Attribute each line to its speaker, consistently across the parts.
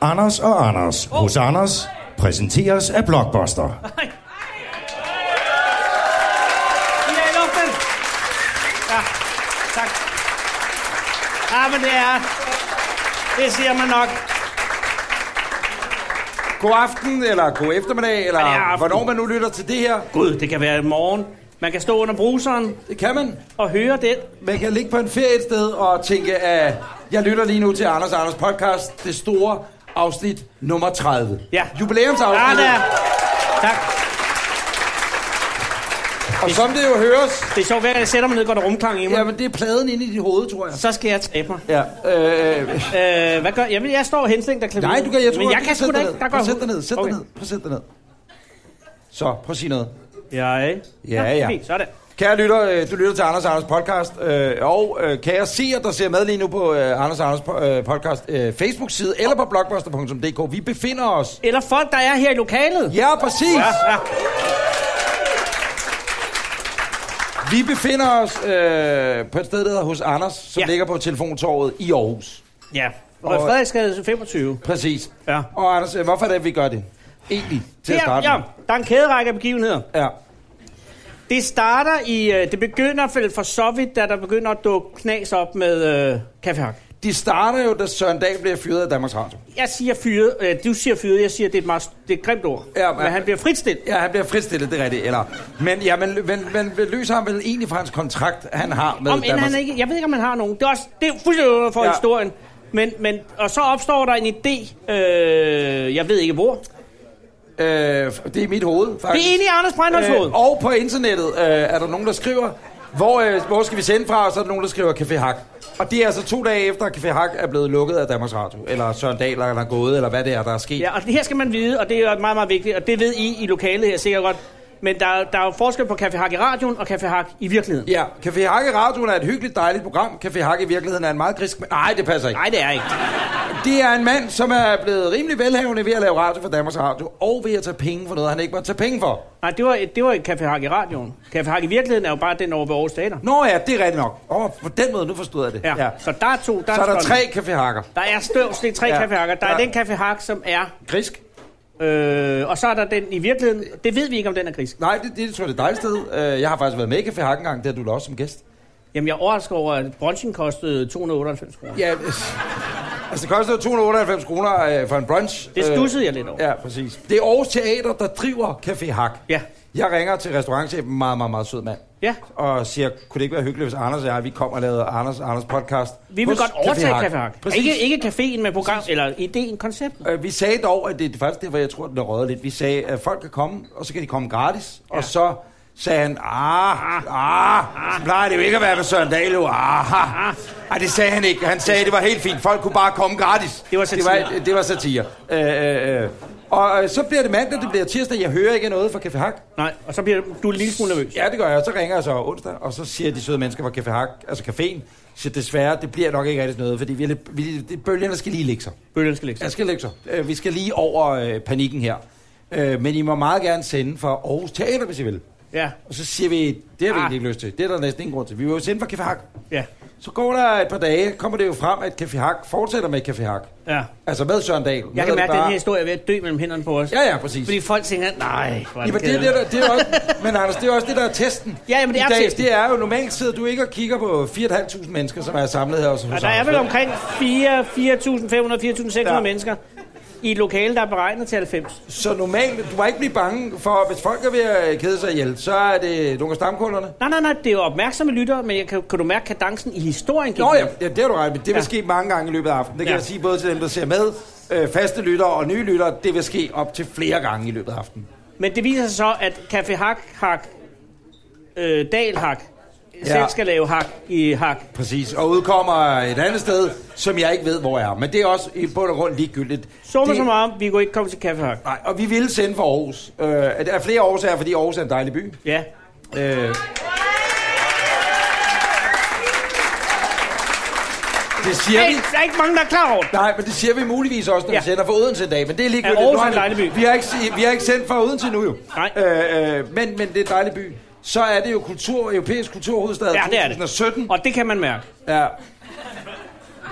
Speaker 1: Anders og Anders hos Anders præsenteres af Blockbuster.
Speaker 2: Nej. I er i luften. Ja, tak. Ja, men det er... Det siger man nok.
Speaker 3: God aften, eller god eftermiddag, eller
Speaker 2: Ja, det er aften.
Speaker 3: hvornår man nu lytter til det her.
Speaker 2: Gud, det kan være i morgen. Man kan stå under bruseren
Speaker 3: Det kan man.
Speaker 2: og høre den.
Speaker 3: Man kan ligge på en ferie et sted og tænke, at jeg lytter lige nu til Anders og Anders podcast, det store afsnit nummer 30.
Speaker 2: Ja. Ja,
Speaker 3: Jubilæumsafsnit.
Speaker 2: det er. Tak.
Speaker 3: og som det jo høres,
Speaker 2: Det er sjovt, hver gang jeg sætter mig ned, går der rumklang i mig.
Speaker 3: jamen det er pladen inde i dit hoved, tror jeg.
Speaker 2: Så skal jeg tabe mig.
Speaker 3: Ja. Øh,
Speaker 2: Øh, hvad gør jeg? Jamen, jeg står henslængt der klaver.
Speaker 3: nej, du kan, jeg tror,
Speaker 2: Men jeg
Speaker 3: du
Speaker 2: kan sgu da
Speaker 3: sætte dig
Speaker 2: ikke.
Speaker 3: ned.
Speaker 2: Der
Speaker 3: Prøv
Speaker 2: går
Speaker 3: at sætte dig ned, sæt dig
Speaker 2: Okay.
Speaker 3: ned, prøv at sætte dig ned. Så, prøv at sige noget.
Speaker 2: Jeg.
Speaker 3: Ja, ja.
Speaker 2: Fint, sådan.
Speaker 3: Kære lytter, øh, du lytter til Anders og Anders podcast, øh, og øh, kære seer, der ser med lige nu på øh, Anders og Anders po- øh, podcast øh, Facebook-side, eller på blogbuster.dk. Vi befinder os...
Speaker 2: Eller folk, der er her i lokalet.
Speaker 3: Ja, præcis!
Speaker 2: Ja, ja.
Speaker 3: Vi befinder os øh, på et sted, der hedder hos Anders, som
Speaker 2: Ja.
Speaker 3: ja. ligger på Telefontorvet i Aarhus.
Speaker 2: ja. Og
Speaker 3: Og-
Speaker 2: Frederiksgade 25.
Speaker 3: Præcis.
Speaker 2: Ja.
Speaker 3: Og Anders, øh, hvorfor er det, at vi gør det? Egentlig, til at
Speaker 2: Her,
Speaker 3: starte
Speaker 2: ja,
Speaker 3: med.
Speaker 2: der er en kæderække af begivenheder.
Speaker 3: Ja.
Speaker 2: Det starter i, øh, det begynder vel for så vidt, da der begynder at dukke knas op med øh, kaffehak.
Speaker 3: De starter jo, da Søren Dahl bliver fyret af Danmarks Radio.
Speaker 2: Jeg siger fyret, øh, du siger fyret, jeg siger, det er et, meget, det er et grimt ord.
Speaker 3: Ja,
Speaker 2: men,
Speaker 3: men-
Speaker 2: men han bliver fritstillet.
Speaker 3: Ja, han bliver fritstillet, det er rigtigt. Eller, men, ja, men, men, men, men løser ham vel egentlig fra hans kontrakt, han har med
Speaker 2: Om end
Speaker 3: Danmarks
Speaker 2: han ikke, jeg ved ikke, om han har nogen. Det er, også, det er fuldstændig for ja.
Speaker 3: Ja.
Speaker 2: historien. Men, men, og så opstår der en idé, øh, jeg ved ikke hvor.
Speaker 3: Øh, det er i mit hoved,
Speaker 2: Det
Speaker 3: faktisk.
Speaker 2: er inde i Anders Breinholds hoved.
Speaker 3: øh, Og på internettet øh, er der nogen, der skriver, hvor, øh, hvor skal vi sende fra, og så er der nogen, der skriver Café Hak. Og det er altså to dage efter, at Café Hak er blevet lukket af Danmarks Radio, eller Søren Dahl, eller han er gået, eller hvad det er, der er sket.
Speaker 2: Ja, og det her skal man vide, og det er jo meget, meget vigtigt, og det ved I i lokalet her sikkert godt. Men der, er- der er jo forskel på Café Hak i radioen og Café Hak i virkeligheden.
Speaker 3: Ja, Café Hak i radioen er et hyggeligt, dejligt program. Café Hak i virkeligheden er en meget grisk... Nej, det passer ikke.
Speaker 2: Nej, det er ikke.
Speaker 3: Det er en mand, som er blevet rimelig velhavende ved at lave radio for Danmarks Radio, og ved at tage penge for noget, han ikke må tage penge for.
Speaker 2: Nej, det var, det var et Café Hak i radioen. Café Hak i virkeligheden er jo bare den over ved Aarhus Teater.
Speaker 3: Nå ja, det er rigtigt nok. Åh, oh, på den måde, nu forstod jeg det.
Speaker 2: Ja. ja. Så der er to. Der
Speaker 3: Så er der
Speaker 2: en
Speaker 3: tre
Speaker 2: skål.
Speaker 3: Café Hakker.
Speaker 2: Der er støvs, det er tre
Speaker 3: Ja.
Speaker 2: Café Hakker. Der er
Speaker 3: Ja.
Speaker 2: den Café Hak, som er...
Speaker 3: Grisk?
Speaker 2: Øh, og så er der den i virkeligheden... Det ved vi ikke, om den er grisk.
Speaker 3: Nej, det, det tror jeg, det er et dejligt sted. Øh, Jeg har faktisk været med i Café Hak engang, der du da også som gæst.
Speaker 2: Jamen, jeg overrasker over, at brunchen kostede 298 kroner.
Speaker 3: Ja, altså det kostede 298 kroner øh, for en brunch.
Speaker 2: Det
Speaker 3: Øh,
Speaker 2: stussede jeg lidt over.
Speaker 3: Ja, præcis. Det er Aarhus Teater, der driver Café Hak.
Speaker 2: Ja.
Speaker 3: Jeg ringer til restaurantchefen, meget, meget, meget sød mand.
Speaker 2: Ja.
Speaker 3: Og siger, kunne det ikke være hyggeligt, hvis Anders og jeg, vi kom og lavede Anders og Anders podcast
Speaker 2: Vi vil
Speaker 3: hos
Speaker 2: godt overtage
Speaker 3: Hak.
Speaker 2: Café Hak.
Speaker 3: Præcis.
Speaker 2: Ikke, ikke caféen, men program, eller ideen, konceptet.
Speaker 3: Øh, Vi sagde dog, at det, det er faktisk det, hvor jeg tror, den er røget lidt. Vi sagde, at folk kan komme, og så kan de komme gratis. Ja. Og så sagde han, ah, ah, så plejer det jo ikke at være med Søren Dahl, jo. ah, ah. Ej, det sagde han ikke. Han sagde, at det var helt fint. Folk kunne bare komme gratis.
Speaker 2: Det var
Speaker 3: Det
Speaker 2: satire.
Speaker 3: var, det var satire. Øh, øh, øh. Og øh, så bliver det mandag, det bliver tirsdag. Jeg hører ikke noget fra Café Hak.
Speaker 2: Nej, og så bliver du en lille smule nervøs.
Speaker 3: Ja, det gør jeg. Så ringer jeg så onsdag, og så siger de søde mennesker fra Café Hak, altså caféen, så desværre, det bliver nok ikke rigtig noget, fordi vi er lidt, vi, det, bølgerne skal lige ligge sig.
Speaker 2: Bølgen skal lægge sig.
Speaker 3: Jeg skal lægge så. Øh, vi skal lige over øh, panikken her. Øh, men I må meget gerne sende fra Aarhus Teater, hvis I vil.
Speaker 2: Ja,
Speaker 3: Og så siger vi, det har vi
Speaker 2: Ah.
Speaker 3: ah. egentlig ikke lyst til. Det er der næsten ingen grund til. Vi vil jo sende fra Café Hak.
Speaker 2: ja,
Speaker 3: Så går der et par dage, kommer det jo frem, at Café Hak fortsætter med Café Hak.
Speaker 2: ja.
Speaker 3: Altså med Søren Dahl. Nu
Speaker 2: Jeg kan
Speaker 3: er det
Speaker 2: mærke, at
Speaker 3: bare-
Speaker 2: den her historie er ved at dø mellem hænderne på os.
Speaker 3: Ja, ja, præcis.
Speaker 2: Fordi folk tænker, nej, hvor er
Speaker 3: Jamen,
Speaker 2: det
Speaker 3: det er det,
Speaker 2: kedeligt.
Speaker 3: der, det er også, men Anders, det er også det, der er testen.
Speaker 2: Ja, jamen, det
Speaker 3: I
Speaker 2: er
Speaker 3: dag,
Speaker 2: testen.
Speaker 3: Det er jo normalt sidder du ikke og kigger på 4.500 mennesker, som er samlet her. Hos
Speaker 2: Og
Speaker 3: hos
Speaker 2: der er
Speaker 3: Anders.
Speaker 2: vel omkring 4.500-4.600
Speaker 3: Ja.
Speaker 2: mennesker i et lokale, der er beregnet til 90.
Speaker 3: Så normalt, du må ikke blive bange for, hvis folk er ved at kede sig ihjel, så er det nogle af stamkunderne.
Speaker 2: Nej, nej, nej, det er jo opmærksomme lyttere, men jeg kan, kan du mærke kadencen i historien? gik
Speaker 3: Nå ja,
Speaker 2: ned?
Speaker 3: ja det har du ret i, men Det vil
Speaker 2: Ja.
Speaker 3: ske mange gange i løbet af aftenen. Det kan
Speaker 2: Ja.
Speaker 3: ja. jeg sige både til dem, der ser med, øh, faste lyttere og nye lyttere. Det vil ske op til flere gange i løbet af aftenen.
Speaker 2: Men det viser sig så, at Café Hak, Hak, øh, Dal Hak, ja.
Speaker 3: Ja.
Speaker 2: selv skal lave Hak i Hak.
Speaker 3: Præcis. Og udkommer et andet sted, som jeg ikke ved, hvor er. Men det er også i bund og grund ligegyldigt.
Speaker 2: Summa
Speaker 3: det,
Speaker 2: det... summarum, vi kunne ikke komme til Café Hak.
Speaker 3: Nej, og vi ville sende for Aarhus. Øh, der er flere årsager, fordi Aarhus er en dejlig by.
Speaker 2: Ja,
Speaker 3: Øh. Det siger
Speaker 2: der er,
Speaker 3: vi.
Speaker 2: ikke, der er ikke mange, der er klar over det.
Speaker 3: Nej, men det siger vi muligvis også, når
Speaker 2: Ja.
Speaker 3: ja. vi sender fra Odense en dag. Men det er ligegyldigt.
Speaker 2: Ja, Aarhus
Speaker 3: Nu har
Speaker 2: er en
Speaker 3: vi-
Speaker 2: dejlig by.
Speaker 3: Vi har ikke, se- vi har ikke sendt fra Odense nu jo.
Speaker 2: Nej.
Speaker 3: Øh, øh, men, men det er en dejlig by. Så er det jo kultur, europæisk kulturhovedstad
Speaker 2: Ja, det er det.
Speaker 3: 2017.
Speaker 2: Og det kan man mærke.
Speaker 3: Ja.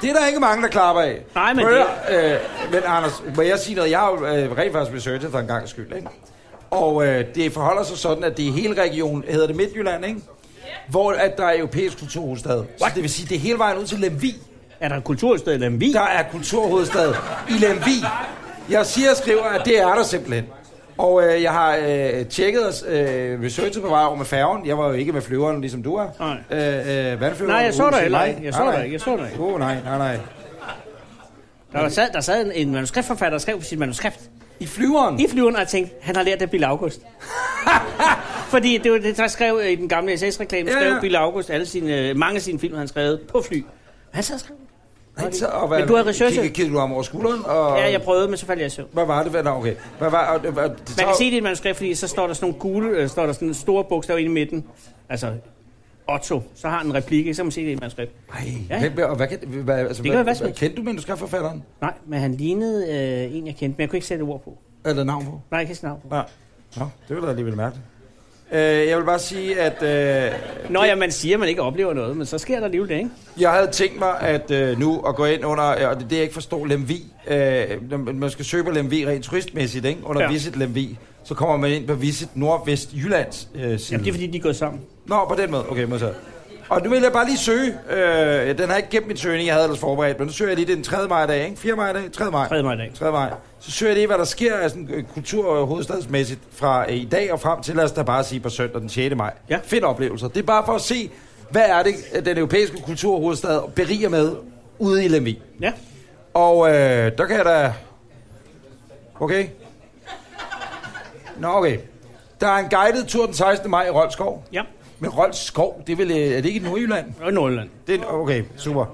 Speaker 3: Det er der ikke mange, der klapper af.
Speaker 2: Nej, men
Speaker 3: Prøv
Speaker 2: det-
Speaker 3: at høre, øh, men Anders, må jeg sige noget? Jeg har jo øh, rent faktisk researchet for en gang skyld, ikke? Og øh, det forholder sig sådan, at det er hele regionen, hedder det Midtjylland, ikke? Hvor at der er europæisk kulturhovedstad. Så det vil sige, det er hele vejen ud til Lemvig.
Speaker 2: Er der et kultursted i Lemvig?
Speaker 3: Der er kulturhovedstad i Lemvig. Jeg siger og skriver, at det er der simpelthen. Og øh, jeg har øh, tjekket os, øh, researchet på vej over med færgen. Jeg var jo ikke med flyveren, ligesom du er.
Speaker 2: Nej.
Speaker 3: Øh, øh, vandflyveren.
Speaker 2: Nej, jeg så
Speaker 3: Uh,
Speaker 2: dig
Speaker 3: se,
Speaker 2: heller
Speaker 3: nej.
Speaker 2: ikke. Jeg så
Speaker 3: Nej,
Speaker 2: dig
Speaker 3: nej.
Speaker 2: ikke. Jeg så dig ikke.
Speaker 3: Åh, oh, nej, nej, nej.
Speaker 2: Der, var sad, der sad en, en manuskriptforfatter, der skrev sit manuskript.
Speaker 3: I flyveren?
Speaker 2: I flyveren har jeg tænkt, han har lært af Bill August. Fordi det var det, der skrev øh, i den gamle SS-reklame,
Speaker 3: Ja,
Speaker 2: skrev
Speaker 3: ja.
Speaker 2: Bill August alle sine, øh, mange af sine film, han skrev på fly. Han sad og skrev.
Speaker 3: Han sad og
Speaker 2: Men du har researchet.
Speaker 3: Kiggede, kiggede du ham over skulderen? Og...
Speaker 2: Ja, jeg prøvede, men så faldt jeg i søvn.
Speaker 3: Hvad var det? Hvad, nå, okay. Hvad var, og, og, det
Speaker 2: Man
Speaker 3: tager-
Speaker 2: kan se det i et manuskript, fordi så står der sådan nogle gule, øh, står der sådan nogle store bogstaver inde i midten. Altså, Otto, så har han en replik, ikke? så kan man se det i et manuskript.
Speaker 3: Ej,
Speaker 2: Ja.
Speaker 3: hvem, og hvad, kan- hvad,
Speaker 2: Det
Speaker 3: altså,
Speaker 2: kan
Speaker 3: hvad,
Speaker 2: være hvad som helst.
Speaker 3: Kendte du manuskriptforfatteren?
Speaker 2: Nej, men han lignede øh, en, jeg kendte, men jeg kunne ikke sætte ord på.
Speaker 3: Eller navn på?
Speaker 2: Nej, jeg kan ikke sætte navn på.
Speaker 3: Nej. Nå, det var da alligevel mærkeligt. Øh, jeg vil bare sige, at øh,
Speaker 2: Nå ja, man siger, at man ikke oplever noget, men så sker der alligevel det, ikke?
Speaker 3: jeg havde tænkt mig at øh, nu at gå ind under, øh, og det er det, jeg ikke forstår, Lemvi. Øh, når man man skal søge på Lemvi rent turistmæssigt, ikke? under
Speaker 2: Ja.
Speaker 3: ja. Visit Lemvi. Så kommer man ind på Visit Nordvest Jyllands øh, side.
Speaker 2: Jamen, det er fordi, de er gået sammen.
Speaker 3: Nå, på den måde. Okay, modtaget. Og nu vil jeg bare lige søge. Øh, den har ikke gemt min søgning, jeg havde ellers forberedt, men nu søger jeg lige det den 3. maj i dag, ikke? 4. maj i dag? 3. maj.
Speaker 2: 3. maj i dag.
Speaker 3: 3. maj. Så søger jeg lige, hvad der sker af sådan, øh, kultur- og hovedstadsmæssigt fra øh, i dag og frem til, lad os da bare sige på søndag den 6. maj.
Speaker 2: Ja.
Speaker 3: Fedt oplevelser. Det er bare for at se, hvad er det, øh, den europæiske kulturhovedstad beriger med ude i Lemvig.
Speaker 2: Ja.
Speaker 3: Og øh, der kan jeg da... Okay. Nå, okay. Der er en guided tur den 16. maj i Rolskov.
Speaker 2: Ja.
Speaker 3: Men Rolf Skov, det er, vel, øh, er det ikke i Nordjylland?
Speaker 2: Og Nordland.
Speaker 3: Det er, okay, super.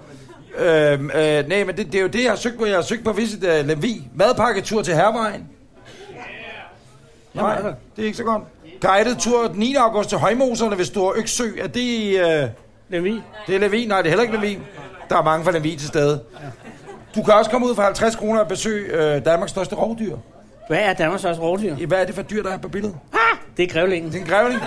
Speaker 3: Øhm, øh, nej, men det, det, er jo det, jeg har søgt på. Jeg har søgt på Visit uh, Lemvi. Madpakketur til Hervejen.
Speaker 2: altså.
Speaker 3: Nej, det er ikke så godt. Guided tur den 9. august til Højmoserne ved Store Øksø. Er det, i, øh,
Speaker 2: Lemvig.
Speaker 3: det er Lemvi? Nej, det er heller ikke Lemvi. Der er mange fra Lemvi til stede. Du kan også komme ud for 50 kroner og besøge øh, Danmarks største rovdyr.
Speaker 2: Hvad er Danmarks største rovdyr?
Speaker 3: Hvad er det for dyr, der er på billedet?
Speaker 2: Det er grævlingen.
Speaker 3: Det er en grævling.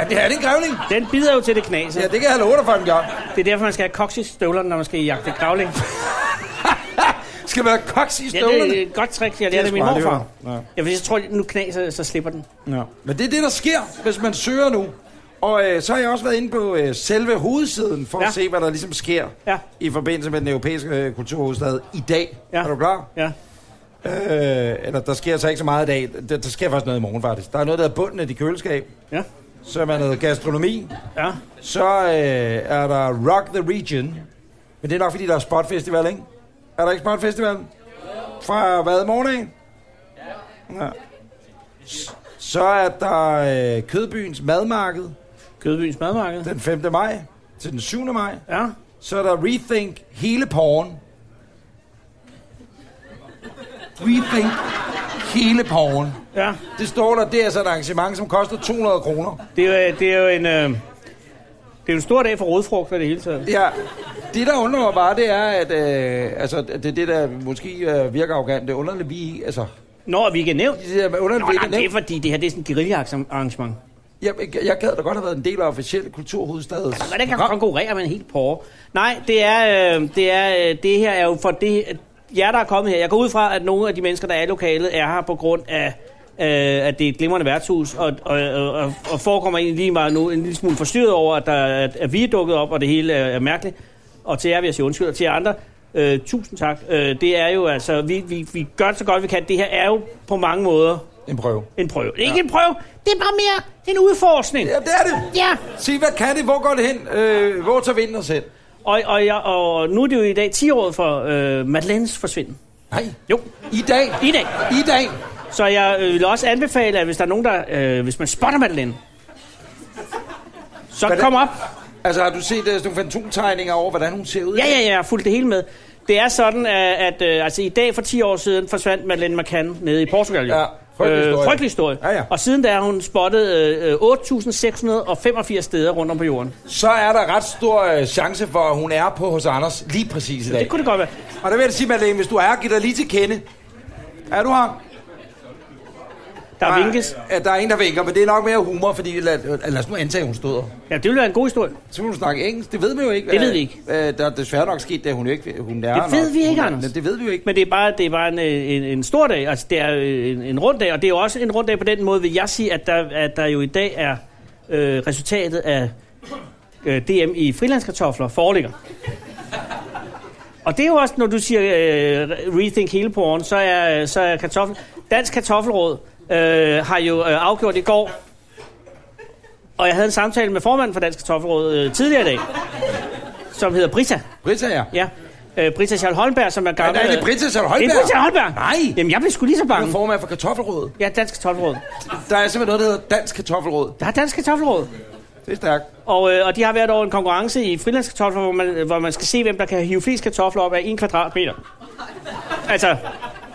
Speaker 3: Ja, det er det en grævling.
Speaker 2: Den bider jo til det knas.
Speaker 3: Ja, det kan jeg love dig for en gang.
Speaker 2: Det er derfor, man skal have koksis støvlerne, når man skal jagte grævling.
Speaker 3: Skal man have koks i
Speaker 2: Ja,
Speaker 3: støvlerne?
Speaker 2: det er et godt trick, jeg lærte af min
Speaker 3: smart, det
Speaker 2: morfar.
Speaker 3: var. Ja.
Speaker 2: Ja, fordi jeg tror, nu knaser, så slipper den.
Speaker 3: Ja. Men det er det, der sker, hvis man søger nu. Og øh, så har jeg også været inde på øh, selve hovedsiden, for ja.
Speaker 2: Ja.
Speaker 3: at se, hvad der ligesom sker
Speaker 2: Ja.
Speaker 3: i forbindelse med den europæiske øh, kulturhovedstad i dag.
Speaker 2: Ja.
Speaker 3: Er du klar?
Speaker 2: Ja.
Speaker 3: Øh, eller der sker så ikke så meget i dag. Der, der sker faktisk noget i morgen, faktisk. Der er noget, der er bunden af de køleskab.
Speaker 2: Ja.
Speaker 3: Så er man noget gastronomi.
Speaker 2: Ja.
Speaker 3: Så øh, er der Rock the Region. Men det er nok, fordi der er spotfestival, ikke? Er der ikke spotfestival? Fra hvad morgen af? Ja. S- Så er der øh, Kødbyens Madmarked
Speaker 2: Kødbyens madmarked.
Speaker 3: den 5. maj til den 7. maj.
Speaker 2: Ja.
Speaker 3: Så er der Rethink hele porn. Rethink hele porn.
Speaker 2: Ja.
Speaker 3: Det står der, det er altså et arrangement, som koster 200 kroner.
Speaker 2: Det er, jo- det er jo en... Øh, det er jo en stor dag for rodfrugt for det hele taget.
Speaker 3: Ja, det der undrer mig bare, det er, at øh, altså, det, er det der måske øh, virker arrogant, det er underligt, vi, altså,
Speaker 2: Nå, og vi ikke er nævnt.
Speaker 3: det der underligt,
Speaker 2: Nå,
Speaker 3: vi
Speaker 2: nej,
Speaker 3: ikke
Speaker 2: det er
Speaker 3: nævnt.
Speaker 2: fordi, det her det er sådan et guerilla-arrangement.
Speaker 3: Jeg, jeg gad da godt have været en del af officielle kulturhovedstads.
Speaker 2: Men det kan konkurrere med en helt porre. Nej, det er, øh, det er, øh, det her er jo for det, at jer, der er kommet her. Jeg går ud fra, at nogle af de mennesker, der er i lokalet, er her på grund af, øh, at det er et glimrende værtshus, og, og, og, og, og forekommer egentlig lige meget nu en lille smule forstyrret over, at, der, at, at vi er dukket op, og det hele er, er mærkeligt. Og til jer vil jeg sige undskyld, og til jer andre, øh, tusind tak. Øh, det er jo altså, vi, vi, vi gør det så godt vi kan. Det her er jo på mange måder
Speaker 3: En prøve.
Speaker 2: en prøve. Ikke en prøve, det er bare mere en udforskning.
Speaker 3: Ja, det er det.
Speaker 2: Ja.
Speaker 3: Sig, hvad kan det? Hvor går det hen? Øh, hvor tager vinden os hen?
Speaker 2: Og, og, jeg, og nu er det jo i dag 10-året for øh, Madeleines forsvinden.
Speaker 3: Nej,
Speaker 2: Jo,
Speaker 3: i dag.
Speaker 2: i dag.
Speaker 3: I dag.
Speaker 2: Så jeg øh, vil også anbefale, at hvis der er nogen, der... Øh, hvis man spotter Madeleine, så
Speaker 3: Hvordan-
Speaker 2: kom op.
Speaker 3: Altså, har du set uh, sådan nogle fantomtegninger over, hvordan hun ser ud?
Speaker 2: Ja, ja, ja, jeg har fulgt det hele med. Det er sådan, at, at øh, altså, i dag for 10 år siden forsvandt Madeleine McCann nede i Portugal. jo. Øh,
Speaker 3: Ja, frygtelig historie.
Speaker 2: frygtelig historie.
Speaker 3: Ja, ja.
Speaker 2: Og siden da har hun spottet øh, øh, 8.685 steder rundt om på jorden.
Speaker 3: Så er der ret stor uh, chance for, at hun er på hos Anders lige præcis i dag.
Speaker 2: Det kunne det godt være.
Speaker 3: Og der vil jeg sige, Madeleine, hvis du er, giv dig lige til kende. Er du her?
Speaker 2: Der vinkes.
Speaker 3: Ja, der er en, der vinker, men det er nok mere humor, fordi lad, lad os nu antage, at hun stod her.
Speaker 2: Ja, det ville være en god historie.
Speaker 3: Så må du snakke engelsk. Det ved vi jo ikke.
Speaker 2: Det ved vi ikke.
Speaker 3: Øh, der er desværre nok sket, det hun jo ikke hun er.
Speaker 2: Det ved
Speaker 3: nok-
Speaker 2: vi ikke,
Speaker 3: hun er-
Speaker 2: Anders.
Speaker 3: Det ved vi jo ikke.
Speaker 2: Men det er bare, det er bare en, øh, en, en stor dag, altså det er øh, en, en rund dag, og det er jo også en rund dag på den måde, vil jeg sige, at der, at der jo i dag er øh, resultatet af øh, DM i frilandskartofler foreligger. Og det er jo også, når du siger øh, rethink hele porn, så er, øh, så er kartoffel... Dansk Kartoffelråd øh, har jo øh, afgjort i går, og jeg havde en samtale med formanden for Dansk Kartoffelråd øh, tidligere i dag, som hedder Brita.
Speaker 3: Britta, ja.
Speaker 2: Ja. Øh, Brita Charles Holmberg, som er
Speaker 3: Er,
Speaker 2: gammel...
Speaker 3: er det Britta Sjæl Holberg?
Speaker 2: Det er Brita Charles Holmberg.
Speaker 3: Nej.
Speaker 2: Jamen, jeg blev sgu lige så
Speaker 3: Hun er
Speaker 2: bange.
Speaker 3: formand for Kartoffelrådet.
Speaker 2: Jeg er Dansk Kartoffelråd.
Speaker 3: Der er simpelthen noget, der hedder Dansk Kartoffelråd.
Speaker 2: Der er Dansk Kartoffelråd.
Speaker 3: Det er stærkt.
Speaker 2: Og, øh, og de har hvert år en konkurrence i frilandskartofler, hvor man, hvor man skal se, hvem der kan hive flest kartofler op af en kvadratmeter. Altså,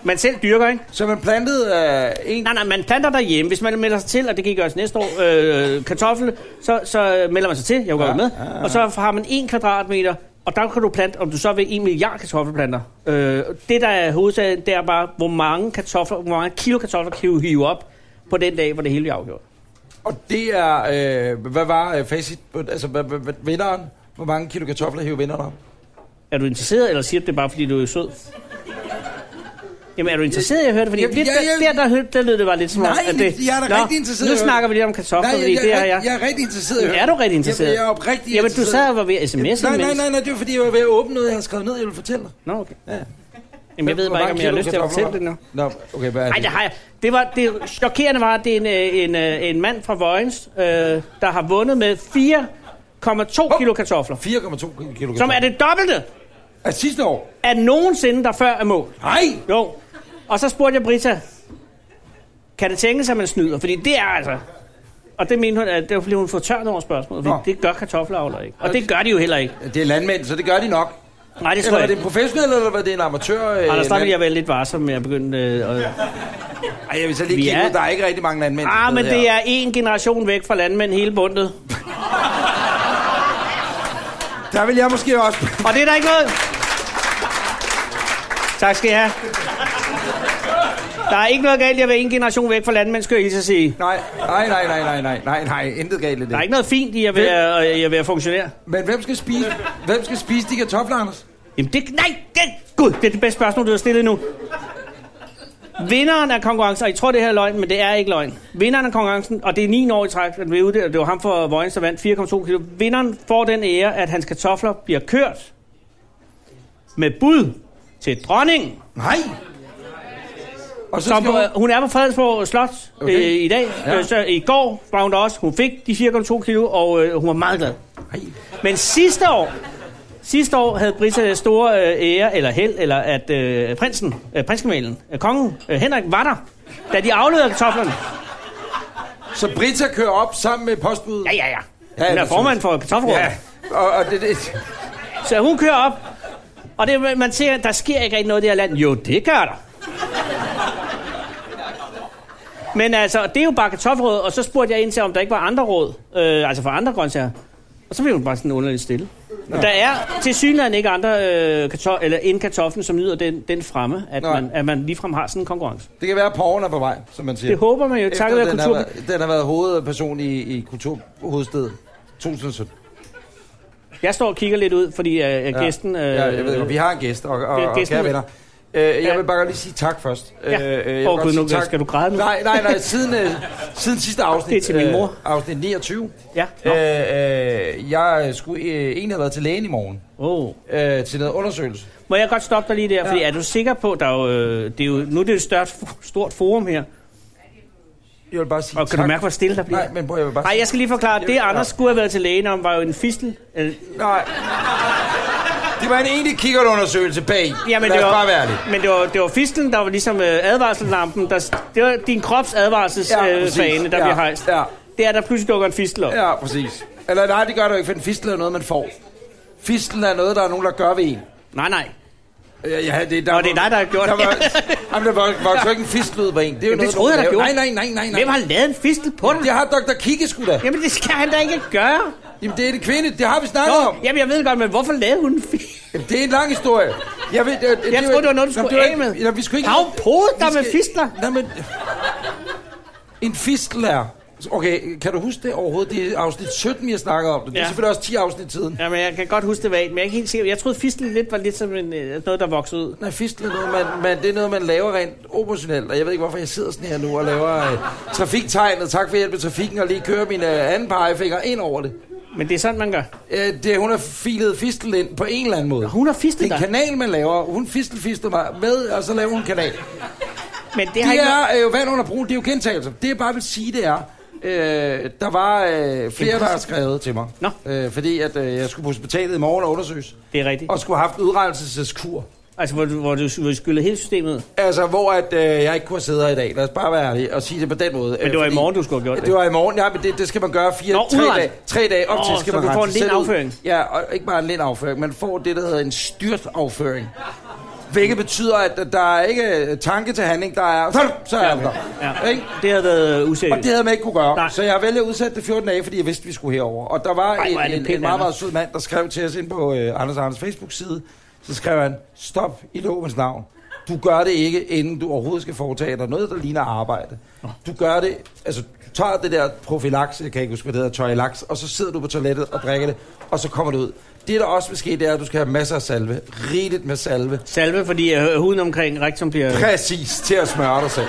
Speaker 2: man selv dyrker, ikke?
Speaker 3: Så man plantede øh, en...
Speaker 2: Nej, nej, man planter derhjemme. Hvis man melder sig til, og det kan gøres næste år, øh, kartoffel, så, så melder man sig til, jeg vil ja, godt være med. Ja, ja. Og så har man en kvadratmeter, og der kan du plante, om du så vil, en milliard kartoffelplanter. Øh, det, der er hovedsagen, det er bare, hvor mange kartofler, hvor mange kilo kartofler kan du hive op på den dag, hvor det hele bliver afgjort.
Speaker 3: Og det er... Øh, hvad var øh, facit? Altså, hvad, hvad, hvad, vinderen? Hvor mange kilo kartofler hæver vinderen op?
Speaker 2: Er du interesseret, eller siger du det bare, fordi du er sød? Jamen, er du interesseret i at høre det? Fordi
Speaker 3: Jamen,
Speaker 2: lidt,
Speaker 3: jeg- jeg-
Speaker 2: der, der, hørte- der lød det bare lidt som om,
Speaker 3: Nej,
Speaker 2: at det...
Speaker 3: jeg er da rigtig interesseret i
Speaker 2: Nu
Speaker 3: at høre
Speaker 2: snakker vi lidt om kartofler,
Speaker 3: Nej,
Speaker 2: fordi
Speaker 3: jeg,
Speaker 2: det er
Speaker 3: jeg,
Speaker 2: jeg.
Speaker 3: jeg er rigtig interesseret. i at
Speaker 2: Er
Speaker 3: høre.
Speaker 2: du rigtig interesseret?
Speaker 3: Jamen, jeg er oprigtig
Speaker 2: Jamen, du
Speaker 3: interesseret.
Speaker 2: sad og var ved at sms'e.
Speaker 3: Nej, nej,
Speaker 2: imens.
Speaker 3: nej, nej, det var fordi, jeg var ved at åbne noget, jeg havde skrevet ned, jeg ville fortælle dig.
Speaker 2: Nå, okay.
Speaker 3: Ja.
Speaker 2: Jamen, jeg ved
Speaker 3: Hvor
Speaker 2: bare ikke,
Speaker 3: mange
Speaker 2: om jeg har
Speaker 3: kilo
Speaker 2: lyst til at
Speaker 3: kartofler
Speaker 2: fortælle det nu.
Speaker 3: var der? Nå, okay, hvad er
Speaker 2: Nej,
Speaker 3: det?
Speaker 2: det har jeg. Det, var, det chokerende var, at det er en, øh, en, øh, en mand fra Vojens, øh, der har vundet med 4,2 kilo kartofler.
Speaker 3: 4,2 kilo
Speaker 2: Som er det dobbelte
Speaker 3: Af sidste år?
Speaker 2: af nogensinde, der før er mål.
Speaker 3: Nej!
Speaker 2: Jo. Og så spurgte jeg Brita, kan det tænkes, at man snyder? Fordi det er altså... Og det mente hun, at det var fordi, hun får tørt over spørgsmålet. Fordi
Speaker 3: Nå.
Speaker 2: det gør kartofleavler ikke. Og det gør de jo heller ikke.
Speaker 3: Det er landmænd, så det gør de nok.
Speaker 2: Nej, det tror
Speaker 3: Eller var
Speaker 2: jeg
Speaker 3: det
Speaker 2: ikke.
Speaker 3: en professionel, eller var det en amatør? øh,
Speaker 2: Anders, der
Speaker 3: landmand?
Speaker 2: ville jeg være lidt varsom med at begynde... Øh, at-
Speaker 3: Ej, jeg vil så lige
Speaker 2: Vi
Speaker 3: kigge
Speaker 2: er-
Speaker 3: ud. Der er ikke rigtig mange landmænd. til
Speaker 2: Ah,
Speaker 3: stede
Speaker 2: men
Speaker 3: her.
Speaker 2: det er en generation væk fra landmænd hele bundet.
Speaker 3: Der vil jeg måske også...
Speaker 2: Og det er der ikke noget... Tak skal I have. Der er ikke noget galt i at være en generation væk fra landmænd, skal jeg hilse at sige.
Speaker 3: Nej, nej, nej, nej, nej, nej, nej, nej, intet galt i det.
Speaker 2: Der er ikke noget fint i at være, i at være funktionær.
Speaker 3: Men hvem skal spise, hvem skal spise de kartofler, Anders?
Speaker 2: Jamen det... Nej! Det, Gud, det er det bedste spørgsmål, du har stillet nu. Vinderen af konkurrencen, og I tror, det her er løgn, men det er ikke løgn. Vinderen af konkurrencen, og det er 9 år i træk, at vi er uddelt, det var ham for Vojens, der vandt 4,2 kilo. Vinderen får den ære, at hans kartofler bliver kørt med bud til dronningen.
Speaker 3: Nej! Og så
Speaker 2: Som,
Speaker 3: skal hun...
Speaker 2: øh, hun er på Fredensborg Slot okay.
Speaker 3: Okay.
Speaker 2: øh, i dag.
Speaker 3: Ja.
Speaker 2: Ja. Øh, så i går var hun der også. Hun fik de 4,2 kilo, og øh, hun var meget glad.
Speaker 3: Nej.
Speaker 2: Men sidste år, sidste år havde Brita den store øh, ære, eller held, eller at øh, prinsen, øh, prinsgemalen, øh, kongen, øh, Henrik, var der, da de aflederede kartoflerne.
Speaker 3: Så Brita kører op sammen med postbuddet?
Speaker 2: Ja, ja, ja.
Speaker 3: Ja,
Speaker 2: Hun er
Speaker 3: det
Speaker 2: formand for kartoffelrådet.
Speaker 3: Ja,
Speaker 2: Ja.
Speaker 3: og, og det, det,
Speaker 2: Så hun kører op, og det, man ser, der sker ikke rigtig noget i det her land. Jo, det gør der. Men altså, det er jo bare kartoffelråd, og så spurgte jeg ind til, om der ikke var andre råd, øh, altså for andre grøntsager. Og så blev hun bare sådan underligt stille. Ja. Der er til synligheden ikke andre øh, kartof- eller end kartoflen, som nyder den, den fremme, at
Speaker 3: Nej.
Speaker 2: man, at man ligefrem har sådan en konkurrence.
Speaker 3: det kan være, at porgen er på vej, som man siger.
Speaker 2: Det håber man jo, takket være
Speaker 3: den, har
Speaker 2: kultur.
Speaker 3: været, den har været hovedperson i, i kulturhovedstedet 2017.
Speaker 2: Jeg står og kigger lidt ud, fordi øh, gæsten... Øh,
Speaker 3: ja, jeg ved, ikke, vi har en gæst, og, og,
Speaker 2: det er
Speaker 3: og
Speaker 2: gæsten.
Speaker 3: kære venner. Øh, jeg
Speaker 2: Ja.
Speaker 3: vil bare godt lige sige tak først. Øh,
Speaker 2: Ja.
Speaker 3: vil
Speaker 2: Åh,
Speaker 3: godt
Speaker 2: Gud,
Speaker 3: sige
Speaker 2: nu skal du græde nu.
Speaker 3: Nej, nej, nej. Siden, øh, siden sidste afsnit.
Speaker 2: Det er til min mor.
Speaker 3: Øh, afsnit 29.
Speaker 2: Ja, nå.
Speaker 3: Øh, øh, jeg skulle øh, egentlig have været til lægen i morgen.
Speaker 2: Oh.
Speaker 3: Øh, til noget undersøgelse.
Speaker 2: Må jeg godt stoppe dig lige der, ja. fordi er du sikker på, der er jo, øh, det er jo, nu er det jo et stort, stort forum her,
Speaker 3: Jeg vil bare sige
Speaker 2: og kan
Speaker 3: tak.
Speaker 2: du mærke, hvor stille der bliver?
Speaker 3: Nej, men prøv, jeg vil bare
Speaker 2: Nej, jeg skal lige forklare, det Anders skulle have været til lægen om, var jo en fistel. Øh,
Speaker 3: sige- Nej. Det var en egentlig kikkerundersøgelse bag. Lad
Speaker 2: det
Speaker 3: os
Speaker 2: var,
Speaker 3: bare være ærlig.
Speaker 2: Men det var, det var fistlen, der var ligesom øh, advarselslampen, der, det var din krops advarselsfane,
Speaker 3: Ja,
Speaker 2: ja, øh,
Speaker 3: præcis.
Speaker 2: fane, der
Speaker 3: Ja,
Speaker 2: bliver hejst.
Speaker 3: ja.
Speaker 2: Det er, der pludselig dukker en fistel op. Ja.
Speaker 3: Ja, præcis. Eller nej, det gør det jo ikke, for en fistel er noget, man får. Fistlen er noget, der er nogen, der gør ved en.
Speaker 2: Nej, nej.
Speaker 3: Øh, Ja, det, der
Speaker 2: Nå, det er dig, der har gjort
Speaker 3: der
Speaker 2: det.
Speaker 3: var, Jamen, der var, var jo ikke en fistlyd på en. Det, er
Speaker 2: Jamen,
Speaker 3: jo
Speaker 2: det
Speaker 3: noget,
Speaker 2: troede
Speaker 3: nogen
Speaker 2: jeg, der
Speaker 3: laver.
Speaker 2: gjorde.
Speaker 3: Nej, nej, nej, nej.
Speaker 2: Hvem
Speaker 3: nej.
Speaker 2: har lavet en fistel på dig?
Speaker 3: Det har Dr. Kike sgu da.
Speaker 2: Jamen, det skal han da ikke gøre.
Speaker 3: Jamen, det er det kvinde. Det har vi snakket om.
Speaker 2: Nå, jamen, jeg ved godt, men hvorfor lavede hun en fistel?
Speaker 3: Jamen, det er en lang historie. Jeg, ved, det,
Speaker 2: Jeg troede, det var noget, du skulle af med.
Speaker 3: Jamen, vi skulle ikke...
Speaker 2: Har hun podet
Speaker 3: vi
Speaker 2: dig med
Speaker 3: skal-
Speaker 2: fistler?
Speaker 3: Nej, men... En fistel er... Okay, kan du huske det overhovedet? Det er afsnit 17, vi har snakket om det. Det er
Speaker 2: Ja.
Speaker 3: selvfølgelig også 10 afsnit siden.
Speaker 2: Jamen, jeg kan godt huske det vagt, men jeg er ikke helt sikker. Jeg troede, fistlen lidt var lidt som en, øh, noget, der voksede ud.
Speaker 3: Nej, fistel er noget, man, man, det er noget, man laver rent operationelt, og jeg ved ikke, hvorfor jeg sidder sådan her nu og laver øh, trafiktegnet. Tak for hjælp i trafikken, og lige kører min øh, anden pegefinger ind over det.
Speaker 2: Men det er sådan, man gør.
Speaker 3: Øh, det, hun har filet fistel ind på en eller anden måde.
Speaker 2: Hun har fistet
Speaker 3: Det er
Speaker 2: dig.
Speaker 3: en kanal, man laver. Hun fistelfister mig med, og så laver hun en kanal.
Speaker 2: Men det har
Speaker 3: Det
Speaker 2: ikke noget-
Speaker 3: er øh, vand under broen, det er jo gentagelser. Det jeg bare vil sige, det er, øh, der var øh, flere, der har skrevet til mig.
Speaker 2: Nå.
Speaker 3: Øh, fordi at øh, jeg skulle på hospitalet i morgen og undersøges.
Speaker 2: Det er rigtigt.
Speaker 3: Og skulle have haft udrettelseskur.
Speaker 2: Altså, hvor du, hvor du, hvor du skyllede hele systemet. ud.
Speaker 3: Altså, hvor at, øh, jeg ikke kunne have siddet her i dag. Lad os bare være ærlig og sige det på den måde.
Speaker 2: Men det var i morgen, du skulle have gjort det.
Speaker 3: Det var i morgen, ja, men det, det skal man gøre fire,
Speaker 2: Nå,
Speaker 3: Nå, tre,
Speaker 2: udrens-
Speaker 3: dage, tre dage op
Speaker 2: Nå,
Speaker 3: til, skal
Speaker 2: så
Speaker 3: man
Speaker 2: du får
Speaker 3: rense
Speaker 2: en lind
Speaker 3: selv ud.
Speaker 2: afføring.
Speaker 3: Ja, og ikke bare en lind afføring. Man får det, der hedder en styrt afføring. Hvilket betyder, at der er ikke tanke til handling, der er... Så er den der.
Speaker 2: Ja.
Speaker 3: Ikke?
Speaker 2: Det har været øh, useriøst.
Speaker 3: Og det havde man ikke kunne
Speaker 2: Nej.
Speaker 3: gøre. Nej. Så jeg vælger at udsætte det 14 dage, fordi jeg vidste, vi skulle herover. Og der
Speaker 2: Ej,
Speaker 3: var Ej,
Speaker 2: hvor er
Speaker 3: en,
Speaker 2: det
Speaker 3: en,
Speaker 2: pænt,
Speaker 3: en meget, meget
Speaker 2: Anders.
Speaker 3: sød mand, der skrev til os ind på øh, Anders Anders Facebook-side. Så skrev han, stop i lovens navn. Du gør det ikke, inden du overhovedet skal foretage dig noget, der ligner arbejde. Du gør det, altså du tager det der profilaks, jeg kan ikke huske, hvad det hedder, tøjlaks, og så sidder du på toilettet og drikker det, og så kommer det ud. Det, der også vil ske, det er, at du skal have masser af salve. Rigeligt med salve.
Speaker 2: Salve, fordi øh, huden omkring rektum bliver...
Speaker 3: Præcis, til at smøre dig selv.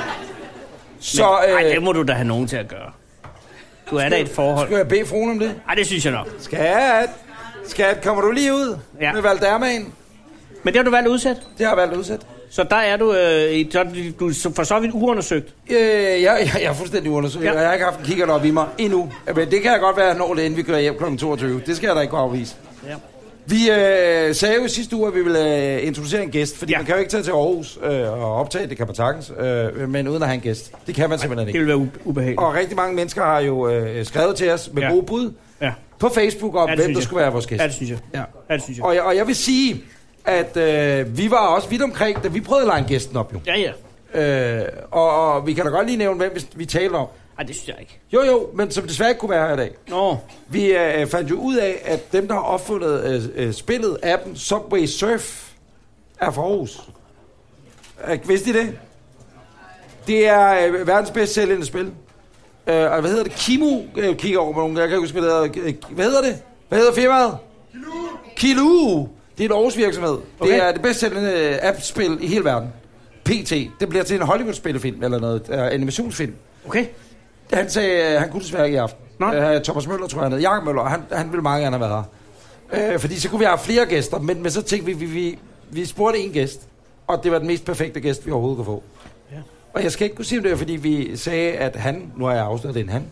Speaker 3: Så
Speaker 2: Men, ej,
Speaker 3: øh,
Speaker 2: det må du da have nogen til at gøre. Du er da i et forhold.
Speaker 3: skal jeg bede fruen om det?
Speaker 2: Ej, det synes jeg nok.
Speaker 3: Skat! Skat, kommer du lige ud
Speaker 2: Ja.
Speaker 3: ja. med Valdermaen?
Speaker 2: Men det har du valgt udsat.
Speaker 3: Det har jeg valgt udsat.
Speaker 2: Så der er du, øh, i- så- du er for så vidt uundersøgt.
Speaker 3: Øh, jeg, jeg, jeg er fuldstændig undersøgt,
Speaker 2: Ja.
Speaker 3: ja. og jeg har ikke haft en kigger op i mig endnu. Men det kan jeg godt være, at jeg når det, inden vi kører hjem kl. 22. Det skal jeg da ikke kunne afvise.
Speaker 2: Ja.
Speaker 3: Vi øh, sagde jo i sidste uge, at vi ville øh, introducere en gæst, fordi
Speaker 2: Ja.
Speaker 3: ja. man kan jo ikke tage til Aarhus øh, og optage, det kan man sagtens, øh, men uden at have en gæst. Det kan man simpelthen
Speaker 2: Det
Speaker 3: ikke.
Speaker 2: vil være u- ubehageligt.
Speaker 3: Og rigtig mange mennesker har jo øh, skrevet til os med
Speaker 2: Ja.
Speaker 3: ja. gode bud
Speaker 2: Ja.
Speaker 3: på Facebook om,
Speaker 2: Ja, det
Speaker 3: hvem
Speaker 2: synes
Speaker 3: der
Speaker 2: jeg.
Speaker 3: skulle være vores gæst.
Speaker 2: ja, det synes jeg.
Speaker 3: Ja.
Speaker 2: Ja, det synes jeg.
Speaker 3: Og jeg, og jeg vil sige, at øh, vi var også vidt omkring, da vi prøvede at lege en gæsten op, jo.
Speaker 2: Ja, ja.
Speaker 3: Øh, og, og vi kan da godt lige nævne, hvem vi, vi taler om.
Speaker 2: Ej, det synes jeg ikke.
Speaker 3: Jo, jo, men som desværre ikke kunne være her i dag.
Speaker 2: Nå,
Speaker 3: Vi øh, fandt jo ud af, at dem, der har opfundet øh, øh, spillet, appen Subway Surf, er fra Aarhus. Øh, vidste I det? Det er øh, verdens bedst sælgende spil. Øh, og hvad hedder det? Kimo øh, kigger over på nogen. Jeg kan ikke huske, hvad det hedder. Øh, Hvad hedder det? Hvad hedder firmaet? Kilu. Kilu. Det er en Aarhus virksomhed.
Speaker 2: Okay.
Speaker 3: Okay. Det er det bedst sælgende øh, app-spil i hele verden. PT. Det bliver til en Hollywood-spillefilm eller noget. Øh, animationsfilm.
Speaker 2: okay.
Speaker 3: Han sagde, øh, han kunne desværre ikke i aften.
Speaker 2: Nå.
Speaker 3: Øh, Thomas Møller, tror jeg, han hed. Jakob Møller, han, han ville meget gerne have været her. Øh, fordi så kunne vi have haft flere gæster, men, men så tænkte vi, vi, vi, vi spurgte en gæst, og det var den mest perfekte gæst, vi overhovedet kunne få.
Speaker 2: Ja.
Speaker 3: Ja. Og jeg skal ikke kunne sige, om det var, fordi vi sagde, at han, nu har jeg afsløret, det er en han,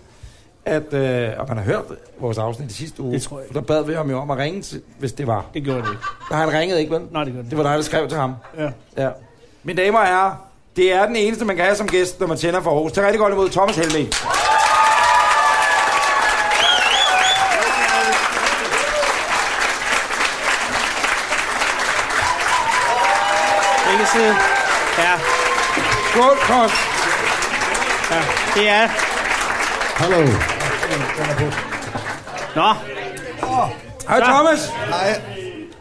Speaker 3: at, øh, og man har hørt vores afsnit i sidste uge,
Speaker 2: Det tror jeg ikke.
Speaker 3: der bad vi ham jo om at ringe, til, hvis det var.
Speaker 2: Det gjorde det ikke.
Speaker 3: Og han ringede ikke, vel?
Speaker 2: Nej, det gjorde det
Speaker 3: Det var dig, der skrev til ham.
Speaker 2: ikke. Ja.
Speaker 3: Ja. Mine damer og herrer, det er den eneste, man kan have som gæst, når man tænder for Aarhus. Tag rigtig godt imod Thomas Helme.
Speaker 2: Ikke side. Ja,
Speaker 3: Skål, Thomas.
Speaker 2: ja. Det er...
Speaker 1: Hallo.
Speaker 2: Nå,
Speaker 3: Hej
Speaker 2: Så.
Speaker 3: Thomas.
Speaker 4: Hej.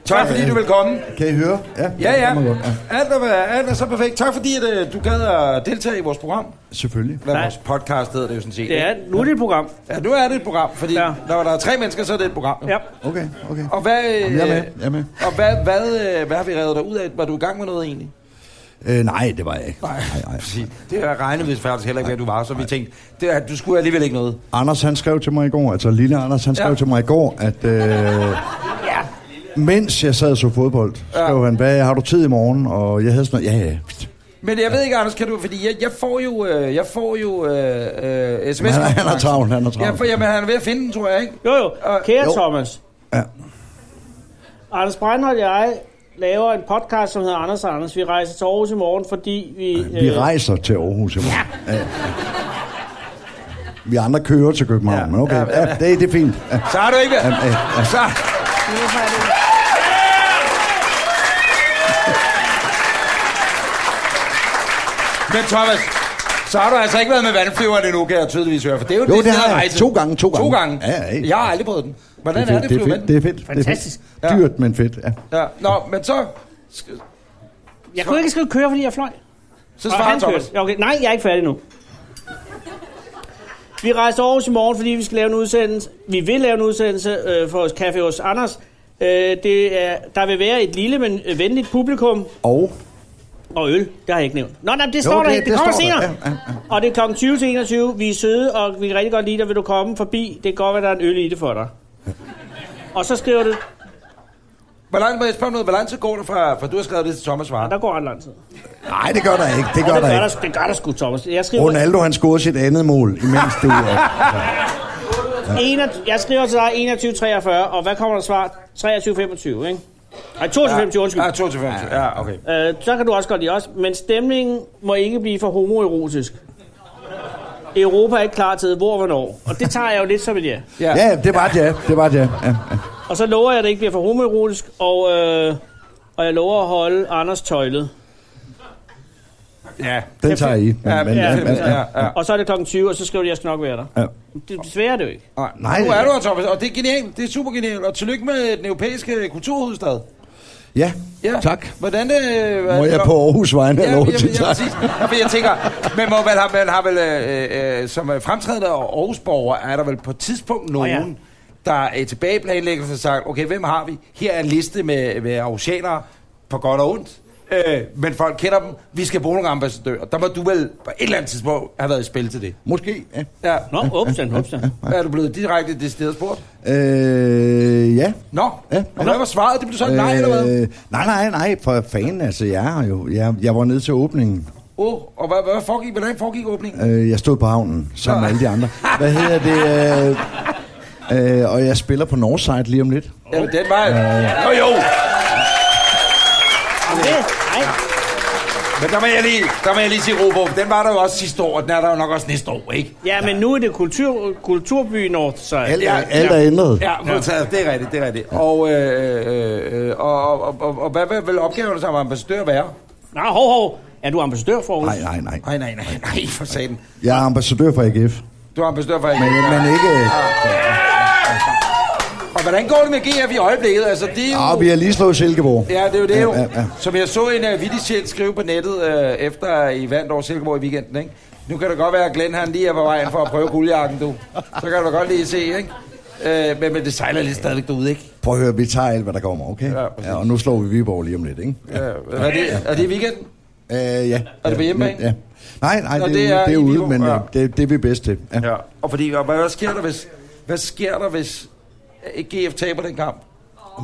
Speaker 3: Tak fordi du vil komme.
Speaker 4: Kan I høre?
Speaker 3: Ja, ja.
Speaker 4: det må godt.
Speaker 3: Alt er, alt er så perfekt. Tak fordi at, øh, du gad at deltage i vores program.
Speaker 4: Selvfølgelig.
Speaker 3: Eller
Speaker 2: Nej.
Speaker 3: vores podcast hedder det jo sådan set.
Speaker 2: det
Speaker 3: ikke?
Speaker 2: er nu er det et program.
Speaker 3: Ja, nu er det et program, fordi
Speaker 2: Ja.
Speaker 3: ja. når der er tre mennesker, så er det et program. jo.
Speaker 2: Ja.
Speaker 4: Okay, okay.
Speaker 3: Og hvad, øh,
Speaker 4: Jamen, jeg er med, jeg er med.
Speaker 3: Og hvad, hvad, øh, hvad har vi reddet dig ud af? Var du i gang med noget egentlig?
Speaker 4: Øh, nej, det var jeg ikke.
Speaker 3: Nej.
Speaker 4: nej, nej.
Speaker 3: Det har regnet vi faktisk heller ikke, at du var, så vi tænkte, det, er- du skulle alligevel ikke noget.
Speaker 4: Anders han skrev til mig i går, altså lille Anders han skrev
Speaker 3: Ja.
Speaker 4: til mig i går, at øh,
Speaker 3: Ja.
Speaker 4: mens jeg sad og så fodbold, skrev han, hvad har du tid i morgen? Og jeg havde sådan noget, ja ja.
Speaker 3: Men jeg ved ikke, Anders, kan du... Fordi jeg, jeg får jo, øh, jeg får jo øh, øh, sms
Speaker 4: Han, han har travlt, han har travlt.
Speaker 3: Ja, for, jamen, han er ved at finde den, tror jeg, ikke?
Speaker 2: Jo, jo.
Speaker 3: Og-
Speaker 2: Kære
Speaker 4: Jo.
Speaker 2: Thomas.
Speaker 4: Ja.
Speaker 2: Anders Breinholt og jeg laver en podcast, som hedder Anders og Anders. Vi rejser til Aarhus i morgen, fordi vi... øh,
Speaker 4: Vi rejser til Aarhus i morgen. Ja. Ja. Vi andre kører til København,
Speaker 3: Ja.
Speaker 4: men okay,
Speaker 3: Ja, ja,
Speaker 4: ja, det, det er fint. Ja.
Speaker 3: Så har du ikke været...
Speaker 4: Ja, ja, øh, ja.
Speaker 3: Så... Men Thomas, så har du altså ikke været med vandflyveren endnu, kan jeg tydeligvis høre. For det er jo,
Speaker 4: Jo,
Speaker 3: det
Speaker 4: det
Speaker 3: sted
Speaker 4: har
Speaker 3: at
Speaker 4: jeg.
Speaker 3: rejse.
Speaker 4: To gange, to
Speaker 3: To
Speaker 4: gange.
Speaker 3: gange?
Speaker 4: Ja, ja, ikke?
Speaker 3: Jeg har aldrig prøvet den. Hvordan
Speaker 4: det
Speaker 3: er
Speaker 4: er
Speaker 3: det,
Speaker 4: fedt, det er fedt, det er fedt.
Speaker 2: Fantastisk.
Speaker 4: Det er fedt. Dyrt, men fedt. Ja.
Speaker 3: Ja. Nå, men så... sk-
Speaker 2: Jeg kunne ikke skrive køre, fordi jeg fløj.
Speaker 3: Så
Speaker 2: Og
Speaker 3: svarer
Speaker 2: han
Speaker 3: Thomas.
Speaker 2: kørte. Ja, Okay. Nej, jeg er ikke færdig nu. Vi rejser til Aarhus i morgen, fordi vi skal lave en udsendelse. Vi vil lave en udsendelse øh, for Café hos Anders. Øh, det er, der vil være et lille, men øh, venligt publikum.
Speaker 4: Og
Speaker 2: Og øl, det har jeg ikke nævnt. Nå, nej, det står der
Speaker 4: det-
Speaker 2: ikke. Det,
Speaker 4: det
Speaker 2: kommer
Speaker 4: står der.
Speaker 2: senere.
Speaker 4: Ja, ja,
Speaker 2: Og det er kl. 20 til 21. Vi er søde, og vi kan rigtig godt lide dig. Vil du komme forbi? Det kan godt være, der er en øl i det for dig. Og så skriver du...
Speaker 3: Hvor langt, må jeg spørge om noget, hvor lang tid går det fra, fra du har skrevet det til Thomas
Speaker 2: Og
Speaker 3: Svarer?
Speaker 2: der går ret lang tid.
Speaker 4: nej, det gør der ikke. Det
Speaker 2: Og det,
Speaker 4: gør der
Speaker 2: gør
Speaker 4: ikke.
Speaker 2: der, det gør der sgu, Thomas. Jeg skriver,
Speaker 4: Ronaldo, han scorede sit andet mål, imens du... øh,
Speaker 2: 21, jeg skriver til dig 21.43, og hvad kommer der svar? 23.25, ikke? Nej, 22.25, undskyld.
Speaker 3: Ja, 22, ja, okay.
Speaker 2: Øh, så kan du også godt lide os, men stemningen må ikke blive for homoerotisk. Europa er ikke klar til hvor og hvornår. Og det tager jeg jo lidt som et ja.
Speaker 3: Ja.
Speaker 4: Ja, det var det, ja. Det var det, ja. ja. ja.
Speaker 2: Og så lover jeg, at det ikke bliver for homoerotisk, og, øh, og jeg lover at holde Anders tøjlet.
Speaker 3: ja.
Speaker 4: Den tager I. Men,
Speaker 3: Ja,
Speaker 4: men,
Speaker 3: ja,
Speaker 4: men,
Speaker 3: ja, ja.
Speaker 2: Og så er det klokken 20, og så skriver de, at jeg skal nok være der.
Speaker 4: ja.
Speaker 2: Det svære er det jo ikke.
Speaker 3: Nej.
Speaker 4: Nej.
Speaker 3: Nu er du her, Thomas, og det er genialt. Det er super genialt. Og tillykke med den europæiske kulturhovedstad.
Speaker 4: Ja, tak.
Speaker 3: Hvordan det... Øh,
Speaker 4: Må jeg på Aarhus vegne have
Speaker 3: Ja,
Speaker 4: lov
Speaker 3: jamen,
Speaker 4: til
Speaker 3: jamen,
Speaker 4: tak?
Speaker 3: præcis. ja, for jeg tænker, man, må vel, har, man har vel, øh, øh, som øh, fremtrædende Aarhusborger, er der vel på et tidspunkt
Speaker 2: Nå,
Speaker 3: nogen,
Speaker 2: ja.
Speaker 3: oh, ja. der er tilbage i planlæggelsen og sagt, okay, hvem har vi? Her er en liste med, med aarhusianere på godt og ondt. Øh, men folk kender dem. Vi skal bruge nogle ambassadører. Der må du vel på et eller andet tidspunkt have været i spil til det.
Speaker 4: Måske, ja.
Speaker 3: Ja.
Speaker 2: Nå, opstand, opstand.
Speaker 3: Er du blevet direkte decideret spurgt?
Speaker 4: Øh, ja.
Speaker 3: Nå,
Speaker 4: Ja,
Speaker 3: ja, og hvad var svaret? Det blev sådan, nej
Speaker 4: Øh,
Speaker 3: eller hvad?
Speaker 4: Nej, nej, nej, for fanden, altså, jeg har jo, jeg, jeg var nede til åbningen.
Speaker 3: Oh, og hvad, hvad foregik, hvordan foregik åbningen?
Speaker 4: Øh, jeg stod på havnen, sammen med
Speaker 3: Nå.
Speaker 4: alle de andre. Hvad hedder det? Øh, øh, og jeg spiller på Northside lige om lidt.
Speaker 3: Øh, Ja, den var... Nå jo,
Speaker 2: Okay. Nej,
Speaker 3: men der må jeg lige, der må jeg lige sige, Robo, den var der jo også sidste år, og den er der jo nok også næste år, ikke?
Speaker 2: ja, men nu er det kultur, kulturby Northside.
Speaker 4: Alt,
Speaker 3: Ja,
Speaker 4: ja, alt er ændret.
Speaker 3: Ja, modtaget. Det er rigtigt, det er rigtigt. Og, øh, øh, øh, og, og, og, og hvad vil, vil opgaven som ambassadør være?
Speaker 2: Nå, hov, hov. Er du ambassadør for Aarhus?
Speaker 4: Nej, nej, nej.
Speaker 3: Nej, nej, nej, nej, for satan.
Speaker 4: Jeg er ambassadør for AGF.
Speaker 3: Du er ambassadør for...
Speaker 4: Men, men ikke...
Speaker 3: Og hvordan går det med GF i øjeblikket? Altså, det er jo...
Speaker 4: Ah, vi har lige slået Silkeborg.
Speaker 3: Ja, det er jo det jo.
Speaker 4: Ja, ja, ja.
Speaker 3: Som jeg så en uh, vittig sjæl skrive på nettet, uh, efter I vandt over Silkeborg i weekenden, ikke? Nu kan det godt være, at Glenn han lige er på vejen for at prøve guldjakken, du. Så kan du da godt lige se, ikke? Uh, men, men det sejler lidt stadigvæk derude, ikke?
Speaker 4: Prøv at høre, vi tager alt, hvad der kommer, okay?
Speaker 3: Ja, præcis.
Speaker 4: Ja, og nu slår vi Viborg lige om lidt, ikke?
Speaker 3: Uh, er, det, er det i weekenden?
Speaker 4: Øh, ja.
Speaker 3: Er det på hjemmebane?
Speaker 4: Men, Ja. Nej, nej,
Speaker 3: Nå,
Speaker 4: det,
Speaker 3: det er
Speaker 4: er, det er
Speaker 3: i
Speaker 4: ude,
Speaker 3: Viborg,
Speaker 4: men
Speaker 3: ja.
Speaker 4: ja. det, det er vi bedst til. Ja.
Speaker 3: Ja. Og fordi, og hvad, hvad sker der, hvis... Hvad sker der, hvis øh, GF taber den kamp?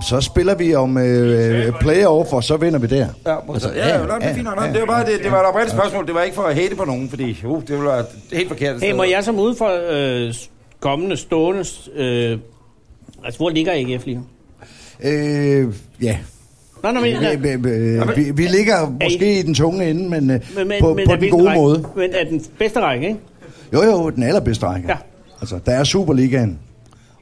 Speaker 4: Så spiller vi om øh, playoff, og så vinder vi der.
Speaker 3: Ja, altså, ja, ja, ja, ja, fint nok. Nå, men Det var bare det, det var et oprindeligt spørgsmål. Det var ikke for at hate på nogen, fordi uh, det ville være helt forkert.
Speaker 2: Hey, må jeg som ude for øh, kommende, stående... Øh, altså, hvor ligger AGF lige nu?
Speaker 4: Øh, ja.
Speaker 2: Nå, nå, men,
Speaker 4: Øh, øh, øh, Vi, vi ligger måske i den tunge ende, men, øh,
Speaker 2: men, men,
Speaker 4: på,
Speaker 2: men
Speaker 4: på
Speaker 2: er
Speaker 4: den
Speaker 2: hvilken
Speaker 4: gode
Speaker 2: række?
Speaker 4: måde.
Speaker 2: Men er den bedste række, ikke?
Speaker 4: Jo, jo, den allerbedste række.
Speaker 2: Ja.
Speaker 4: Altså, der er Superligaen,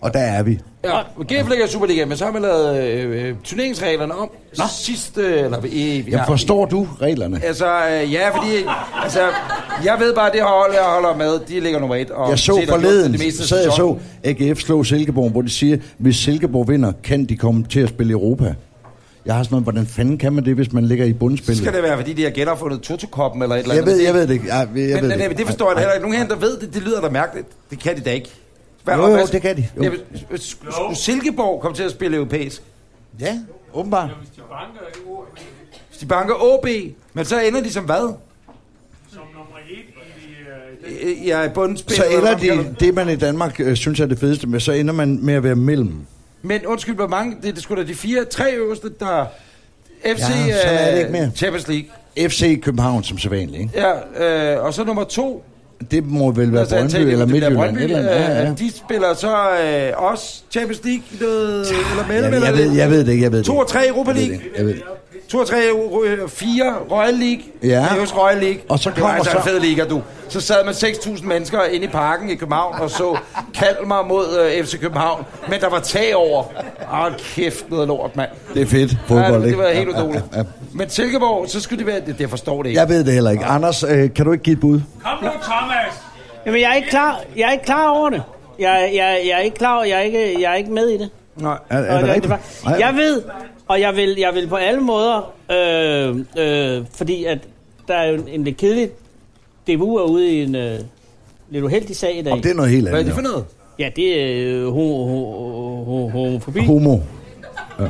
Speaker 4: og der er vi.
Speaker 3: Ja, men GF ligger i Superligaen, men så har man lavet øh, øh, turneringsreglerne om. Nå. Sidste, øh, eller i, ja.
Speaker 4: Jamen, forstår du reglerne?
Speaker 3: Altså, øh, ja, fordi, altså, jeg ved bare, at det hold, jeg holder med, de ligger nummer et. Og
Speaker 4: Jeg så
Speaker 3: set og gjort
Speaker 4: forleden,
Speaker 3: det meste af
Speaker 4: så jeg så
Speaker 3: sæsonen.
Speaker 4: AGF slå Silkeborg, hvor de siger, hvis Silkeborg vinder, kan de komme til at spille i Europa. Jeg har sådan noget, hvordan fanden kan man det, hvis man ligger i
Speaker 3: Så skal
Speaker 4: bundspillet?
Speaker 3: det være, fordi de har genopfundet Totokoppen eller et eller
Speaker 4: Jeg
Speaker 3: andet.
Speaker 4: ved, jeg ved det ikke. Jeg, jeg ved
Speaker 3: men,
Speaker 4: det,
Speaker 3: men,
Speaker 4: ikke.
Speaker 3: det, det forstår jeg da heller ikke. Nogen her, der ved det, det lyder da mærkeligt. Det kan de da ikke. Hvad,
Speaker 4: Jo,
Speaker 3: og
Speaker 4: jo,
Speaker 3: hvad-
Speaker 4: det kan de. Jo.
Speaker 3: Jamen, s- s- skulle Silkeborg komme til at spille europæisk?
Speaker 4: Ja, åbenbart.
Speaker 3: Hvis de banker OB, men så ender de som hvad?
Speaker 5: Som nummer et i øh, den
Speaker 3: Øh, Ja, bundspil.
Speaker 4: Så
Speaker 3: eller
Speaker 4: ender
Speaker 3: hvad man kalder
Speaker 4: de, det, man i Danmark øh, synes er det fedeste med, så ender man med at være mellem.
Speaker 3: Men undskyld, hvor mange? Det, det er sgu da de fire, tre øverste, der... FC,
Speaker 4: Ja, sådan er det
Speaker 3: øh,
Speaker 4: ikke mere.
Speaker 3: Champions League.
Speaker 4: FC København som sædvanligt, ikke?
Speaker 3: Ja, øh, og så nummer to.
Speaker 4: Det må vel være
Speaker 3: altså,
Speaker 4: Brøndby
Speaker 3: Antalya,
Speaker 4: eller
Speaker 3: det bliver
Speaker 4: Midtjylland. et
Speaker 3: Brøndby,
Speaker 4: Eller andet. ja, ja.
Speaker 3: øh, De spiller så øh, også Champions League noget, eller
Speaker 4: Jeg,
Speaker 3: mellem,
Speaker 4: ved- jeg,
Speaker 3: eller
Speaker 4: ved, jeg ved det ikke, jeg ved det
Speaker 3: To og tre Europa
Speaker 4: Jeg ved
Speaker 3: League.
Speaker 4: det ikke, Jeg ved det.
Speaker 3: To og tre, øh, fire Royal League.
Speaker 4: Ja.
Speaker 3: Det er også Royal League.
Speaker 4: Og så
Speaker 3: det var
Speaker 4: kommer
Speaker 3: altså en
Speaker 4: så-
Speaker 3: fed liga, du. Så sad man 6.000 mennesker inde i parken i København og så Kalmar mod øh, FC København. Men der var tag over. Åh, kæft noget lort, mand.
Speaker 4: Det er fedt, fodbold,
Speaker 3: ja, det, det
Speaker 4: ikke?
Speaker 3: var helt
Speaker 4: Ja, ja,
Speaker 3: utroligt.
Speaker 4: ja.
Speaker 3: Men Silkeborg, så skulle det være... Det, det forstår det ikke.
Speaker 4: Jeg ved det heller ikke. Anders, øh, kan du ikke give et bud?
Speaker 5: Kom nu, Thomas!
Speaker 2: Jamen, jeg er ikke klar, jeg er ikke klar over det. Jeg, jeg, jeg er ikke klar, og jeg er ikke, jeg er ikke med i det.
Speaker 3: Nej.
Speaker 4: Er, er det rigtigt? Nej.
Speaker 2: Jeg ved, og jeg vil, jeg vil på alle måder, øh, øh, fordi at der er jo en, en lidt kedelig DBU er ude i en øh, lidt uheldig sag i dag.
Speaker 4: Og det er noget helt
Speaker 3: Hvad er
Speaker 4: andet.
Speaker 3: det for
Speaker 4: jo.
Speaker 3: noget?
Speaker 2: Ja, det er øh, ho- ho- ho- homofobi.
Speaker 4: Homo.
Speaker 3: Nå,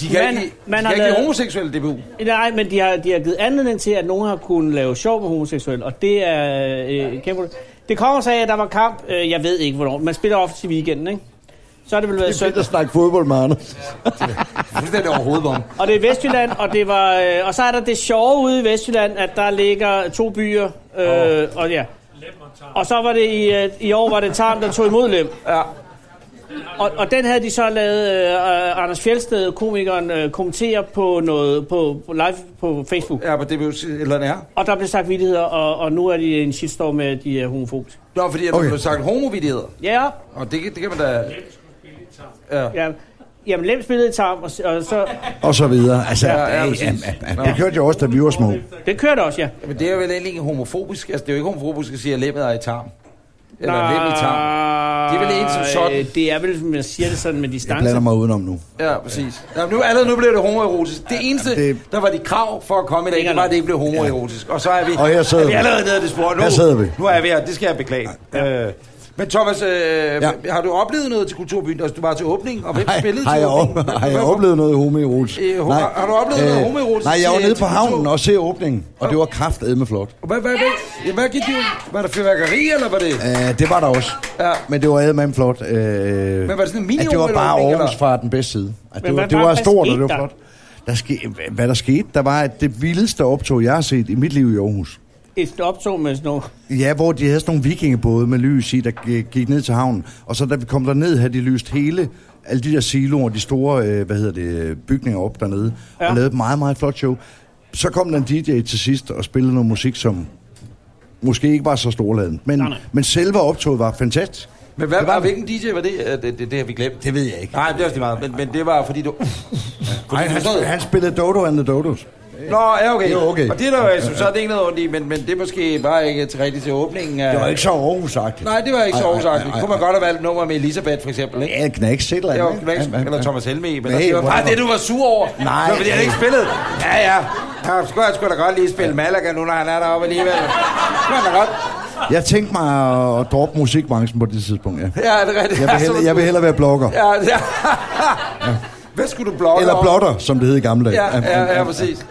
Speaker 3: de kan
Speaker 2: Man-
Speaker 3: ikke, de
Speaker 2: man
Speaker 3: kan
Speaker 2: har
Speaker 3: ikke
Speaker 2: lavet-
Speaker 3: lide homoseksuelle DBU.
Speaker 2: Nej, men de har, de har givet anledning til, at nogen har kunnet lave sjov med homoseksuelle, og det er øh, kæmpe... Det kommer så af, at der var kamp, øh, jeg ved ikke hvornår, man spiller ofte til weekenden, ikke? Så har det vel været
Speaker 4: Det er fedt
Speaker 2: søndag.
Speaker 4: at snakke fodbold med Anders.
Speaker 3: Fuldstændig overhovedet om.
Speaker 2: Og det er Vestjylland, og, det var, øh, og så er der det sjove ude i Vestjylland, at der ligger to byer, øh, og ja. Og så var det i, øh, i år, var det Tarm, der tog imod Lem.
Speaker 3: Ja.
Speaker 2: Og, og den havde de så lavet øh, Anders Fjeldsted, komikeren, øh, kommentere på noget på, på live på Facebook.
Speaker 3: Ja, på DBU eller er.
Speaker 2: Og der blev sagt vittigheder, og, og nu er de en shitstorm med, at de er homofobisk.
Speaker 3: Nå, fordi okay.
Speaker 4: Okay.
Speaker 3: du har sagt homovidigheder.
Speaker 2: Ja,
Speaker 3: Og det, kan- det kan man da... Ja.
Speaker 2: ja. Jamen, Lem spillede i tarm, og, s- og så...
Speaker 4: Og så videre. Altså,
Speaker 3: Ja,
Speaker 4: ja,
Speaker 3: ja,
Speaker 4: ja,
Speaker 3: præcis.
Speaker 4: ja, ja, ja. Det kørte jeg også, da vi var små.
Speaker 2: Det kørte også, ja.
Speaker 3: Men det er jo vel egentlig ikke homofobisk. Altså, det er jo ikke homofobisk at sige, at lemmet er i tarm. Eller Nej. lem i tarm. Det er vel en som sådan.
Speaker 2: Øh, Det er vel, man siger det sådan med
Speaker 4: Jeg
Speaker 2: distance.
Speaker 4: blander mig udenom nu.
Speaker 3: Ja, præcis. Ja, nu, allerede nu blev det homoerotisk. Det eneste,
Speaker 4: Ja, det-
Speaker 3: der var de krav for at komme i dag, det var, at det ikke blev homoerotisk. Og så er vi,
Speaker 4: Og her sidder
Speaker 3: er vi
Speaker 4: vi.
Speaker 3: allerede nede i det spor. Nu,
Speaker 4: Her sidder vi.
Speaker 3: Nu er vi her. Det skal jeg beklage. Ja. Øh, men Thomas, øh, ja. har du oplevet noget til Kulturbyen? Altså, du var til åbningen, og hvem
Speaker 4: Nej,
Speaker 3: spillede
Speaker 4: har
Speaker 3: til
Speaker 4: jeg,
Speaker 3: åbningen?
Speaker 4: op, har jeg oplevet noget homoerotisk?
Speaker 3: Øh, ho- har du oplevet noget homoerotisk
Speaker 4: Øh, Nej, jeg var
Speaker 3: til-
Speaker 4: nede
Speaker 3: til
Speaker 4: på havnen
Speaker 3: kultur?
Speaker 4: og se åbningen, og det var kraftedme flot.
Speaker 3: Hvad, hvad, hvad, ja, hvad gik du? Var der fyrværkeri, eller var det...
Speaker 4: Uh, det var der også.
Speaker 3: Ja.
Speaker 4: Men det var eddermame flot. Uh,
Speaker 3: var
Speaker 4: Men
Speaker 3: det sådan en
Speaker 4: at det var
Speaker 3: mini-åbning,
Speaker 4: bare
Speaker 3: eller?
Speaker 4: Aarhus fra den bedste side. At
Speaker 2: Men
Speaker 4: det var,
Speaker 2: hvad-
Speaker 4: det
Speaker 2: hvad-
Speaker 4: var
Speaker 2: hvad
Speaker 4: stort, og
Speaker 2: skete
Speaker 4: det
Speaker 2: der?
Speaker 4: var flot. Der skete, hvad der skete, der var at det vildeste optog, jeg har set i mit liv i Aarhus.
Speaker 2: Et optog med sådan noget.
Speaker 4: Ja, hvor de havde sådan nogle vikingebåde med lys i, der g- gik ned til havnen. Og så da vi kom derned, havde de lyst hele alle de der siloer, de store øh, hvad hedder det, bygninger op dernede,
Speaker 2: Ja.
Speaker 4: ja. og lavede et meget, meget flot show. Så kom der en DJ til sidst og spillede noget musik, som måske ikke var så storladen, men,
Speaker 2: Nej, nej.
Speaker 4: men selve optoget var fantastisk.
Speaker 3: Men hvad, var, hvilken DJ var det? Øh, Det, det, det har vi glemt.
Speaker 4: Det ved jeg ikke.
Speaker 3: Nej, det er også lige meget. Men, men det var, fordi du...
Speaker 4: Nej, han, spillede- han spillede Dodo and the Dodos.
Speaker 3: Nå, ja, okay.
Speaker 4: Det er okay.
Speaker 3: Og det er der jo, som så er det ikke noget ondt i, men, men det er måske bare ikke til rigtigt til åbningen. Af...
Speaker 4: Det var ikke så aarhus -agtigt.
Speaker 3: Nej, det var ikke så
Speaker 4: Ej, ej,
Speaker 3: oversagt.
Speaker 4: ej, ej,
Speaker 3: Kunne man
Speaker 4: ej.
Speaker 3: godt have valgt et nummer med Elisabeth, for eksempel, ikke?
Speaker 4: Ja, Knæks et eller
Speaker 3: Det
Speaker 4: andet.
Speaker 3: var Knæks,
Speaker 4: Ja, ja, ja.
Speaker 3: eller Thomas Helmi, men
Speaker 4: Nej,
Speaker 3: det var bare
Speaker 4: whatever.
Speaker 3: det, du var sur over.
Speaker 4: Nej.
Speaker 3: Det var, fordi han ikke spillede. Ja, ja. Ja, skulle jeg skulle da godt lige spille Malaga nu, når han er deroppe alligevel. Skulle han da godt.
Speaker 4: Jeg tænkte mig at- at droppe musikbranchen på det tidspunkt, ja.
Speaker 3: Ja, det er rigtigt.
Speaker 4: Jeg vil hellere, jeg vil hellere være blogger.
Speaker 3: Ja, ja. Hvad skulle du blogge
Speaker 4: Eller
Speaker 3: om?
Speaker 4: blotter, som det hed i gamle dage.
Speaker 3: Ja, ja, ja, præcis.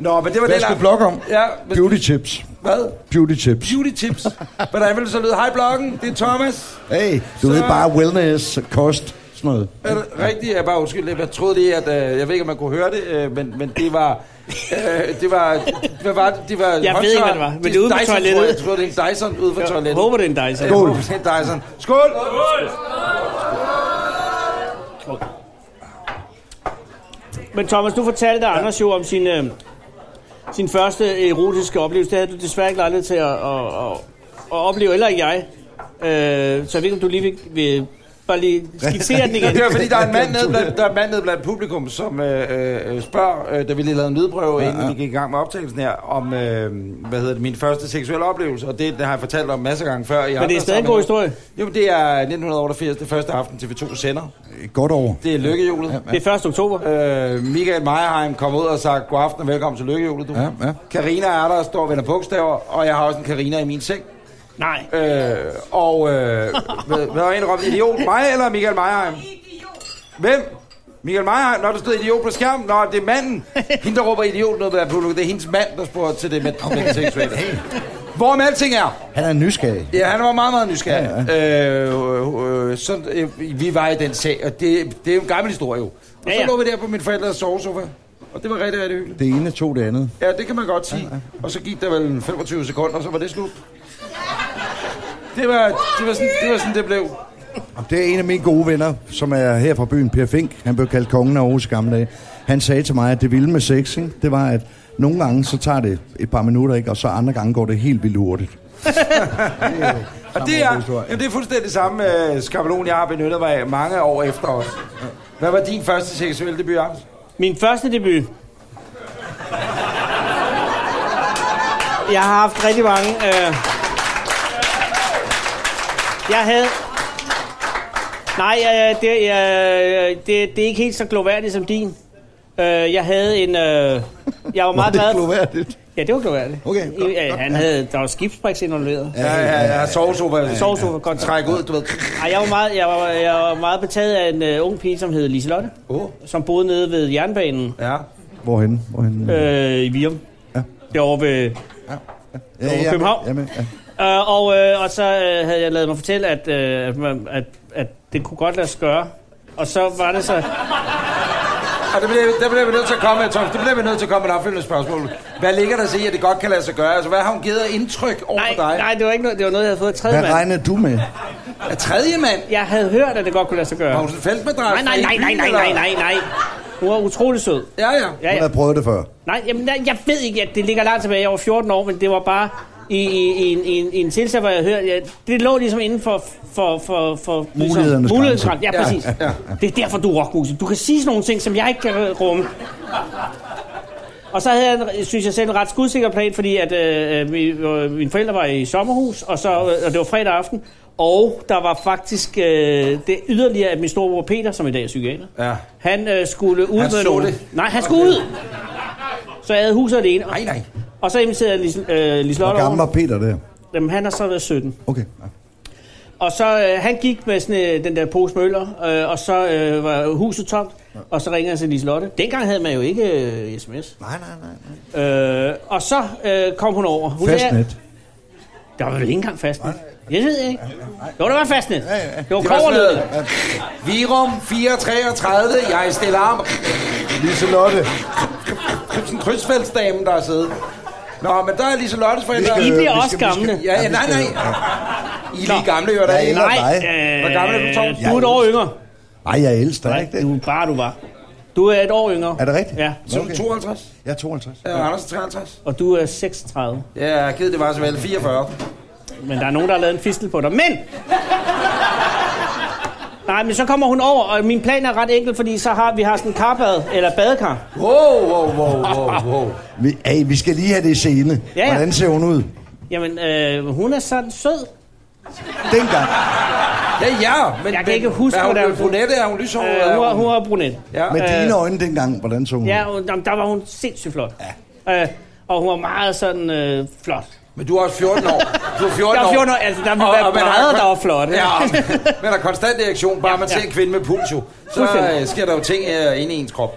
Speaker 3: Nå, men det var
Speaker 4: Hvad
Speaker 3: det,
Speaker 4: skal vi blogge om?
Speaker 3: Ja, men-
Speaker 4: Beauty tips.
Speaker 3: Hvad?
Speaker 4: Beauty tips.
Speaker 3: Beauty tips. Hvordan vil det så lyde? Hej bloggen, det er Thomas.
Speaker 4: Hey, du
Speaker 3: Så-
Speaker 4: ved bare wellness, kost, sådan noget.
Speaker 3: Er det rigtigt? Jeg er bare undskyld. Jeg troede lige, at... Øh, jeg ved ikke, om man kunne høre det, øh, men, men det var... Øh, det var... Hvad var det? Det var
Speaker 2: Jeg ved ikke, hvad det var, men det er ude på
Speaker 3: Dyson, tror jeg.
Speaker 2: toilettet.
Speaker 3: Jeg troede, det er en Dyson ude på toilettet.
Speaker 2: Jeg håber, det er en Dyson.
Speaker 3: Jeg håber, det er en Dyson. Skål!
Speaker 2: Men Thomas, du fortalte Anders jo om sin, øh, sin første erotiske oplevelse. Det havde du desværre ikke lejlighed til at, at, at, at opleve, eller ikke jeg. Øh, så jeg ved ikke, om du lige vil, vil bare lige skitsere den igen.
Speaker 3: Det var fordi, der er en mand nede blandt, der er en mand nede blandt publikum, som øh, øh, spørger, øh, da vi lige lavede en lydprøve, ja, ja. inden vi gik i gang med optagelsen her, om, øh, hvad hedder det, min første seksuelle oplevelse, og det, det har jeg fortalt om masser af gange før. I
Speaker 2: Men det er stadig en god historie.
Speaker 3: Jo, men det er 1988, det første aften TV2 sender.
Speaker 4: Et Godt over.
Speaker 3: Det er lykkehjulet. Ja,
Speaker 2: Det er 1. oktober.
Speaker 3: Øh, Michael Meierheim kom ud og sagde, god aften og velkommen til lykkehjulet, du.
Speaker 4: Ja, ja.
Speaker 3: Karina er der og står og vender bogstaver, og jeg har også en Karina i min seng.
Speaker 2: Nej.
Speaker 3: Øh, og øh, hvad, hvad har en råbt? Idiot? Mig eller Michael Meierheim? Hvem? Michael Meierheim? Når der stod idiot på skærmen? Nå, det er manden. Hende, der råber idiot noget på den publikum. Det er hendes mand, der spørger til det med, med det seksuelle. Hvorom alting er,
Speaker 4: Han er nysgerrig.
Speaker 3: Ja, han var meget, meget nysgerrig. Ja, ja. Øh, øh, så, øh, vi var i den sag, og det, det er jo en gammel historie jo. Og ja,
Speaker 2: Ja,
Speaker 3: ja.
Speaker 2: ja.
Speaker 3: så lå vi der på min forældres sovesofa, og det var rigtig, rigtig hyggeligt.
Speaker 4: Det ene tog det andet.
Speaker 3: Ja, det kan man godt sige. Og så gik der vel en 25 sekunder, og så var det slut. Det var, det var, sådan, det var sådan, det blev.
Speaker 4: Det er en af mine gode venner, som er her fra byen, Per Fink. Han blev kaldt kongen af Aarhus i gamle dage. Han sagde til mig, at det vilde med sex, ikke? det var, at nogle gange så tager det et par minutter, ikke? og så andre gange går det helt vildt hurtigt.
Speaker 3: Og det er, jamen, det er fuldstændig det samme øh, skabelon, jeg har benyttet mig af mange år efter os. Hvad var din første seksuelle debut, Anders?
Speaker 2: Min første debut. Jeg har haft rigtig mange. Øh... Jeg havde... Nej, øh, det, øh, det, det er ikke helt så gloværdigt som din. Øh, jeg havde en... Øh... Jeg var meget
Speaker 4: det
Speaker 2: glad...
Speaker 4: gloværdigt.
Speaker 2: Ja, det var gloværdigt.
Speaker 4: Okay, godt,
Speaker 2: ja,
Speaker 4: godt.
Speaker 2: han havde, der var skibsbriks involveret. Ja.
Speaker 3: Ja, ja, ja, ja. Sovesofa. Ja,
Speaker 2: Sovesofa, godt.
Speaker 3: Træk ud, du ved.
Speaker 2: Ej, jeg var meget, jeg var, jeg var meget betaget af en uh, ung pige, som hed Liselotte,
Speaker 3: Åh,
Speaker 2: som boede nede ved jernbanen
Speaker 3: ja.
Speaker 4: Hvorhen? Hvorhen?
Speaker 2: øh, i Virum.
Speaker 4: Ja.
Speaker 2: Derovre ved
Speaker 4: ja,
Speaker 2: over København.
Speaker 4: Jamen, ja.
Speaker 2: Øh, og, øh, og så øh, havde jeg lavet mig fortælle, at, øh, at, man- at, at det kunne godt lade sig gøre. Og så var det så...
Speaker 3: Og det bliver, det bliver vi nødt til at komme med, Thomas. Det bliver vi nødt til at komme med et opfølgende spørgsmål. Hvad ligger der sig i, at det godt kan lade sig gøre? Altså, hvad har hun givet af indtryk over
Speaker 2: Nej,
Speaker 3: for dig?
Speaker 2: nej, det var ikke noget, det var noget, jeg havde fået af tredje
Speaker 4: Hvad
Speaker 2: mand.
Speaker 4: regner du med?
Speaker 3: Er tredje mand?
Speaker 2: Jeg havde hørt, at det godt kunne lade sig gøre.
Speaker 3: Var hun sådan en feltmadras?
Speaker 2: Nej, nej, nej, nej, nej, nej, nej, nej. Hun var utrolig sød.
Speaker 3: Ja, ja.
Speaker 2: Ja,
Speaker 4: Hun
Speaker 2: ja.
Speaker 4: har prøvet det før.
Speaker 2: Nej, jamen, jeg, jeg ved ikke, at det ligger langt tilbage. Jeg var 14 år, men det var bare i, i, i, en, i, en, i en tilstand, hvor jeg hørte... Ja, det lå ligesom inden for... for, for, for
Speaker 4: Mulighedernes
Speaker 2: mulighedens
Speaker 4: grænse.
Speaker 2: grænse. Ja,
Speaker 3: Ja,
Speaker 2: præcis.
Speaker 3: ja, ja.
Speaker 2: Det er derfor, du er rockmusiker. Du kan sige sådan nogle ting, som jeg ikke kan rumme. Og så havde jeg, en- synes jeg selv, en ret skudsikker plan, fordi at, øh, min, øh, mine forældre var i sommerhus, og, så, øh, og det var fredag aften. Og der var faktisk øh, det yderligere, at min storebror Peter, som i dag er psykiater,
Speaker 3: Ja.
Speaker 2: han øh, skulle ud med
Speaker 3: Han så
Speaker 2: nogle...
Speaker 3: det.
Speaker 2: Nej, han skulle ud! Så jeg havde huset alene.
Speaker 3: Nej, nej.
Speaker 2: Og så inviterede jeg Lis, øh, Lis
Speaker 4: Hvor
Speaker 2: Lotte
Speaker 4: gammel
Speaker 2: over.
Speaker 4: var Peter der?
Speaker 2: Jamen, han har så været 17.
Speaker 4: Okay. ja.
Speaker 2: Og så øh, han gik med sådan, øh, den der pose møller, øh, og så øh, var huset tomt, og så ringede jeg til Liselotte. Dengang havde man jo ikke øh, sms.
Speaker 4: Nej, nej, nej. nej.
Speaker 2: Øh, og så øh, kom hun over. Hun
Speaker 4: Fastnet.
Speaker 2: Der var vel ikke engang fastnet. Jeg ved jeg ikke. Jo, der var fastnet.
Speaker 4: ja.
Speaker 2: Det var
Speaker 3: Det var sådan
Speaker 2: koverlød.
Speaker 3: noget. Virum 433, jeg stiller arm.
Speaker 4: Liselotte.
Speaker 3: Sådan en krydsfældsdame, der er siddet. Nå, men der er Lise Lottes forældre.
Speaker 4: Vi skal-
Speaker 2: I bliver
Speaker 4: vi
Speaker 2: også
Speaker 4: skal- vi skal-
Speaker 2: gamle.
Speaker 3: Ja, ja, nej, nej. I er lige gamle, hører der
Speaker 4: Ja,
Speaker 3: ikke?
Speaker 4: eller
Speaker 2: Nej,
Speaker 4: dig.
Speaker 2: øh,
Speaker 3: Hvor gammel er du, Torben?
Speaker 2: Du er et år yngre.
Speaker 4: Ej, jeg er ældst, der er
Speaker 2: Nej,
Speaker 4: ikke
Speaker 2: du
Speaker 4: det?
Speaker 2: er bare du var. Du er et år yngre.
Speaker 4: Er det rigtigt?
Speaker 2: Ja.
Speaker 4: Nå, okay.
Speaker 3: 52.
Speaker 4: Jeg er 52.
Speaker 3: Ja, Anders er 53.
Speaker 2: Og du er 36.
Speaker 3: Ja, ked det var så vel. 44.
Speaker 2: Men der er nogen, der har lavet en fistel på dig. Men! Nej, men så kommer hun over, og min plan er ret enkel, fordi så har vi har sådan en karbad, eller badekar.
Speaker 3: Wow, wow, wow, wow, wow.
Speaker 4: Vi, ej, vi skal lige have det i scene.
Speaker 2: Ja, ja.
Speaker 4: Hvordan ser hun ud?
Speaker 2: Jamen, øh, hun er sådan sød.
Speaker 4: Dengang.
Speaker 3: Ja, ja, men...
Speaker 2: Jeg kan ikke huske,
Speaker 3: hvad
Speaker 2: hvordan
Speaker 3: er hun.
Speaker 2: hun-
Speaker 3: Brunette, er hun lyshåret?
Speaker 2: Øh, hun, er, hun er brunet.
Speaker 3: Ja.
Speaker 4: Med
Speaker 2: Øh,
Speaker 4: dine øjne dengang, hvordan så hun
Speaker 2: Ja,
Speaker 4: ud?
Speaker 2: hun, jamen, der var hun sindssygt flot. Ja. Øh, og hun var meget sådan øh, flot.
Speaker 3: Men du er også 14 år. Du er 14
Speaker 2: Jeg
Speaker 3: år.
Speaker 2: var 14 år, altså der ville være
Speaker 3: man har
Speaker 2: brædder,
Speaker 3: kon-
Speaker 2: der var flotte.
Speaker 3: Ja, men der er konstant erektion. Bare man
Speaker 2: ja.
Speaker 3: ser en kvinde med puls, jo, så
Speaker 2: Fuldstændig.
Speaker 3: øh, sker der jo ting øh, inde i ens krop.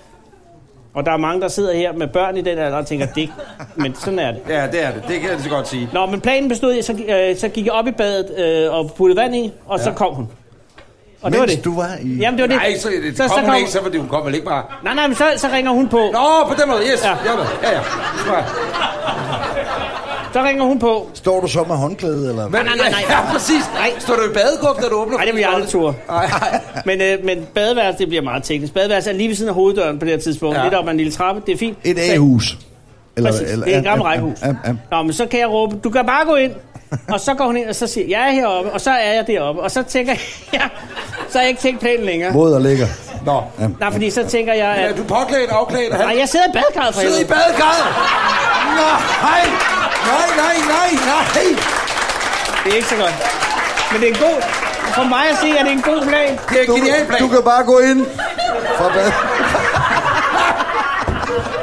Speaker 2: Og der er mange, der sidder her med børn i den alder og tænker, det men sådan er det.
Speaker 3: Ja, det er det. Det kan jeg lige så godt sige.
Speaker 2: Nå, men planen bestod, i, så, øh, så gik jeg op i badet øh, og puttede vand i, og ja. så kom hun. Og det var
Speaker 4: Mens
Speaker 2: det.
Speaker 4: du var i...
Speaker 2: Jamen, det var det.
Speaker 3: Nej, så, øh, det, så, kom hun ikke, så fordi hun kom vel ikke bare...
Speaker 2: Nej, nej, men så, så ringer hun på.
Speaker 3: Nå, på den måde, yes. Ja,
Speaker 2: Ja.
Speaker 3: ja, ja. ja.
Speaker 2: Så ringer hun på.
Speaker 4: Står du så med håndklæde, eller?
Speaker 3: Men,
Speaker 2: nej, nej, nej.
Speaker 3: Ja, præcis.
Speaker 2: Nej.
Speaker 3: Står du i badekåb, da du åbner?
Speaker 2: Nej, det vil jeg aldrig ture.
Speaker 3: Nej, nej.
Speaker 2: Men, øh, men badeværelset, det bliver meget teknisk. Badeværelset er lige ved siden af hoveddøren på det her tidspunkt.
Speaker 3: Ja.
Speaker 2: Ja. Lidt op ad en lille trappe, det er fint.
Speaker 4: Et
Speaker 2: Så-
Speaker 4: A-hus. Eller,
Speaker 2: Præcis, det er et
Speaker 4: ja,
Speaker 2: gammelt
Speaker 4: ja,
Speaker 2: rækkehus.
Speaker 4: ja, ja.
Speaker 2: Nå, men så kan jeg råbe, du kan bare gå ind. Og så går hun ind, og så siger jeg, jeg er heroppe, og så er jeg deroppe. Og så tænker jeg, så har jeg ikke tænkt planen længere.
Speaker 4: Våd og lækker.
Speaker 3: Nå.
Speaker 4: Ja.
Speaker 2: Nej, fordi så tænker jeg,
Speaker 3: Er
Speaker 2: at...
Speaker 3: du påklædt, afklædt? Han
Speaker 2: Nej, jeg sidder i badekarret for
Speaker 3: sidder i
Speaker 2: helvede.
Speaker 3: badekarret. Nej, nej, nej, nej, nej.
Speaker 2: Det er ikke så godt. Men det er en god... For mig at se, at det er en god plan.
Speaker 3: Det er en genial plan.
Speaker 4: du kan bare gå ind. Fra bad.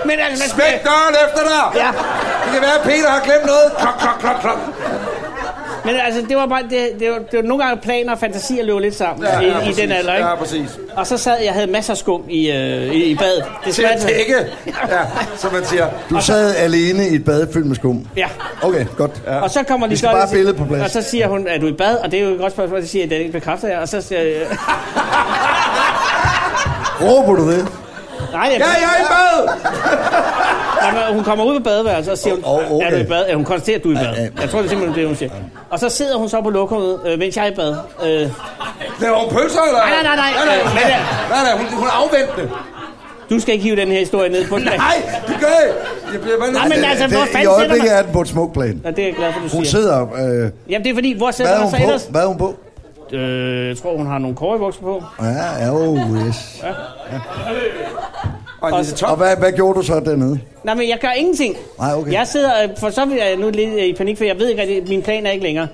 Speaker 2: Men altså, man
Speaker 3: Smæk døren efter dig.
Speaker 2: Ja,
Speaker 3: Det kan være, at Peter har glemt noget. Klok, klok, klok, klok.
Speaker 2: men altså, det var bare... Det, det, var, det var nogle gange planer og fantasier løb lidt sammen ja, i, i
Speaker 3: præcis.
Speaker 2: den alder, ikke?
Speaker 3: Ja, præcis.
Speaker 2: Og så sad jeg havde masser af skum i, øh, i, i badet. Det
Speaker 3: Til at
Speaker 2: smalte-
Speaker 3: dække, ja, som man siger.
Speaker 4: Du sad alene i et bad fyldt med skum.
Speaker 2: Ja.
Speaker 4: Okay, godt. Ja.
Speaker 2: Og så kommer
Speaker 4: Vi
Speaker 2: de
Speaker 4: skal bare have billedet på plads.
Speaker 2: Og så siger hun, er du i bad? Og det er jo et godt spørgsmål, så siger jeg, at ikke bekræfter jeg. Og så siger jeg,
Speaker 4: Råber du det?
Speaker 2: nej, jeg,
Speaker 3: Ja, jeg er i bad.
Speaker 2: Og hun kommer ud på badeværelset og siger, hun,
Speaker 4: Åh, okay.
Speaker 2: er du i bad? Ja, hun konstaterer, at du er i bad.
Speaker 4: ja.
Speaker 2: Jeg tror, det er simpelthen det, hun siger. Og så sidder hun så på lokummet, øh, mens jeg er i bad. Øh,
Speaker 3: Laver hun pølser, eller?
Speaker 2: Nej, nej, nej, nej.
Speaker 3: nej,
Speaker 2: Øh, men
Speaker 3: nej, nej,
Speaker 2: det-
Speaker 3: nej, nej hun, hun er afventende.
Speaker 2: du skal ikke hive den her historie ned på den.
Speaker 3: Nej, du gør ikke. Jeg bliver bare
Speaker 2: Nej, men altså, hvor
Speaker 4: det I
Speaker 2: fanden sætter
Speaker 4: øjeblikket
Speaker 2: man?
Speaker 4: er den på et smukt plan.
Speaker 2: Ja, det er jeg glad for, du
Speaker 4: Hun
Speaker 2: siger.
Speaker 4: sidder... Øh,
Speaker 2: Jamen, det er fordi, hvor
Speaker 4: hvad
Speaker 2: sætter
Speaker 4: er
Speaker 2: man
Speaker 4: hun
Speaker 2: sig
Speaker 4: på?
Speaker 2: ellers?
Speaker 4: Hvad er hun på?
Speaker 2: Øh, jeg tror, hun har nogle kårebukser på.
Speaker 4: Ja, ja, oh, yes.
Speaker 3: Og en lille
Speaker 4: Og
Speaker 3: top.
Speaker 4: hvad, hvad gjorde du så dernede?
Speaker 2: Nej, men jeg gør ingenting.
Speaker 4: Nej, okay.
Speaker 2: Jeg sidder, øh, for så vidt er jeg nu lidt øh, i panik, for jeg ved ikke, at min plan er ikke længere.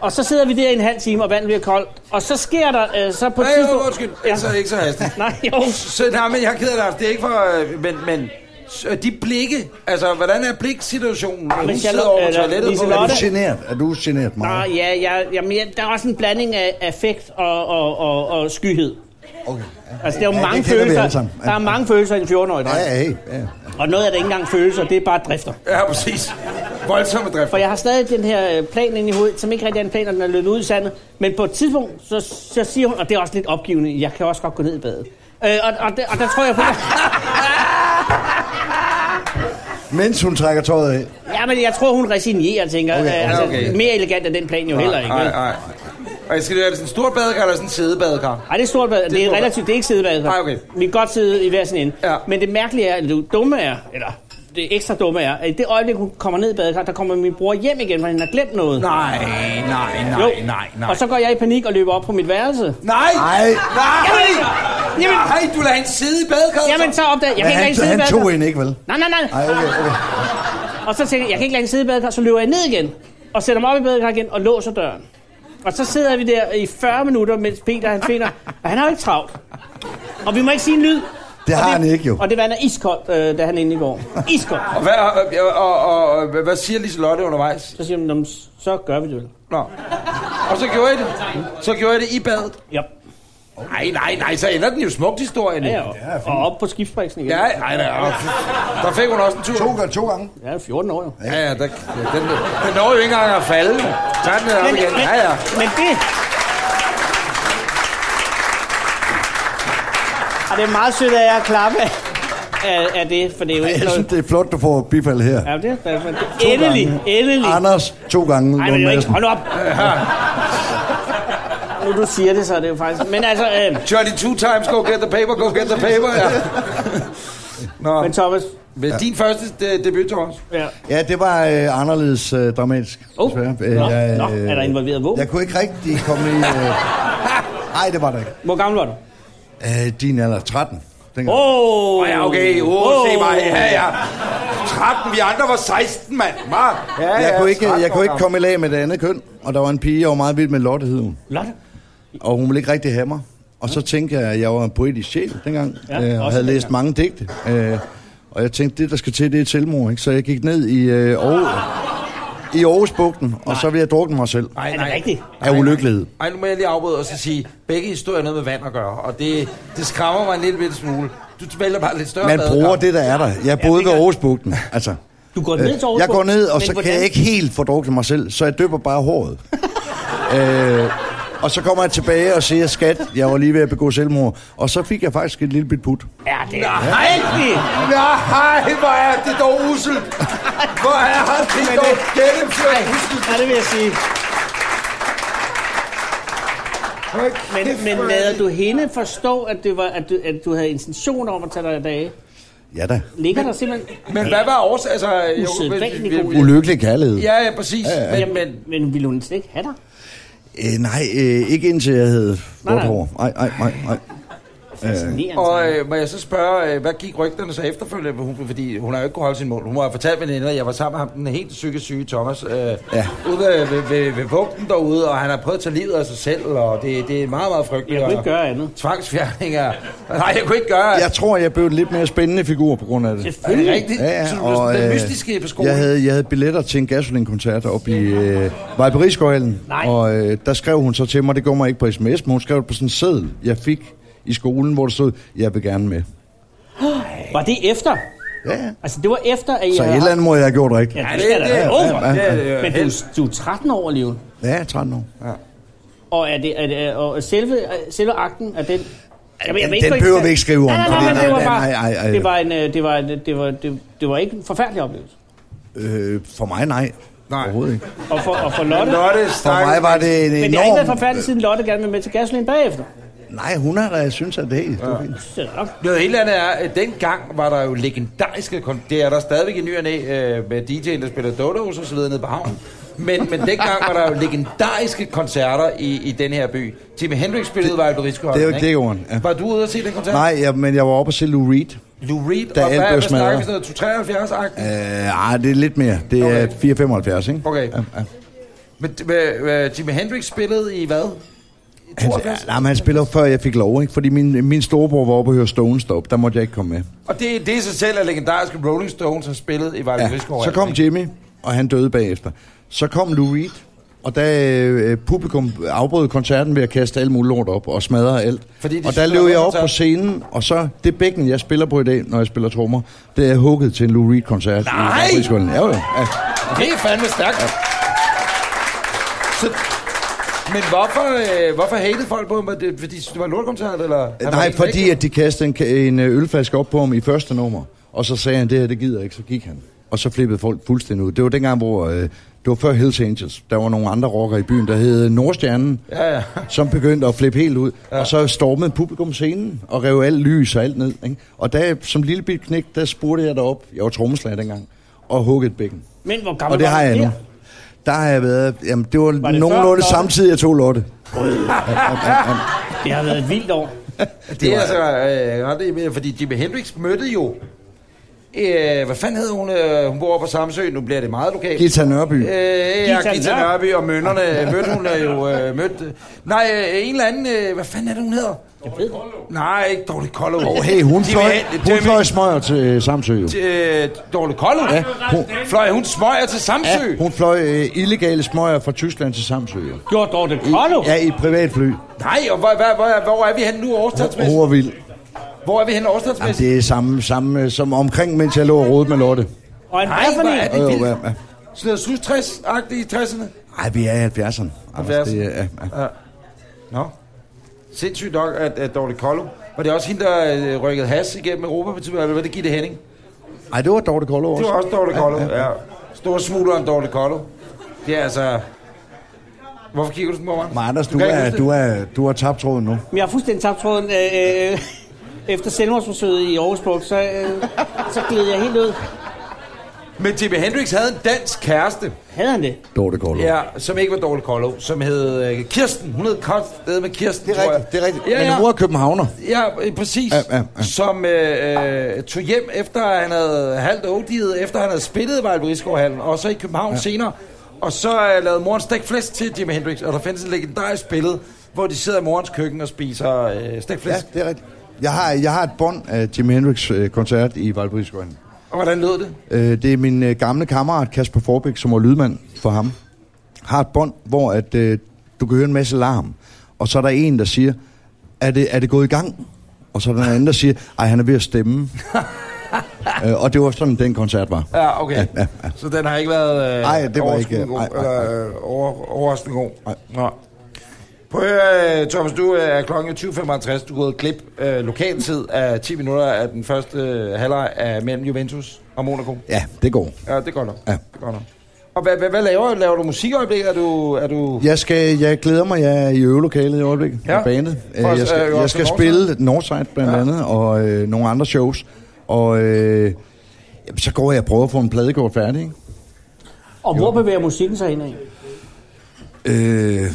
Speaker 2: Og så sidder vi der i en halv time, og vandet bliver koldt. Og så sker der øh, så på et
Speaker 3: Nej,
Speaker 2: tidspunkt...
Speaker 3: undskyld.
Speaker 2: Ja.
Speaker 3: Ikke så, ikke så hastigt.
Speaker 2: Nej, jo.
Speaker 3: Så, nej, men jeg er ked af det. Det er ikke for... øh, Men, men s- øh, de blikke, altså, hvordan er bliksituationen? når Hun
Speaker 2: hvis jeg
Speaker 3: sidder
Speaker 2: lo-
Speaker 3: over på
Speaker 2: eller
Speaker 3: toilettet på
Speaker 2: Liselotte-
Speaker 4: Er du
Speaker 2: Lotte?
Speaker 4: generet? Er du generet
Speaker 2: Nå,
Speaker 4: meget?
Speaker 2: ja, ja, jamen, ja, der er også en blanding af affekt og, og, og, og skyhed.
Speaker 4: Okay. ja.
Speaker 2: Altså, der er jo
Speaker 4: Ja,
Speaker 2: mange
Speaker 4: det kender vi alle
Speaker 2: følelser.
Speaker 4: sammen.
Speaker 2: Der er mange følelser i en 14-årig dreng.
Speaker 4: Ja, ja, ja, ja.
Speaker 2: Og noget af det er ikke engang følelser, det er bare drifter.
Speaker 3: Ja, præcis. Voldsomme drift.
Speaker 2: For jeg har stadig den her øh, plan inde i hovedet, som ikke rigtig er en plan, og den er løbet ud i sandet. Men på et tidspunkt, så, så siger hun, og det er også lidt opgivende, jeg kan også godt gå ned i badet. Øh, og, og, der, og der tror jeg på
Speaker 4: Mens hun trækker tøjet af.
Speaker 2: Ja, men jeg tror, hun resignerer, og tænker.
Speaker 4: Okay,
Speaker 2: Okay,
Speaker 4: okay.
Speaker 2: altså,
Speaker 3: Okay.
Speaker 2: Mere elegant er den plan jo heller ikke.
Speaker 3: Nej,
Speaker 2: vel?
Speaker 3: nej. Og jeg skal det være sådan en stor badekar eller sådan en sædebadekar?
Speaker 2: Ej, det er stort bad. Det er,
Speaker 3: stort bad.
Speaker 2: relativt, det er ikke sidebad.
Speaker 3: Ej, okay.
Speaker 2: Vi kan godt sidde i hver sin ende.
Speaker 3: Ja.
Speaker 2: Men det mærkelige er, at det dumme er, eller det ekstra dumme er, at i det øjeblik, hun kommer ned i badekar, der kommer min bror hjem igen, for han har glemt noget.
Speaker 3: Nej, nej, nej,
Speaker 2: Jo.
Speaker 3: nej, nej.
Speaker 2: Og så går jeg i panik og løber op på mit værelse.
Speaker 3: Nej!
Speaker 4: Ej.
Speaker 3: Nej!
Speaker 2: Jamen, jamen-
Speaker 3: Nej, du lader hende sidde i badekarret.
Speaker 2: Jamen, så opdager jeg, jeg
Speaker 4: Men
Speaker 2: kan ikke
Speaker 4: han,
Speaker 2: lade hende
Speaker 4: han
Speaker 2: sidde i
Speaker 4: tog
Speaker 2: badekar.
Speaker 4: en ikke, vel?
Speaker 2: Nej, nej, nej.
Speaker 4: Ej, okay, okay.
Speaker 2: Og så tænker jeg, jeg kan ikke lade hende sidde i badekar, så løber jeg ned igen. Og sætter mig op i badekar igen og låser døren. Og så sidder vi der i 40 minutter, mens Peter han finder, og han har jo ikke travlt. Og vi må ikke sige en lyd.
Speaker 4: Det
Speaker 2: Og
Speaker 4: har han ikke, jo.
Speaker 2: Og det vand er iskoldt, øh, da han er inde i går. Iskoldt.
Speaker 3: Og hvad, og, og, og, og, hvad siger Liselotte undervejs?
Speaker 2: Så siger hun, "Nå, men så gør vi det vel.
Speaker 3: Nå. Og så gjorde I det. Så gjorde I det i badet.
Speaker 2: Ja,
Speaker 3: Nej, nej, nej, så ender den jo smukt historien.
Speaker 2: ja,
Speaker 3: Ja,
Speaker 2: ja. Og, og op på skibsbriksen igen.
Speaker 3: ja nej, nej, og- Der fik hun også en tur.
Speaker 4: To, gange- to gange.
Speaker 2: Jeg er 14 år jo.
Speaker 3: Ja, ja, der, ja, den, den når jo ikke engang at falde. Tag den op igen. Ja, ja.
Speaker 2: men det... Og det er meget sødt af jer at klappe af, af det, for det er jo ikke
Speaker 4: Jeg synes,
Speaker 2: noget...
Speaker 4: det er flot, du får bifald her.
Speaker 2: Ja, det er, det er
Speaker 4: To
Speaker 2: endelig,
Speaker 4: gange.
Speaker 2: endelig.
Speaker 4: Anders, to gange.
Speaker 2: Nej, men det
Speaker 4: Lund
Speaker 2: er jo ikke...
Speaker 4: Madsen.
Speaker 2: Hold nu op! Nu du siger det, så er det jo faktisk... Men altså... Øh,
Speaker 3: Johnny two times, go get the paper, go get the paper. Ja. Nå,
Speaker 2: men Thomas...
Speaker 3: men din første de, debut, Thomas.
Speaker 2: Ja.
Speaker 4: Ja, det var øh, anderledes øh, dramatisk.
Speaker 2: Oh.
Speaker 4: desværre. Øh,
Speaker 2: Nå. Nå, er der involveret våben?
Speaker 4: Jeg kunne ikke rigtig komme i... Øh... Nej, det var der ikke.
Speaker 2: Hvor gammel var du?
Speaker 4: Øh, din alder 13. Den oh.
Speaker 2: Åh!
Speaker 3: Åh, ja, okay. Åh, oh, se mig. Ja, ja. 13, vi andre var 16, mand. Hva? Ja,
Speaker 4: jeg, kunne ikke,
Speaker 3: 13
Speaker 4: jeg
Speaker 3: år
Speaker 4: kunne ikke
Speaker 3: gammel.
Speaker 4: komme i lag med det andet køn, og der var en pige, jeg var meget vild med Lotte, hed hun.
Speaker 2: Lotte?
Speaker 4: og hun ville ikke rigtig have mig. Og så tænkte jeg, at jeg var en poetisk sjæl dengang,
Speaker 2: Ja,
Speaker 4: ja, øh, og
Speaker 2: også
Speaker 4: havde læst
Speaker 2: dengang.
Speaker 4: mange digte. Øh, og jeg tænkte, det der skal til, det er et selvmord. Ikke? Så jeg gik ned i, øh, Aarhus, i Aarhusbugten, og så ville jeg drukne mig selv
Speaker 2: Er det rigtigt?
Speaker 4: af ulykkelighed.
Speaker 3: Ej, nu må jeg lige afbryde og så sige, begge historier har noget med vand at gøre, og det, det skræmmer mig en lille bitte smule. Du vælger bare lidt større
Speaker 4: Man
Speaker 3: badekar.
Speaker 4: bruger det, der er der. Jeg boede ved Aarhusbugten. Altså,
Speaker 2: Du går
Speaker 4: øh,
Speaker 2: ned til Aarhus
Speaker 4: jeg går ned, og
Speaker 2: men
Speaker 4: så
Speaker 2: hvordan-
Speaker 4: kan jeg ikke helt få drukne mig selv, så jeg døber bare håret. øh, og så kommer jeg tilbage og siger, skat, jeg var lige ved at begå selvmord. Og så fik jeg faktisk et lille bit put.
Speaker 2: Ja, det er rigtigt!
Speaker 3: Nej, hvor er det dog uselt. Hvor er det dog gennemført uselt.
Speaker 2: Ja, det vil jeg sige. Men, men lader du hende forstå, at, det var, at, du, at du havde intentioner om at tage dig af dage?
Speaker 4: Ja da.
Speaker 2: Ligger der simpelthen...
Speaker 3: Men hvad var årsagen? Altså, jo,
Speaker 2: Usædvanlig
Speaker 3: vi- vi-
Speaker 2: god
Speaker 3: vi-
Speaker 4: Ulykkelig kærlighed.
Speaker 3: Ja, ja, præcis.
Speaker 2: Men,
Speaker 3: Men,
Speaker 2: jamen,
Speaker 3: men,
Speaker 2: men ville hun slet ikke have dig?
Speaker 4: Øh, nej, øh, ikke indtil jeg havde
Speaker 2: Nej,
Speaker 4: rødt
Speaker 2: nej.
Speaker 4: hår. Nej, nej, nej, nej.
Speaker 2: Fascinerende.
Speaker 3: og øh, må jeg så spørge, øh, hvad gik rygterne så efterfølgende? Hun, fordi hun har jo ikke kunne holde sin mål. Hun må have fortalt veninder, at jeg var sammen med ham, den helt psykisk syge Thomas, øh, ja. ude ved, ved, ved, ved bugten derude, og han har prøvet at tage livet af sig selv, og det, det er meget, meget frygteligt.
Speaker 2: Jeg kunne
Speaker 3: og-
Speaker 2: ikke gøre andet.
Speaker 3: Tvangsfjerninger. Nej, jeg kunne ikke gøre.
Speaker 4: Jeg tror, jeg blev en lidt mere spændende figur på grund af det.
Speaker 3: Er det
Speaker 2: Selvfølgelig.
Speaker 3: rigtigt? Ja, ja, så du og, den mystiske på skolen?
Speaker 4: øh, jeg, havde, jeg havde billetter til en gasolinkoncert oppe i øh, Vejberisgøjlen,
Speaker 2: Nej.
Speaker 4: og øh, der skrev hun så til mig, det går mig ikke på sms, men hun skrev det på sådan en seddel, jeg fik i skolen, hvor der stod, jeg vil gerne med.
Speaker 2: Var det efter?
Speaker 4: Ja,
Speaker 2: Altså, det var efter, at jeg...
Speaker 4: så et eller andet må jeg have gjort rigtigt.
Speaker 2: Ja,
Speaker 3: Ja,
Speaker 2: det skal
Speaker 3: det-
Speaker 2: da være
Speaker 3: det-
Speaker 2: over.
Speaker 4: ja, ja,
Speaker 3: ja, ja.
Speaker 2: Men du, du er 13 år alligevel.
Speaker 4: Ja, 13 år.
Speaker 2: Og, er det, er det, og selve, selve akten er den... Jeg, ved- jeg
Speaker 4: den-
Speaker 2: ved
Speaker 4: den
Speaker 2: ikke,
Speaker 4: behøver
Speaker 2: hvad-
Speaker 4: vi ikke skrive om,
Speaker 2: Nej, nej,
Speaker 4: fordi
Speaker 2: nej, men det
Speaker 4: den-
Speaker 2: var
Speaker 4: den-
Speaker 2: bare...
Speaker 4: ej, ej, ej.
Speaker 2: Det var en... øh, Det var, en, det var, det, det var ikke en forfærdelig oplevelse.
Speaker 4: Øh, for mig nej.
Speaker 3: Nej.
Speaker 4: Overhovedet ikke.
Speaker 2: Og for, og for Lotte...
Speaker 3: Lotte,
Speaker 4: For
Speaker 3: stakkels.
Speaker 4: mig var det en enorm...
Speaker 2: Men det har ikke været forfærdeligt, siden Lotte gerne vil med til gasolin bagefter.
Speaker 4: Nej, hun har da synes, at det er helt det er fint.
Speaker 2: Så er det nok.
Speaker 3: Noget helt andet er, at dengang var der jo legendariske... Kon- det er der stadigvæk i ny og næ, øh, med DJ'en, der spiller Dodos og så videre nede på havnen. Men, men dengang var der jo legendariske koncerter i, i den her by. Timmy Hendrix spillede var jo Rigsgaard.
Speaker 4: det er jo ikke det, Johan. Ja.
Speaker 3: Var du ude og se den koncert?
Speaker 4: Nej, ja, men jeg var oppe og se Lou Reed.
Speaker 3: Lou Reed,
Speaker 4: Da
Speaker 3: og
Speaker 4: alt
Speaker 3: hvad,
Speaker 4: blev
Speaker 3: hvad snakker vi
Speaker 4: smadret.
Speaker 3: sådan noget? 73-agtigt?
Speaker 4: Øh, ej, det er lidt mere. Det er
Speaker 3: Okay.
Speaker 4: 4,75, ikke?
Speaker 3: Okay.
Speaker 4: Ja, ja.
Speaker 3: Men, men, men Jimi Hendrix spillede i hvad?
Speaker 4: Han, nej, men han spiller før jeg fik lov, ikke? Fordi min, min storebror var oppe og høre Stones stop. Der måtte jeg ikke komme med.
Speaker 3: Og det, det i sig selv er legendariske Rolling Stones har spillet i Vejle altså,
Speaker 4: Ja.
Speaker 3: Rigsgaard.
Speaker 4: Så kom Jimmy, og han døde bagefter. Så kom Lou Reed, og da øh, publikum afbrød koncerten ved at kaste alt muligt lort op og smadre alt.
Speaker 3: Fordi de
Speaker 4: og der
Speaker 3: synes, det
Speaker 4: løb
Speaker 3: var
Speaker 4: jeg op
Speaker 3: koncert.
Speaker 4: på scenen, og så det bækken, jeg spiller på i dag, når jeg spiller trommer, det er jeg hugget til en Lou Reed-koncert.
Speaker 3: Nej!
Speaker 4: I Friskolen. Ja, jo. Ja.
Speaker 3: Det er fandme stærkt. Ja. Så, men hvorfor, øh, hvorfor hatede folk på ham? Var det, fordi det var en lortkoncert, eller? Han var
Speaker 4: Nej,
Speaker 3: helt
Speaker 4: fordi
Speaker 3: væk?
Speaker 4: at de kastede en, ka- en øh, ølflaske op på ham i første nummer, og så sagde han, det her, det gider jeg ikke, så gik han. Og så flippede folk fuldstændig ud. Det var dengang, hvor... Øh, det var før Hells Angels. Der var nogle andre rockere i byen, der hed Nordstjernen,
Speaker 3: Ja, ja.
Speaker 4: som begyndte at flippe helt ud. Ja. Og så stormede publikum scenen og rev alt lys og alt ned. Ikke? Og der, som lille bit knæk, der spurgte jeg derop. Jeg var trommeslager dengang. Og huggede bækken.
Speaker 2: Men hvor
Speaker 4: Og
Speaker 2: gammel
Speaker 4: det
Speaker 2: var
Speaker 4: har
Speaker 2: du
Speaker 4: jeg nu.
Speaker 2: der?
Speaker 4: Der har jeg været... Jamen, det var, var
Speaker 2: det
Speaker 4: det
Speaker 2: før
Speaker 4: nogenlunde
Speaker 2: Lotte?
Speaker 4: samtidig, jeg tog Lotte.
Speaker 2: Det har været et vildt år.
Speaker 3: Det er altså øh, ret imponerende, fordi Jimi Hendrix mødte jo... Øh, hvad fanden hed hun? Øh, hun bor oppe på Samsø, nu bliver det meget lokalt.
Speaker 4: Gita Nørby.
Speaker 3: Øh, ja,
Speaker 2: Gita
Speaker 3: Gita
Speaker 2: Nørby.
Speaker 3: Nørby og Mønnerne. Mødte hun er jo... Øh, mødte, nej, øh, en eller anden... Øh, hvad fanden er det, hun hedder? Jeg ved Nej, ikke Dorte Kollo.
Speaker 4: Åh, hey, hun
Speaker 3: Jimi
Speaker 4: fløj,
Speaker 3: Hen-
Speaker 4: hun
Speaker 3: Jimi-
Speaker 4: fløj smøger til øh, Samsø, jo.
Speaker 3: øh, Dorte Kollo?
Speaker 4: Ja, hun,
Speaker 3: Fløj hun smøger til Samsø?
Speaker 4: ja, hun fløj øh, illegale smøger fra Tyskland til Samsø, jo.
Speaker 2: Gjorde Dorte Kollo?
Speaker 4: Ja, i et privatfly.
Speaker 3: Nej, og hvor, hvor, hvor, hvor er vi henne nu
Speaker 4: Hun
Speaker 3: årstadsmæssigt?
Speaker 4: var vild.
Speaker 3: Hvor er vi henne
Speaker 4: Jamen,
Speaker 3: årstadsmæssigt?
Speaker 4: det er samme, samme øh, som omkring, mens jeg lå og rodede med Lotte.
Speaker 2: Og en
Speaker 3: Nej, hvor er
Speaker 2: Bethany.
Speaker 3: det
Speaker 4: Jo,
Speaker 3: vildt.
Speaker 4: ja, ja.
Speaker 3: Sådan noget slut 60-agtigt i 60'erne?
Speaker 4: Ej, vi er i 70'erne. Anders,
Speaker 3: 70'erne.
Speaker 4: det er- ja, ja.
Speaker 3: Ja. Nå. Sindssygt nok, at, at Dorte Kollo. Var det også hende, der øh, rykkede has igennem Europa på tidspunktet? Eller var det Gitte Henning?
Speaker 4: Ej, det var Dorte Kollo også.
Speaker 3: Det var også Dorte Kollo, ja. ja. Stor smugleren Dorte Kollo. Det er altså... Hvorfor kigger du sådan på mig?
Speaker 4: Men Anders, du,
Speaker 3: kan ikke
Speaker 4: er,
Speaker 3: huske
Speaker 4: du, er, du har tabt tråden nu.
Speaker 2: Men jeg har fuldstændig tabt tråden. Øh, øh, efter selvmordsforsøget i Aarhus Bugt, så, øh, så gled jeg helt ud.
Speaker 3: det. Men Jimi Hendrix havde en dansk kæreste,
Speaker 2: Havde han det?
Speaker 4: Dorte Kollo.
Speaker 3: ja, som ikke var Dorte Kollo, som hed øh, Kirsten. Hun hed Kost, med Kirsten,
Speaker 4: Det er
Speaker 3: tror jeg.
Speaker 4: rigtigt, det er rigtigt.
Speaker 3: Ja,
Speaker 4: Men
Speaker 3: ja.
Speaker 4: hun er københavner.
Speaker 3: Ja, øh, præcis.
Speaker 4: Ja, ja, ja.
Speaker 3: Som øh, øh, tog hjem efter han havde halvt odiet, efter han havde spillet i Vejle Rigskovhallen, og så i København ja. senere. Og så øh, lavede moren stegt flæsk til Jimi Hendrix, og der findes et legendarisk billede, hvor de sidder i morens køkken og spiser øh, stegt
Speaker 4: Ja,
Speaker 3: flæsk. Ja.
Speaker 4: det er rigtigt. Jeg har, jeg har et bånd af Jimi Hendrix øh, koncert i Valbridskøjen.
Speaker 3: Og hvordan lød det?
Speaker 4: Øh, det er min øh, gamle kammerat Kasper Forbæk, som var lydmand for ham, har et bånd, hvor at, øh, du kan høre en masse larm. Og så er der en, der siger, er det, er det gået i gang? Og så er der en anden, der siger, ej, han er ved at stemme. øh, og det var sådan, den koncert var.
Speaker 3: Ja, okay. Ja, ja, ja. Så den har ikke været øh,
Speaker 4: Nej, det var
Speaker 3: overraskende
Speaker 4: ikke-
Speaker 3: god,
Speaker 4: nej, nej,
Speaker 3: eller, øh, over, overraskende god.
Speaker 4: Nej.
Speaker 3: Nå. Prøv at høre, øh, Thomas, du øh, er klokken 20.55. Du er gået klip øh, lokaltid af 10 minutter af den første øh, halvleg af mellem Juventus og Monaco.
Speaker 4: Ja, det går.
Speaker 3: Ja, det går nok.
Speaker 4: Ja.
Speaker 3: Det går nok. Og hvad, hvad, hvad laver du? Laver du musikøjeblik? Er du... Er du...
Speaker 4: Jeg, skal, jeg glæder mig, jeg er i øvelokalet i øjeblikket.
Speaker 3: Ja.
Speaker 4: Ja. Bandet. Øh,
Speaker 3: For os,
Speaker 4: Jeg
Speaker 3: øh,
Speaker 4: skal,
Speaker 3: også
Speaker 4: jeg skal
Speaker 3: Northside.
Speaker 4: spille Northside blandt
Speaker 3: Ja.
Speaker 4: ja. andet, og øh, nogle andre shows. Og øh, jamen, så går jeg og prøver at få en plade gjort færdig, ikke?
Speaker 2: Og hvor bevæger musikken sig henad?
Speaker 4: Øh,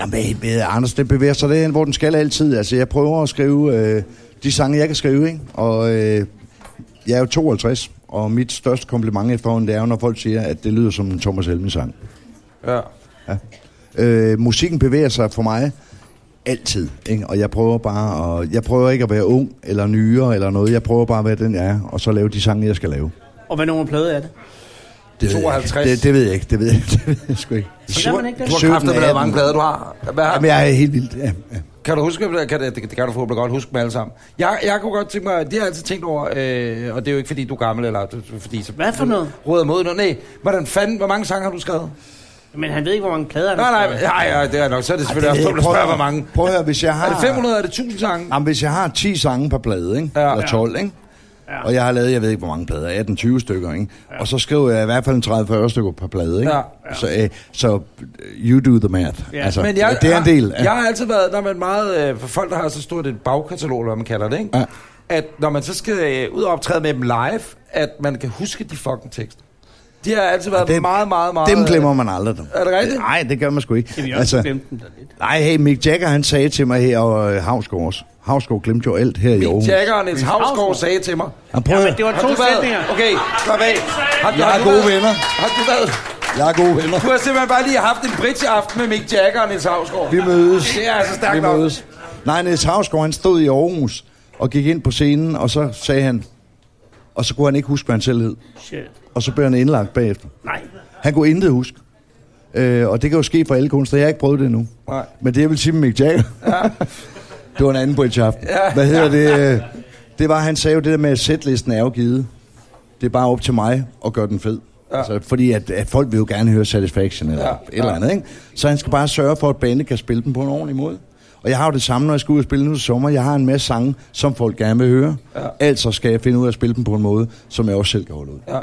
Speaker 4: jamen, med Anders, det bevæger sig derhen, hvor den skal altid. Altså, jeg prøver at skrive øh, de sange, jeg kan skrive, ikke? Og øh, jeg er jo 52, og mit største kompliment efterhånden, det er jo, når folk siger, at det lyder som en Thomas Helmi-sang.
Speaker 3: Ja.
Speaker 4: Ja. Øh, musikken bevæger sig for mig altid, ikke? og jeg prøver bare at, jeg prøver ikke at være ung eller nyere eller noget. Jeg prøver bare at være den, jeg er, og så lave de sange, jeg skal lave.
Speaker 2: Og hvad nummer plade er det?
Speaker 4: Det ved jeg ikke.
Speaker 3: 52.
Speaker 4: Det, det ved jeg ikke, det ved jeg, det ved jeg sgu ikke.
Speaker 2: Så gør man ikke det?
Speaker 3: Du har
Speaker 4: 17,
Speaker 3: kræfter med lavet
Speaker 4: 18.
Speaker 3: mange plader, du har. Hvad har
Speaker 4: Jamen, jeg er helt vildt, ja, ja.
Speaker 3: Kan du huske, kan, det, det kan du forhåbentlig godt huske dem alle sammen. Jeg, jeg kunne godt tænke mig, det har jeg altid tænkt over, øh, og det er jo ikke fordi, du er gammel, eller det er fordi... Så,
Speaker 2: Hvad for noget?
Speaker 3: Råder mod noget. Nej, hvordan fanden, hvor mange sange har du skrevet?
Speaker 2: Men han ved ikke, hvor mange plader han
Speaker 3: Nej,
Speaker 2: har
Speaker 3: nej,
Speaker 2: skrevet.
Speaker 3: nej, nej det er nok. Så er det selvfølgelig
Speaker 4: Ej,
Speaker 3: også dumt at
Speaker 4: prøv- Ah.
Speaker 3: spørge, hvor mange.
Speaker 4: Prøv at høre, hvis jeg har...
Speaker 3: Er det 500, er det 1000 sange?
Speaker 4: Jamen, hvis jeg har 10 sange per plade, ikke?
Speaker 3: Ja.
Speaker 4: Ja. Eller 12, ikke? Ja. Og jeg har lavet, jeg ved ikke, hvor mange plader, 18-20 stykker, ikke? Ja. Og så skriver jeg i hvert fald en 30-40 stykker per plade, ikke?
Speaker 3: Ja.
Speaker 4: Ja. Ja. Så, øh, så øh, you do the math. Ja. Altså,
Speaker 3: Men jeg,
Speaker 4: det er en del.
Speaker 3: Jeg, jeg har altid været, når man meget, øh, for folk, der har så stort et bagkatalog, eller hvad man kalder det, ikke?
Speaker 4: Ja.
Speaker 3: at når man så skal øh, ud og optræde med dem live, at man kan huske de fucking tekster. De har altid været
Speaker 4: Dem-
Speaker 3: meget, meget, øh, meget...
Speaker 4: Dem glemmer man aldrig. Dem.
Speaker 3: Er det rigtigt?
Speaker 4: Nej, det gør man sgu ikke.
Speaker 2: Kan vi også altså, glemme den der lidt?
Speaker 4: nej, hey, Mick Jagger, han sagde til mig her, og øh, Havsgaard også. Havsgaard glemte jo alt her i Aarhus.
Speaker 3: Mick Jagger og Niels Havsgaard
Speaker 2: Hausgaard.
Speaker 3: sagde til mig.
Speaker 4: Han prøver,
Speaker 2: Jamen, det var
Speaker 3: Har
Speaker 2: to
Speaker 3: du været...
Speaker 2: sætninger.
Speaker 3: Okay, slap af. Har,
Speaker 4: Jeg har
Speaker 3: du
Speaker 4: gode
Speaker 3: været-
Speaker 4: venner.
Speaker 3: Har du været...
Speaker 4: Jeg er gode venner.
Speaker 3: Du har simpelthen bare lige haft en bridge-aften med Mick Jagger og Niels Havsgaard.
Speaker 4: Vi mødes.
Speaker 3: Det er altså stærkt
Speaker 4: Vi
Speaker 3: nok.
Speaker 4: mødes. Nej, Niels Havsgaard, han stod i Aarhus og gik ind på scenen, og så sagde han, og så kunne han ikke huske, hvad han selv hed.
Speaker 2: Shit.
Speaker 4: Og så blev han indlagt bagefter.
Speaker 2: Nej.
Speaker 4: Han kunne intet huske. Øh, og det kan jo ske for alle kunstnere. Jeg har ikke prøvet det endnu.
Speaker 3: Nej.
Speaker 4: Men det, jeg vil sige med Mick Jagger, ja. det var en anden bridge aften. Ja. Hvad hedder det? øh, Det var, han sagde jo det der med, at sætlisten er jo givet. Det er bare op til mig at gøre den fed. Ja. Altså, fordi at, at folk vil jo gerne høre Satisfaction eller
Speaker 3: Ja.
Speaker 4: ja. et eller andet, ikke? Så han skal bare sørge for, at bandet kan spille den på en ordentlig måde. Og jeg har jo det samme, når jeg skal ud og spille nu til sommer. Jeg har en masse sange, som folk gerne vil høre. Ja. Altså skal jeg finde ud af at spille dem på en måde, som jeg også selv kan holde ud.
Speaker 3: Ja.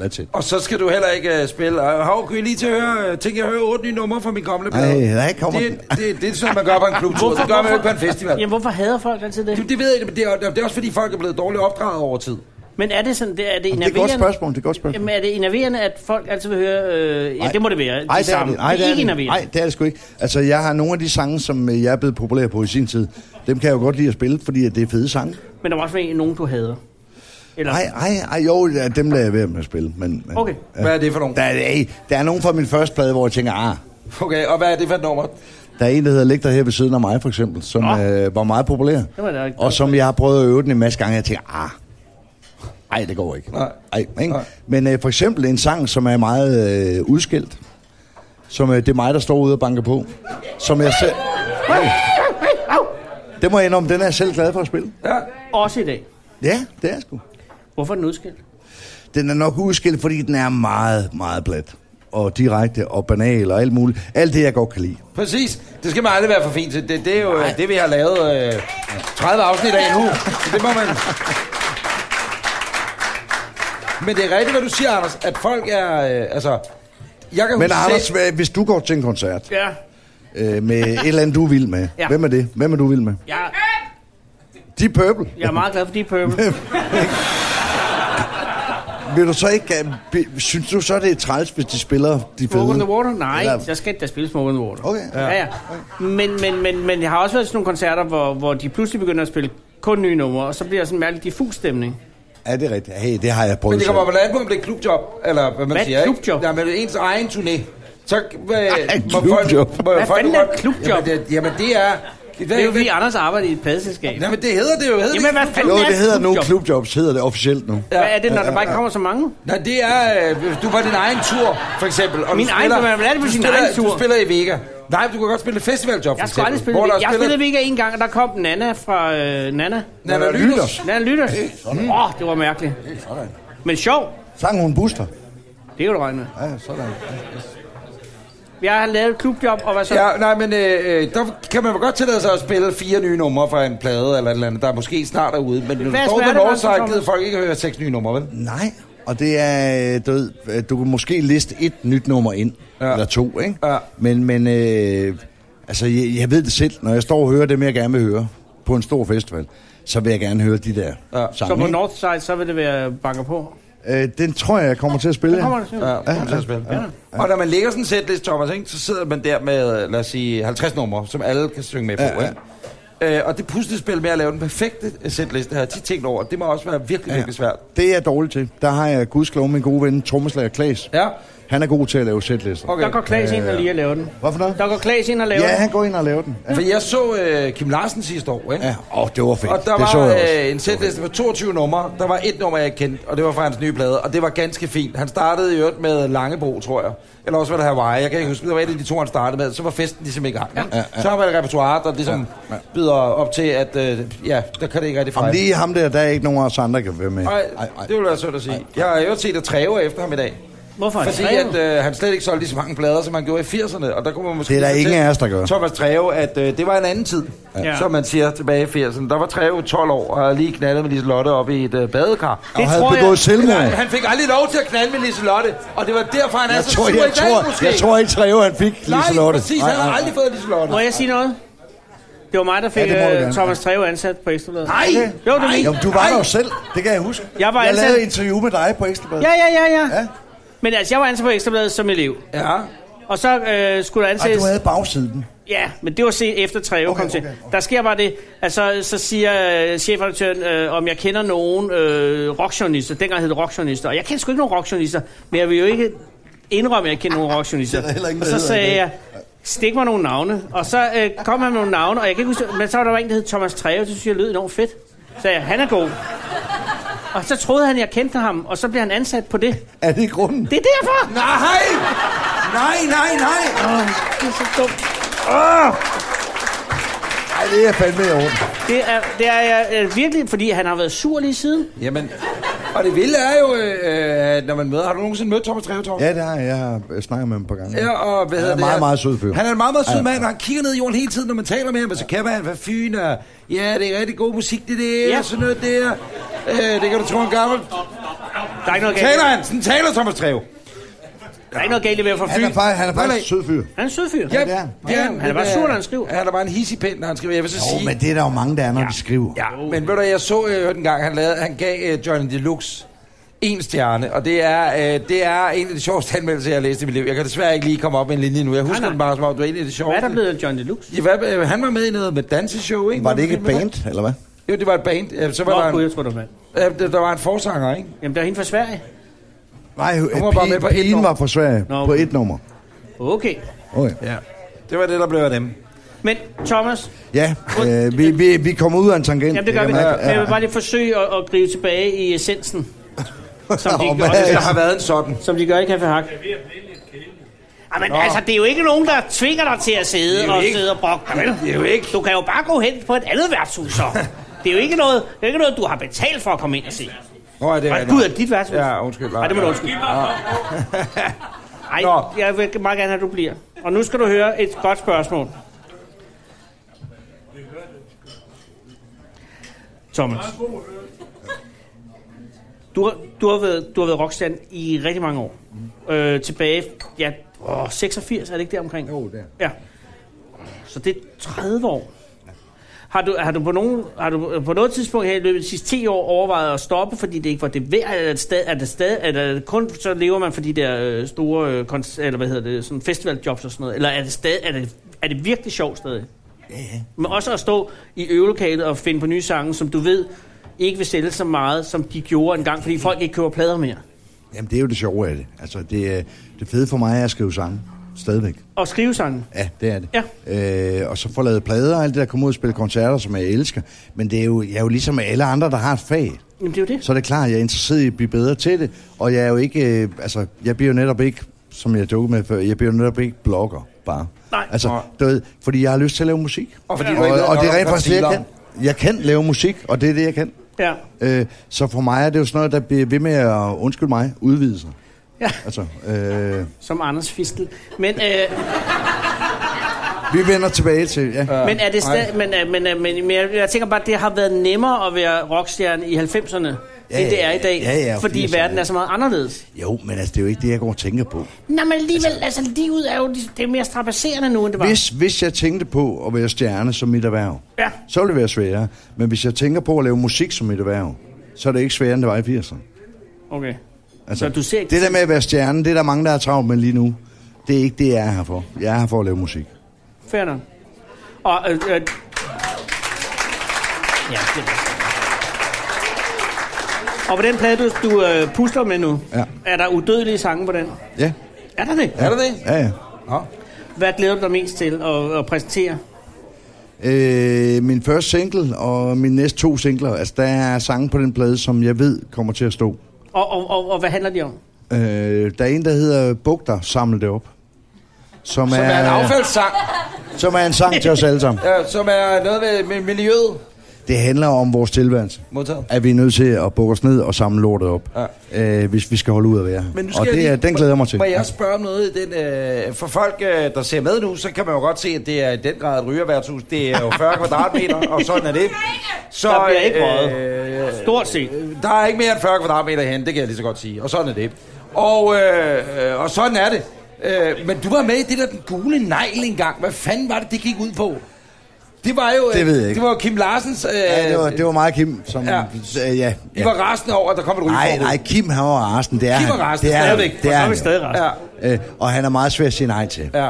Speaker 4: That's it.
Speaker 3: Og så skal du heller ikke uh, spille. Og Hav, kan I lige til at høre, øh, tænker jeg hører otte nye numre fra min gamle plade?
Speaker 4: Ej, der kommer
Speaker 3: det,
Speaker 4: den.
Speaker 3: det, det, det, er sådan, man gør på en klubtur. Det gør man jo ikke på en festival.
Speaker 2: Jamen, hvorfor hader folk altid det?
Speaker 3: Det, det ved jeg ikke, men det er, det er også fordi, folk er blevet dårligt opdraget over tid.
Speaker 2: Men er det sådan, det, er det
Speaker 4: Det er et
Speaker 2: enerverende?
Speaker 4: godt spørgsmål, det er et godt spørgsmål.
Speaker 2: Jamen, er det enerverende, at folk altid vil høre... Øh, ja, det må det være.
Speaker 4: Ej,
Speaker 2: det,
Speaker 4: det er
Speaker 2: samme.
Speaker 4: det. Ej,
Speaker 2: det er ikke
Speaker 4: det.
Speaker 2: enerverende.
Speaker 4: Nej, det er det sgu ikke. Altså, jeg har nogle af de sange, som øh, jeg er blevet populær på i sin tid. Dem kan jeg jo godt lide at spille, fordi at det er fede sange.
Speaker 2: Men der må også være en- nogen, du hader. Eller,
Speaker 4: Nej, nej, nej, jo, ja, dem lader jeg være med at spille. Men, men,
Speaker 2: Okay.
Speaker 3: Hvad er det for nogen?
Speaker 4: Der, er, ey, der er nogen fra min første plade, hvor jeg tænker, ah,
Speaker 3: Okay, og hvad er det for et nummer?
Speaker 4: der er en, der hedder Læg dig her ved siden af mig, for eksempel, som
Speaker 2: Nå.
Speaker 4: øh, var meget populær.
Speaker 2: var da ikke-
Speaker 4: og som jeg har prøvet at øve den en masse gange, og jeg tænker, ah, ej, det går ikke.
Speaker 3: Nej.
Speaker 4: Ej, ikke?
Speaker 3: Nej.
Speaker 4: Men øh, for eksempel en sang, som er meget øh, udskilt, som øh, det er mig, der står ude og banker på, som jeg selv... Hey. Det må jeg indrømme, den er jeg selv glad for at spille.
Speaker 3: Ja.
Speaker 2: Også i dag.
Speaker 4: Ja, det er jeg sgu.
Speaker 2: Hvorfor er den udskilt?
Speaker 4: Den er nok udskilt, fordi den er meget, meget plat. Og direkte og banal og alt muligt. Alt det, jeg godt kan lide.
Speaker 3: Præcis. Det skal man aldrig være for fint til. Det, det er jo Nej. det, vi har lavet øh, 30 afsnit af nu. Det må man... Men det er rigtigt, hvad du siger, Anders, at folk er... Øh, altså, jeg kan
Speaker 4: Men
Speaker 3: huske
Speaker 4: Anders,
Speaker 3: selv-
Speaker 4: hvad- hvis du går til en koncert
Speaker 2: Ja.
Speaker 4: øh, med et eller andet, du er vild med.
Speaker 2: Ja.
Speaker 4: Ja. Hvem er det? Hvem er du vild med?
Speaker 2: Jeg,
Speaker 4: De Purple.
Speaker 2: jeg er meget glad for Deep Purple.
Speaker 4: Vil du så ikke... øh, be- Synes du så, det er træls, hvis de spiller de fede?
Speaker 2: Smoke on the Water? Nej,
Speaker 4: Eller-
Speaker 2: der skal ikke der spille Smoke on the Water.
Speaker 4: Okay.
Speaker 2: Ja, ja. Men, men, men, men jeg har også været til nogle koncerter, hvor, hvor de pludselig begynder at spille kun nye numre, og så bliver der sådan en mærkelig diffus stemning.
Speaker 4: Er det er rigtigt? Hey, det har jeg prøvet
Speaker 3: Men det kommer
Speaker 4: selv.
Speaker 3: vel an på, om det er klubjob, eller hvad man
Speaker 2: Hvad er
Speaker 3: siger,
Speaker 2: klubjob?
Speaker 3: ikke? Ja, men ens egen turné. Så øh,
Speaker 4: Ej,
Speaker 3: må
Speaker 4: klubjob.
Speaker 3: folk... Må
Speaker 2: Hvad
Speaker 3: folk
Speaker 2: fanden er
Speaker 3: godt-
Speaker 2: klubjob?
Speaker 3: Jamen, det, jamen, det er... Det,
Speaker 2: Det er jo fordi Anders arbejder i et pladeselskab.
Speaker 3: Jamen, det hedder det jo. Hedder det
Speaker 2: Jamen,
Speaker 3: ikke
Speaker 2: hvad fanden
Speaker 4: Jo,
Speaker 2: er
Speaker 4: det hedder nu
Speaker 2: klubjob?
Speaker 4: klubjobs, hedder det officielt nu.
Speaker 2: Hvad er det, når der bare ikke kommer så mange?
Speaker 3: Nej, det er, øh, hvis du var din egen tur, for eksempel. Og du
Speaker 2: Min egen
Speaker 3: spiller-
Speaker 2: tur? Hvordan er det på
Speaker 3: du
Speaker 2: sin
Speaker 3: spiller,
Speaker 2: egen tur?
Speaker 3: Du spiller i Vega. Nej, men du kan godt spille festivaljob,
Speaker 2: Jeg skulle aldrig spille Vega. Jeg spillede Vega en gang, og der kom Nana fra øh, Nana.
Speaker 3: Nana Lyners.
Speaker 2: Nana Lytters. Åh, mm. oh, det var mærkeligt. Men sjov,
Speaker 4: Sang hun Buster?
Speaker 2: det kan du regne med.
Speaker 4: Ja, sådan.
Speaker 2: Jeg har lavet et klubjob, og hvad så?
Speaker 3: Ja, nej, men øh, øh, der kan man vel godt tillade sig at spille fire nye numre fra en plade eller et eller andet, der måske snart er ude. Men når du
Speaker 2: Hvad er
Speaker 3: står ved
Speaker 2: smerterne,
Speaker 3: Northside,
Speaker 2: Thomas?
Speaker 3: gider folk ikke høre seks nye numre, vel?
Speaker 4: Nej, og det er, øh, du ved, øh, du kan måske liste et nyt nummer ind,
Speaker 3: Ja.
Speaker 4: ja. eller to, ikke?
Speaker 3: Ja.
Speaker 4: Men, men øh, altså, jeg, jeg ved det selv, når jeg står og hører dem, jeg gerne vil høre på en stor festival, så vil jeg gerne høre de der
Speaker 3: Ja.
Speaker 4: ja.
Speaker 2: Så
Speaker 4: sange.
Speaker 2: på
Speaker 4: ikke?
Speaker 2: Northside, så vil det være banker på.
Speaker 4: Øh, den tror jeg, jeg kommer til at spille.
Speaker 2: Så kommer det
Speaker 4: Ja.
Speaker 2: simpelthen.
Speaker 3: Ja, kom til at spille. Ja. Og når man lægger sådan en setlist, Thomas, ikke, så sidder man der med, lad os sige, 50 numre, som alle kan synge med på.
Speaker 4: Ja,
Speaker 3: Ja,
Speaker 4: ja.
Speaker 3: ja. Øh, og det puslespil med at lave den perfekte øh, setliste, har jeg tit tænkt over. Det må også være virkelig, virkelig svært.
Speaker 4: Det er jeg dårlig til. Der har jeg gudskelov min gode ven, trommeslager Klaas.
Speaker 3: Ja,
Speaker 4: Han er god til at lave sætlister.
Speaker 3: okay.
Speaker 2: Der går Klaas ind og lige at lave den.
Speaker 4: Hvorfor noget?
Speaker 2: Der går Klaas ind og lave
Speaker 4: Ja,
Speaker 2: den.
Speaker 4: han går ind og laver den. Ja,
Speaker 3: For jeg så øh, Kim Larsen sidste år, ikke?
Speaker 4: ja. Åh, det var fedt.
Speaker 3: Og der
Speaker 4: det så jeg
Speaker 3: var
Speaker 4: også.
Speaker 3: øh, en setliste med 22 numre. Der var et nummer, jeg kendte, og det var fra hans nye plade, og det var ganske fint. Han startede i øvrigt med Langebro, tror jeg. Eller også var det Hawaii. Jeg kan ikke huske, det var et af de to, han startede med. Så var festen ligesom i gang. Ja. Ja, ja. Så har man et repertoire, der ligesom ja, ja. byder op til, at øh, ja, der kan det ikke rigtig
Speaker 4: Om
Speaker 3: fejle.
Speaker 4: lige ham der, der er ikke nogen af os andre, der kan være med.
Speaker 3: Ej,
Speaker 4: Ej, ej.
Speaker 3: det ville være sødt at sige. Jeg har i øvrigt set at træve efter ham i dag.
Speaker 2: Hvorfor er det
Speaker 3: Fordi
Speaker 2: skrevet?
Speaker 3: at, øh, han slet ikke solgte lige så mange plader, som han gjorde i 80'erne, og der kunne man måske...
Speaker 4: Det er der
Speaker 3: fortælle
Speaker 4: ingen af os, der gør.
Speaker 3: Thomas Treve, at øh, det var en anden tid, ja.
Speaker 2: Ja.
Speaker 3: som man siger tilbage i 80'erne. Der var Treve 12 år, og havde lige knaldet med Liselotte op i et øh, badekar.
Speaker 4: Og havde
Speaker 2: tror jeg-
Speaker 4: begået selvmord.
Speaker 3: Nej, han fik aldrig lov til at knalde med Liselotte, og det var derfor, han er
Speaker 4: Jeg
Speaker 3: så
Speaker 4: tror,
Speaker 3: sur
Speaker 4: jeg,
Speaker 3: i dag,
Speaker 4: tror,
Speaker 3: måske.
Speaker 4: jeg tror ikke, Treve, han fik
Speaker 3: Nej,
Speaker 4: Liselotte.
Speaker 3: præcis, han har aldrig fået Liselotte.
Speaker 2: Må jeg sige noget? Det var mig, der fik
Speaker 4: det må du
Speaker 2: ja,
Speaker 4: gerne.
Speaker 2: Thomas Treve ansat på Ekstrabladet.
Speaker 3: Nej!
Speaker 2: Jo, det er
Speaker 3: Nej!
Speaker 2: min.
Speaker 4: Jamen, du var
Speaker 3: Ej.
Speaker 4: der jo selv. Det kan jeg huske.
Speaker 2: Jeg var
Speaker 4: jeg
Speaker 2: ansat-
Speaker 4: lavede et interview med dig på Ekstrabladet.
Speaker 2: Ja, ja, ja, ja.
Speaker 4: Ja.
Speaker 2: Men altså, jeg var ansat på Ekstrabladet som elev.
Speaker 3: Ja,
Speaker 2: Og så øh, skulle der
Speaker 4: Og
Speaker 2: ansættes...
Speaker 4: du havde bagsiden.
Speaker 2: Ja, men det var set efter Treve okay,
Speaker 4: Okay,
Speaker 2: kom til. Okay,
Speaker 4: okay,
Speaker 2: okay.
Speaker 4: okay.
Speaker 2: Der sker bare det, altså så siger øh, chefredaktøren, øh, om jeg kender nogen øh, rockjournalister. Dengang hed det rockjournalister. Og jeg kender sgu ikke nogen rockjournalister, men jeg vil jo ikke indrømme, at jeg kendte nogle rockjournalister.
Speaker 4: Der er heller ingen,
Speaker 2: Og
Speaker 4: der
Speaker 2: så
Speaker 4: hedder
Speaker 2: sagde
Speaker 4: det.
Speaker 2: jeg, stik mig nogle navne. Og så øh, kom han med nogle navne, og jeg kan ikke huske, men så var der en, der hed Thomas Treve, og det synes jeg lød enormt fedt. Så sagde jeg, han er god. Og så troede han, jeg kendte ham, og så blev han ansat på det.
Speaker 4: Er det grunden?
Speaker 2: Det er derfor!
Speaker 3: Nej! Nej, nej, nej!
Speaker 2: Det er så dumt.
Speaker 4: Nej, det er fandme i orden.
Speaker 2: Det er, det er jeg øh, virkelig, fordi han har været sur lige siden.
Speaker 3: Jamen, og det vilde er jo, øh, øh, når man møder... Har du nogensinde mødt Thomas Treve, Torben?
Speaker 4: Ja, det har jeg. Jeg har øh, snakket med ham på gange.
Speaker 3: Ja, og hvad
Speaker 4: Han er
Speaker 3: hedder det?
Speaker 4: meget, meget sød fyr.
Speaker 3: Han er en meget, meget sød
Speaker 4: Ja.
Speaker 3: mand, og han kigger ned i jorden hele tiden, når man taler med ham, og så kæmper han, hvad fyn er. Ja, det er rigtig god musik, det der,
Speaker 2: Ja.
Speaker 3: ja. sådan noget der. Øh, det kan du tro, en gammel.
Speaker 2: Der er ikke noget galt,
Speaker 3: Taler han, sådan taler Thomas Treve.
Speaker 2: der er ikke noget galt i at være fra
Speaker 4: Han
Speaker 2: Fyn.
Speaker 4: er faktisk, han er faktisk en sød fyr.
Speaker 2: Han er en sød fyr.
Speaker 4: det er han.
Speaker 2: han er bare
Speaker 3: men,
Speaker 2: sur,
Speaker 3: øh,
Speaker 2: når han skriver.
Speaker 3: Han er bare en hissig pind, når han skriver. Jeg vil så
Speaker 4: Jo,
Speaker 3: sige...
Speaker 4: men det er der jo mange, der er, når ja. de skriver. Ja.
Speaker 3: Ja, men ved du, jeg så øh, den gang, han, lavede, han gav øh, Johnny Deluxe en stjerne, og det er, øh, det er en af de sjoveste anmeldelser, jeg har læst i mit liv. Jeg kan desværre ikke lige komme op med en linje nu. Jeg
Speaker 2: Nej,
Speaker 3: husker
Speaker 2: nej.
Speaker 3: den bare som om, du er en af de sjoveste.
Speaker 2: Hvad er der blevet af John Deluxe?
Speaker 3: Ja, hvad, øh, han var med i noget med danseshow, ikke?
Speaker 4: Var det ikke et
Speaker 3: Hvad var
Speaker 4: band, eller hvad?
Speaker 3: det? Jo, det var et band. Øh, Så var
Speaker 2: Nå,
Speaker 3: der,
Speaker 2: gud,
Speaker 3: en,
Speaker 2: jeg tror, det var mand.
Speaker 3: øh, der- der var en forsanger, ikke?
Speaker 2: Jamen, der er hende fra Sverige.
Speaker 4: Nej,
Speaker 3: Hun var bare med på et
Speaker 4: pigen
Speaker 3: nummer.
Speaker 4: Øh, var fra Sverige
Speaker 2: Nå,
Speaker 4: på
Speaker 2: okay.
Speaker 4: et nummer.
Speaker 2: Okay.
Speaker 4: Okay.
Speaker 3: Ja. Det var det, der blev af dem.
Speaker 2: Men Thomas,
Speaker 4: Ja, øh, vi, vi, vi kommer ud af en tangent.
Speaker 2: jamen det gør vi.
Speaker 4: kan
Speaker 2: Men
Speaker 4: man ikke-
Speaker 2: jeg vil bare lige forsøge at, at gribe tilbage i essensen. Som de,
Speaker 4: Åh,
Speaker 2: gør,
Speaker 4: hvad?
Speaker 3: Der har været en sådan.
Speaker 2: som de gør i Café Hak. Jamen altså, det er jo ikke nogen, der tvinger dig til at
Speaker 3: Det er
Speaker 2: sidde
Speaker 3: jo
Speaker 2: og
Speaker 3: ikke-
Speaker 2: sidde og brokke dig, vel?
Speaker 3: Det er jo ikke...
Speaker 2: Du kan jo bare gå hen på et andet værtshus, så. Det er jo ikke noget, det er ikke noget du har betalt for at komme ind og se.
Speaker 3: Nå, er det
Speaker 2: Nej,
Speaker 3: er
Speaker 2: gud, er det dit værtshus?
Speaker 3: Ja, undskyld.
Speaker 2: Nej, det må du undskylde. Ej,
Speaker 3: Nå.
Speaker 2: jeg vil meget gerne have, at du bliver. Og nu skal du høre et godt spørgsmål. Thomas. Du har, du har været, du har været rockstjerne i rigtig mange år. Øh, tilbage, ja, åh, 86, er det ikke der omkring?
Speaker 4: Jo, der.
Speaker 2: Ja. Så det er 30 år. Har du, har, du på nogen, har du på noget tidspunkt her i løbet af de sidste 10 år overvejet at stoppe, fordi det ikke var det værd? Er det, stadig, er det, stadig, er det kun så lever man for de der øh, store øh, konc- eller hvad hedder det, sådan festivaljobs og sådan noget? Eller er det, stadig, er det, er det virkelig sjovt stadig? Ja, ja. Men også at stå i øvelokalet og finde på nye sange, som du ved ikke vil sælge så meget, som de gjorde engang, fordi folk ikke køber plader mere.
Speaker 4: Jamen, det er jo det sjove af det. Altså, det, er- det fede for mig er at skrive sange. Stadigvæk.
Speaker 2: Og skrive sange.
Speaker 4: Ja, det er det. Ja. Øh, og så få lavet plader og alt det der, komme ud og spille koncerter, som jeg elsker. Men det er jo, jeg er jo ligesom alle andre, der har et fag.
Speaker 2: Jamen det er jo det.
Speaker 4: Så er det klart, jeg er interesseret i at blive bedre til det. Og jeg er jo ikke, øh, altså, jeg bliver jo netop ikke, som jeg jokede med før, jeg bliver jo netop ikke blogger, bare.
Speaker 2: Nej.
Speaker 4: Altså, du ved, fordi jeg har lyst til at lave musik.
Speaker 3: Og fordi
Speaker 4: og,
Speaker 3: du ikke ved
Speaker 4: og
Speaker 3: nok
Speaker 4: det
Speaker 3: om
Speaker 4: er rent faktisk det, jeg
Speaker 3: koncerter.
Speaker 4: kan. Jeg kan lave musik, og det er det, jeg kan.
Speaker 2: Ja.
Speaker 4: Øh, så for mig er det jo sådan noget, der bliver ved med at, undskyld mig, udvide sig.
Speaker 2: Ja.
Speaker 4: Altså, øh,
Speaker 2: Som Anders Fistel. Men, øh,
Speaker 4: vi vender tilbage til, ja.
Speaker 2: Men er det
Speaker 3: nej.
Speaker 2: stadig, men, øh, men, øh, men, men jeg, jeg tænker bare, at det har været nemmere at være rockstjerne i 90'erne, ja, end det er i dag.
Speaker 4: ja, ja, og
Speaker 2: fordi
Speaker 4: 80'erne,
Speaker 2: verden
Speaker 4: ja.
Speaker 2: er så meget anderledes.
Speaker 4: Jo, men altså, det er jo ikke det, jeg går og tænker på.
Speaker 2: Nej, men alligevel, altså, altså livet er jo det er mere strapasserende nu, end det var.
Speaker 4: Hvis, hvis jeg tænkte på at være stjerne som mit erhverv,
Speaker 2: Ja.
Speaker 4: så ville det være sværere. Men hvis jeg tænker på at lave musik som mit erhverv, så er det ikke sværere, end det var i 80'erne.
Speaker 2: Okay.
Speaker 4: Altså,
Speaker 2: Så du ser ikke-
Speaker 4: det der med at være stjerne, det er der mange, der er travlt med lige nu. Det er ikke det, jeg er her for. Jeg er her for at lave musik.
Speaker 2: Fair nok. Og, øh, øh, ja, det er og på den plade, du, du øh, pusler med nu,
Speaker 4: Ja.
Speaker 2: er der udødelige sange på den?
Speaker 4: Ja,
Speaker 2: Er der det?
Speaker 3: Er det det?
Speaker 4: ja, ja.
Speaker 3: Nå.
Speaker 2: Hvad glæder du dig mest til at, at præsentere?
Speaker 4: Øh, min første single og min næste to singler, altså der er sange på den plade, som jeg ved kommer til at stå.
Speaker 2: Og, og, og, og hvad handler de om?
Speaker 4: Øh, der er en, der hedder Bugter, samle det op. Som,
Speaker 3: Som er en affaldssang,
Speaker 4: som er en sang til os alle sammen.
Speaker 3: øh, som er noget ved med miljøet.
Speaker 4: Det handler om vores tilværelse.
Speaker 3: Modtaget.
Speaker 4: At vi er nødt til at bukke os ned og samle lortet op, ja. øh, hvis vi skal holde ud at være her.
Speaker 3: Men nu skal
Speaker 4: Og
Speaker 3: jeg
Speaker 4: det,
Speaker 3: lige,
Speaker 4: er- den glæder jeg mig til.
Speaker 3: Må jeg spørge om noget? i Den, øh, for folk, øh, der ser med nu, så kan man jo godt se, at det er i den grad et rygerværtshus. Det er jo 40 kvadratmeter, og sådan er det. Så,
Speaker 2: Der bliver ikke
Speaker 3: øh,
Speaker 2: Stort set.
Speaker 3: øh, Der er ikke mere end 40 kvadratmeter hen, det kan jeg lige så godt sige. Og sådan er det. Og, øh, øh, og sådan er det. Øh, men du var med i det der den gule negl engang. Hvad fanden var det, det gik ud på? Det var jo, øh,
Speaker 4: Det ved jeg ikke.
Speaker 3: det var jo Kim Larsens... Øh,
Speaker 4: Ja, det var, det var mig og Kim, som...
Speaker 3: Ja.
Speaker 4: Ja. Øh, ja,
Speaker 3: I
Speaker 4: ja.
Speaker 3: var rasende over, at der kom et
Speaker 4: Nej,
Speaker 3: rygeforbud.
Speaker 4: nej, Kim han var Arsen, det er
Speaker 3: Kim
Speaker 4: han.
Speaker 3: var rasende,
Speaker 4: det er han.
Speaker 3: stadigvæk. For
Speaker 4: Det er
Speaker 2: så er
Speaker 4: han.
Speaker 2: vi stadig
Speaker 3: Ja.
Speaker 4: Øh, og han er meget svær at sige nej til.
Speaker 3: Ja.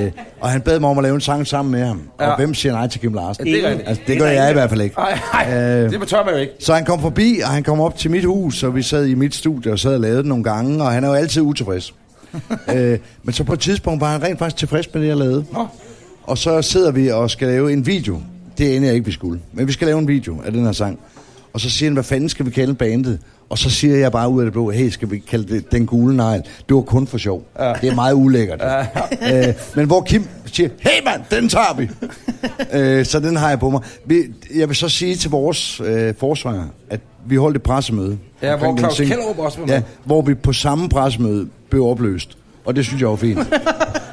Speaker 4: Øh, og han bad mig om at lave en sang sammen med ham.
Speaker 3: Ja.
Speaker 4: Ja. Og hvem siger nej til Kim Larsen?
Speaker 3: Ja, det er rigtigt.
Speaker 4: altså, det gør jeg i hvert fald ikke.
Speaker 3: Ej, ej,
Speaker 4: Øh,
Speaker 3: det tør man jo ikke.
Speaker 4: Så han kom forbi, og han kom op til mit hus, og vi sad i mit studie og sad og lavede det nogle gange, og han er jo altid utilfreds. øh, men så på et tidspunkt var han rent faktisk tilfreds med det, jeg lavede. Og så sidder vi og skal lave en video. Det ender jeg ikke, vi skulle. Men vi skal lave en video af den her sang. Og så siger han, hvad fanden skal vi kalde bandet? Og så siger jeg bare ud af det blå, hey, skal vi kalde det Den Gule Negl? Det var kun for sjov. Ja. Det er meget ulækkert. Ja. Øh, men hvor Kim siger, hey mand, den tager vi! øh, så den har jeg på mig. Vi, jeg vil så sige til vores øh, forsvar, at vi holdt et pressemøde.
Speaker 3: Ja,
Speaker 4: omkring
Speaker 3: hvor
Speaker 4: den
Speaker 3: Claus
Speaker 4: ting.
Speaker 3: Kjellerup også var med.
Speaker 4: Ja, hvor vi på samme pressemøde blev opløst. Og det synes jeg var fint.